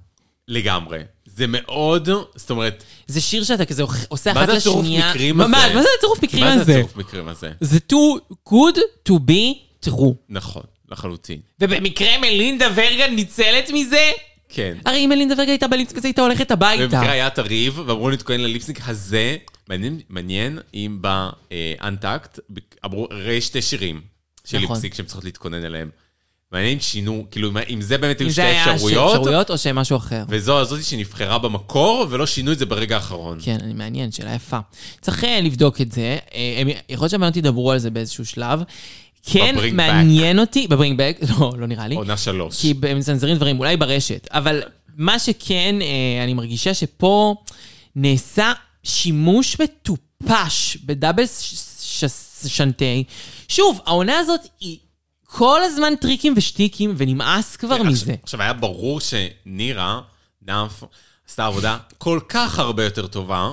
[SPEAKER 3] לגמרי. זה מאוד, זאת אומרת,
[SPEAKER 2] זה שיר שאתה כזה עושה
[SPEAKER 3] מה
[SPEAKER 2] אחת
[SPEAKER 3] זה הצירוף
[SPEAKER 2] לשנייה.
[SPEAKER 3] מקרים
[SPEAKER 2] מה-
[SPEAKER 3] הזה?
[SPEAKER 2] מה מה זה הצירוף מקרים
[SPEAKER 3] מה זה
[SPEAKER 2] הזה?
[SPEAKER 3] הצירוף מקרים הזה?
[SPEAKER 2] זה too good to be true.
[SPEAKER 3] נכון, לחלוטין.
[SPEAKER 2] ובמקרה מלינדה ורגה ניצלת מזה?
[SPEAKER 3] כן.
[SPEAKER 2] הרי אם מלינדה ורגה הייתה בליפסקס, הייתה הולכת הביתה.
[SPEAKER 3] במקרה היה את הריב, ואמרו להתכונן לליפסינק הזה. מעניין, מעניין אם באנטקט אמרו, הרי שתי שירים של
[SPEAKER 2] נכון.
[SPEAKER 3] ליפסינק שהם צריכות להתכונן אליהם. מעניין אם שינו, כאילו, אם- אם זה באמת היו
[SPEAKER 2] אם
[SPEAKER 3] שתי
[SPEAKER 2] זה היה
[SPEAKER 3] אפשרויות,
[SPEAKER 2] אפשרויות או שמשהו אחר.
[SPEAKER 3] וזו הזאתי שנבחרה במקור, ולא שינו את זה ברגע האחרון.
[SPEAKER 2] כן, אני מעניין, שאלה יפה. צריך אה, לבדוק את זה. אה, הם- יכול להיות שהבנות ידברו על זה באיזשהו שלב. כן,
[SPEAKER 3] בברינג
[SPEAKER 2] מעניין אותי, בברינג בק, לא, לא נראה לי.
[SPEAKER 3] עונה שלוש.
[SPEAKER 2] כי הם מצנזרים דברים, אולי ברשת. אבל מה שכן, אה, אני מרגישה שפה נעשה שימוש מטופש בדאבל ש- ש- שנטי. שוב, העונה הזאת היא כל הזמן טריקים ושטיקים, ונמאס כבר
[SPEAKER 3] עכשיו-
[SPEAKER 2] מזה.
[SPEAKER 3] כן, עכשיו, היה ברור שנירה, דף, עשתה עבודה כל כך הרבה יותר טובה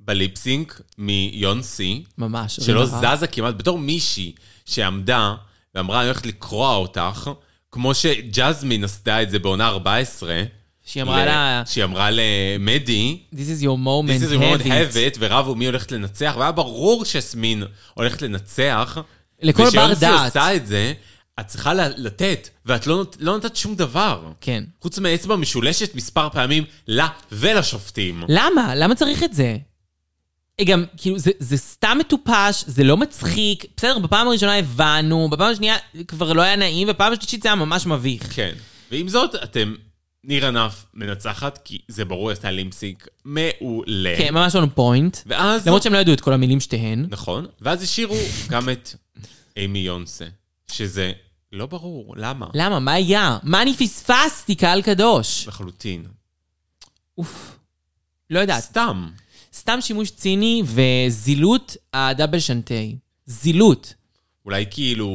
[SPEAKER 3] בליפסינק מיונסי,
[SPEAKER 2] ממש.
[SPEAKER 3] שלא
[SPEAKER 2] רווחה.
[SPEAKER 3] זזה כמעט, בתור מישהי שעמדה ואמרה, אני הולכת לקרוע אותך, כמו שג'זמין עשתה את זה בעונה 14.
[SPEAKER 2] שהיא אמרה
[SPEAKER 3] ל-
[SPEAKER 2] לה,
[SPEAKER 3] שהיא אמרה למדי,
[SPEAKER 2] This is your moment,
[SPEAKER 3] This is
[SPEAKER 2] have it.
[SPEAKER 3] a have it, ורבו מי הולכת לנצח, והיה ברור שסמין הולכת לנצח.
[SPEAKER 2] לכל בר דעת.
[SPEAKER 3] וכשיונסי עושה את זה, את צריכה ל- לתת, ואת לא, נות- לא נתת שום דבר.
[SPEAKER 2] כן.
[SPEAKER 3] חוץ מאצבע משולשת מספר פעמים לה ולשופטים.
[SPEAKER 2] למה? למה צריך את זה? אה, גם, כאילו, זה, זה סתם מטופש, זה לא מצחיק. בסדר, בפעם הראשונה הבנו, בפעם השנייה כבר לא היה נעים, בפעם השלישית זה היה ממש מביך.
[SPEAKER 3] כן. ועם זאת, אתם, ניר ענף מנצחת, כי זה ברור, עשתה לימפסיק מעולה.
[SPEAKER 2] כן, ממש on point.
[SPEAKER 3] ואז...
[SPEAKER 2] למרות שהם לא ידעו את כל המילים שתיהן.
[SPEAKER 3] נכון. ואז השאירו גם את אימי יונסה, שזה לא ברור, למה?
[SPEAKER 2] למה? מה היה? מה אני פספסתי, קהל קדוש?
[SPEAKER 3] לחלוטין.
[SPEAKER 2] אוף. לא יודעת.
[SPEAKER 3] סתם.
[SPEAKER 2] סתם שימוש ציני וזילות הדאבל שנטי. זילות.
[SPEAKER 3] אולי כאילו...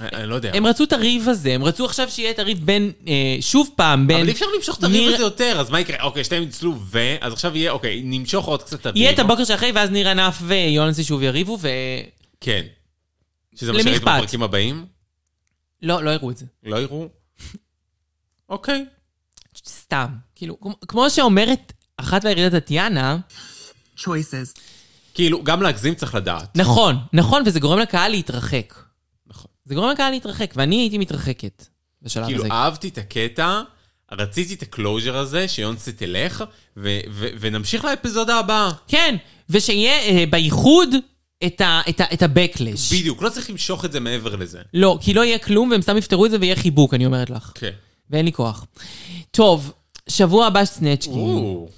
[SPEAKER 3] אני- אני לא יודע.
[SPEAKER 2] הם רצו את הריב הזה, הם רצו עכשיו שיהיה את הריב בין, אה, שוב פעם, בין...
[SPEAKER 3] אבל אי אפשר למשוך את הריב
[SPEAKER 2] ניר-
[SPEAKER 3] הזה יותר, אז מה יקרה? אוקיי, שתיהם ניצלו ו... אז עכשיו יהיה, אוקיי, נמשוך עוד קצת את הריב.
[SPEAKER 2] יהיה את הבוקר שאחרי, ואז ניר ענף ויונסי שוב יריבו, ו...
[SPEAKER 3] כן. שזה מה
[SPEAKER 2] למי
[SPEAKER 3] שראית
[SPEAKER 2] אכפת?
[SPEAKER 3] בפרקים הבאים?
[SPEAKER 2] לא, לא יראו את זה.
[SPEAKER 3] לא יראו? אוקיי.
[SPEAKER 2] סתם. כאילו, כמו- כמו שאומרת אחת מהירידת טטיאנה,
[SPEAKER 4] choices.
[SPEAKER 3] כאילו, גם להגזים צריך לדעת.
[SPEAKER 2] נכון, נכון, וזה גורם לקהל להתרחק.
[SPEAKER 3] נכון.
[SPEAKER 2] זה גורם לקהל להתרחק, ואני הייתי מתרחקת בשלב
[SPEAKER 3] כאילו,
[SPEAKER 2] הזה.
[SPEAKER 3] אהבתי את הקטע, רציתי את הקלוז'ר הזה, שיונסי תלך, ו- ו- ונמשיך לאפיזודה הבאה.
[SPEAKER 2] כן, ושיהיה אה, בייחוד את ה- את ה- את ה-Backlash.
[SPEAKER 3] בדיוק, לא צריך למשוך את זה מעבר לזה.
[SPEAKER 2] לא, כי לא יהיה כלום, והם סתם יפתרו את זה ויהיה חיבוק, אני אומרת לך.
[SPEAKER 3] כן.
[SPEAKER 2] ואין לי כוח. טוב, שבוע הבא סנאצ'קין.
[SPEAKER 3] או,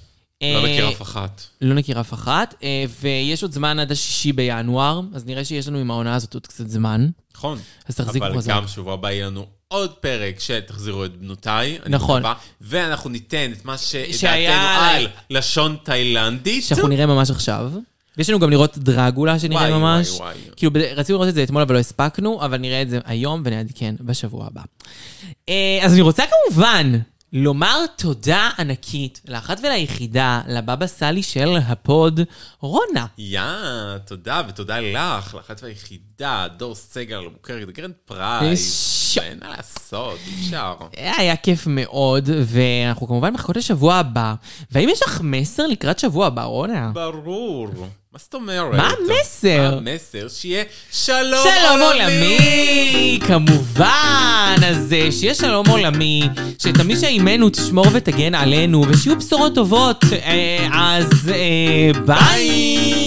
[SPEAKER 2] אה,
[SPEAKER 3] לא מכיר אף אחת.
[SPEAKER 2] לא נכיר אף אחת, אה, ויש עוד זמן עד השישי בינואר, אז נראה שיש לנו עם העונה הזאת עוד קצת זמן.
[SPEAKER 3] נכון.
[SPEAKER 2] אז תחזיקו
[SPEAKER 3] אבל
[SPEAKER 2] חזק.
[SPEAKER 3] אבל גם שבוע הבא יהיה לנו עוד פרק של תחזירו את בנותיי. אני
[SPEAKER 2] נכון.
[SPEAKER 3] מקווה, ואנחנו ניתן את מה שדעתנו
[SPEAKER 2] שהיה
[SPEAKER 3] על לשון תאילנדית.
[SPEAKER 2] שאנחנו נראה ממש עכשיו. ויש לנו גם לראות דרגולה שנראה
[SPEAKER 3] וואי,
[SPEAKER 2] ממש.
[SPEAKER 3] וואי, וואי.
[SPEAKER 2] כאילו, בד- רצינו לראות את זה אתמול, אבל לא הספקנו, אבל נראה את זה היום ונעדכן בשבוע הבא. אה, אז אני רוצה כמובן לומר תודה ענקית לאחת וליחידה, לבבא סאלי של הפוד, רונה.
[SPEAKER 3] יא, תודה, ותודה לך, לאחת והיחידה, דור סגל, מוכרת, גרנד פרייס.
[SPEAKER 2] וש-
[SPEAKER 3] אין מה לעשות, אי אפשר.
[SPEAKER 2] אה, היה כיף מאוד, ואנחנו כמובן מחכות לשבוע הבא. והאם יש לך מסר לקראת שבוע הבא, רונה?
[SPEAKER 3] ברור. מה זאת אומרת?
[SPEAKER 2] מה המסר?
[SPEAKER 3] מה המסר? שיהיה שלום
[SPEAKER 2] שלום
[SPEAKER 3] עולמי.
[SPEAKER 2] עולמי, כמובן. אז אה, שיהיה שלום עולמי, שאת מי שאימנו תשמור ותגן עלינו, ושיהיו בשורות טובות. אה, אז אה, ביי.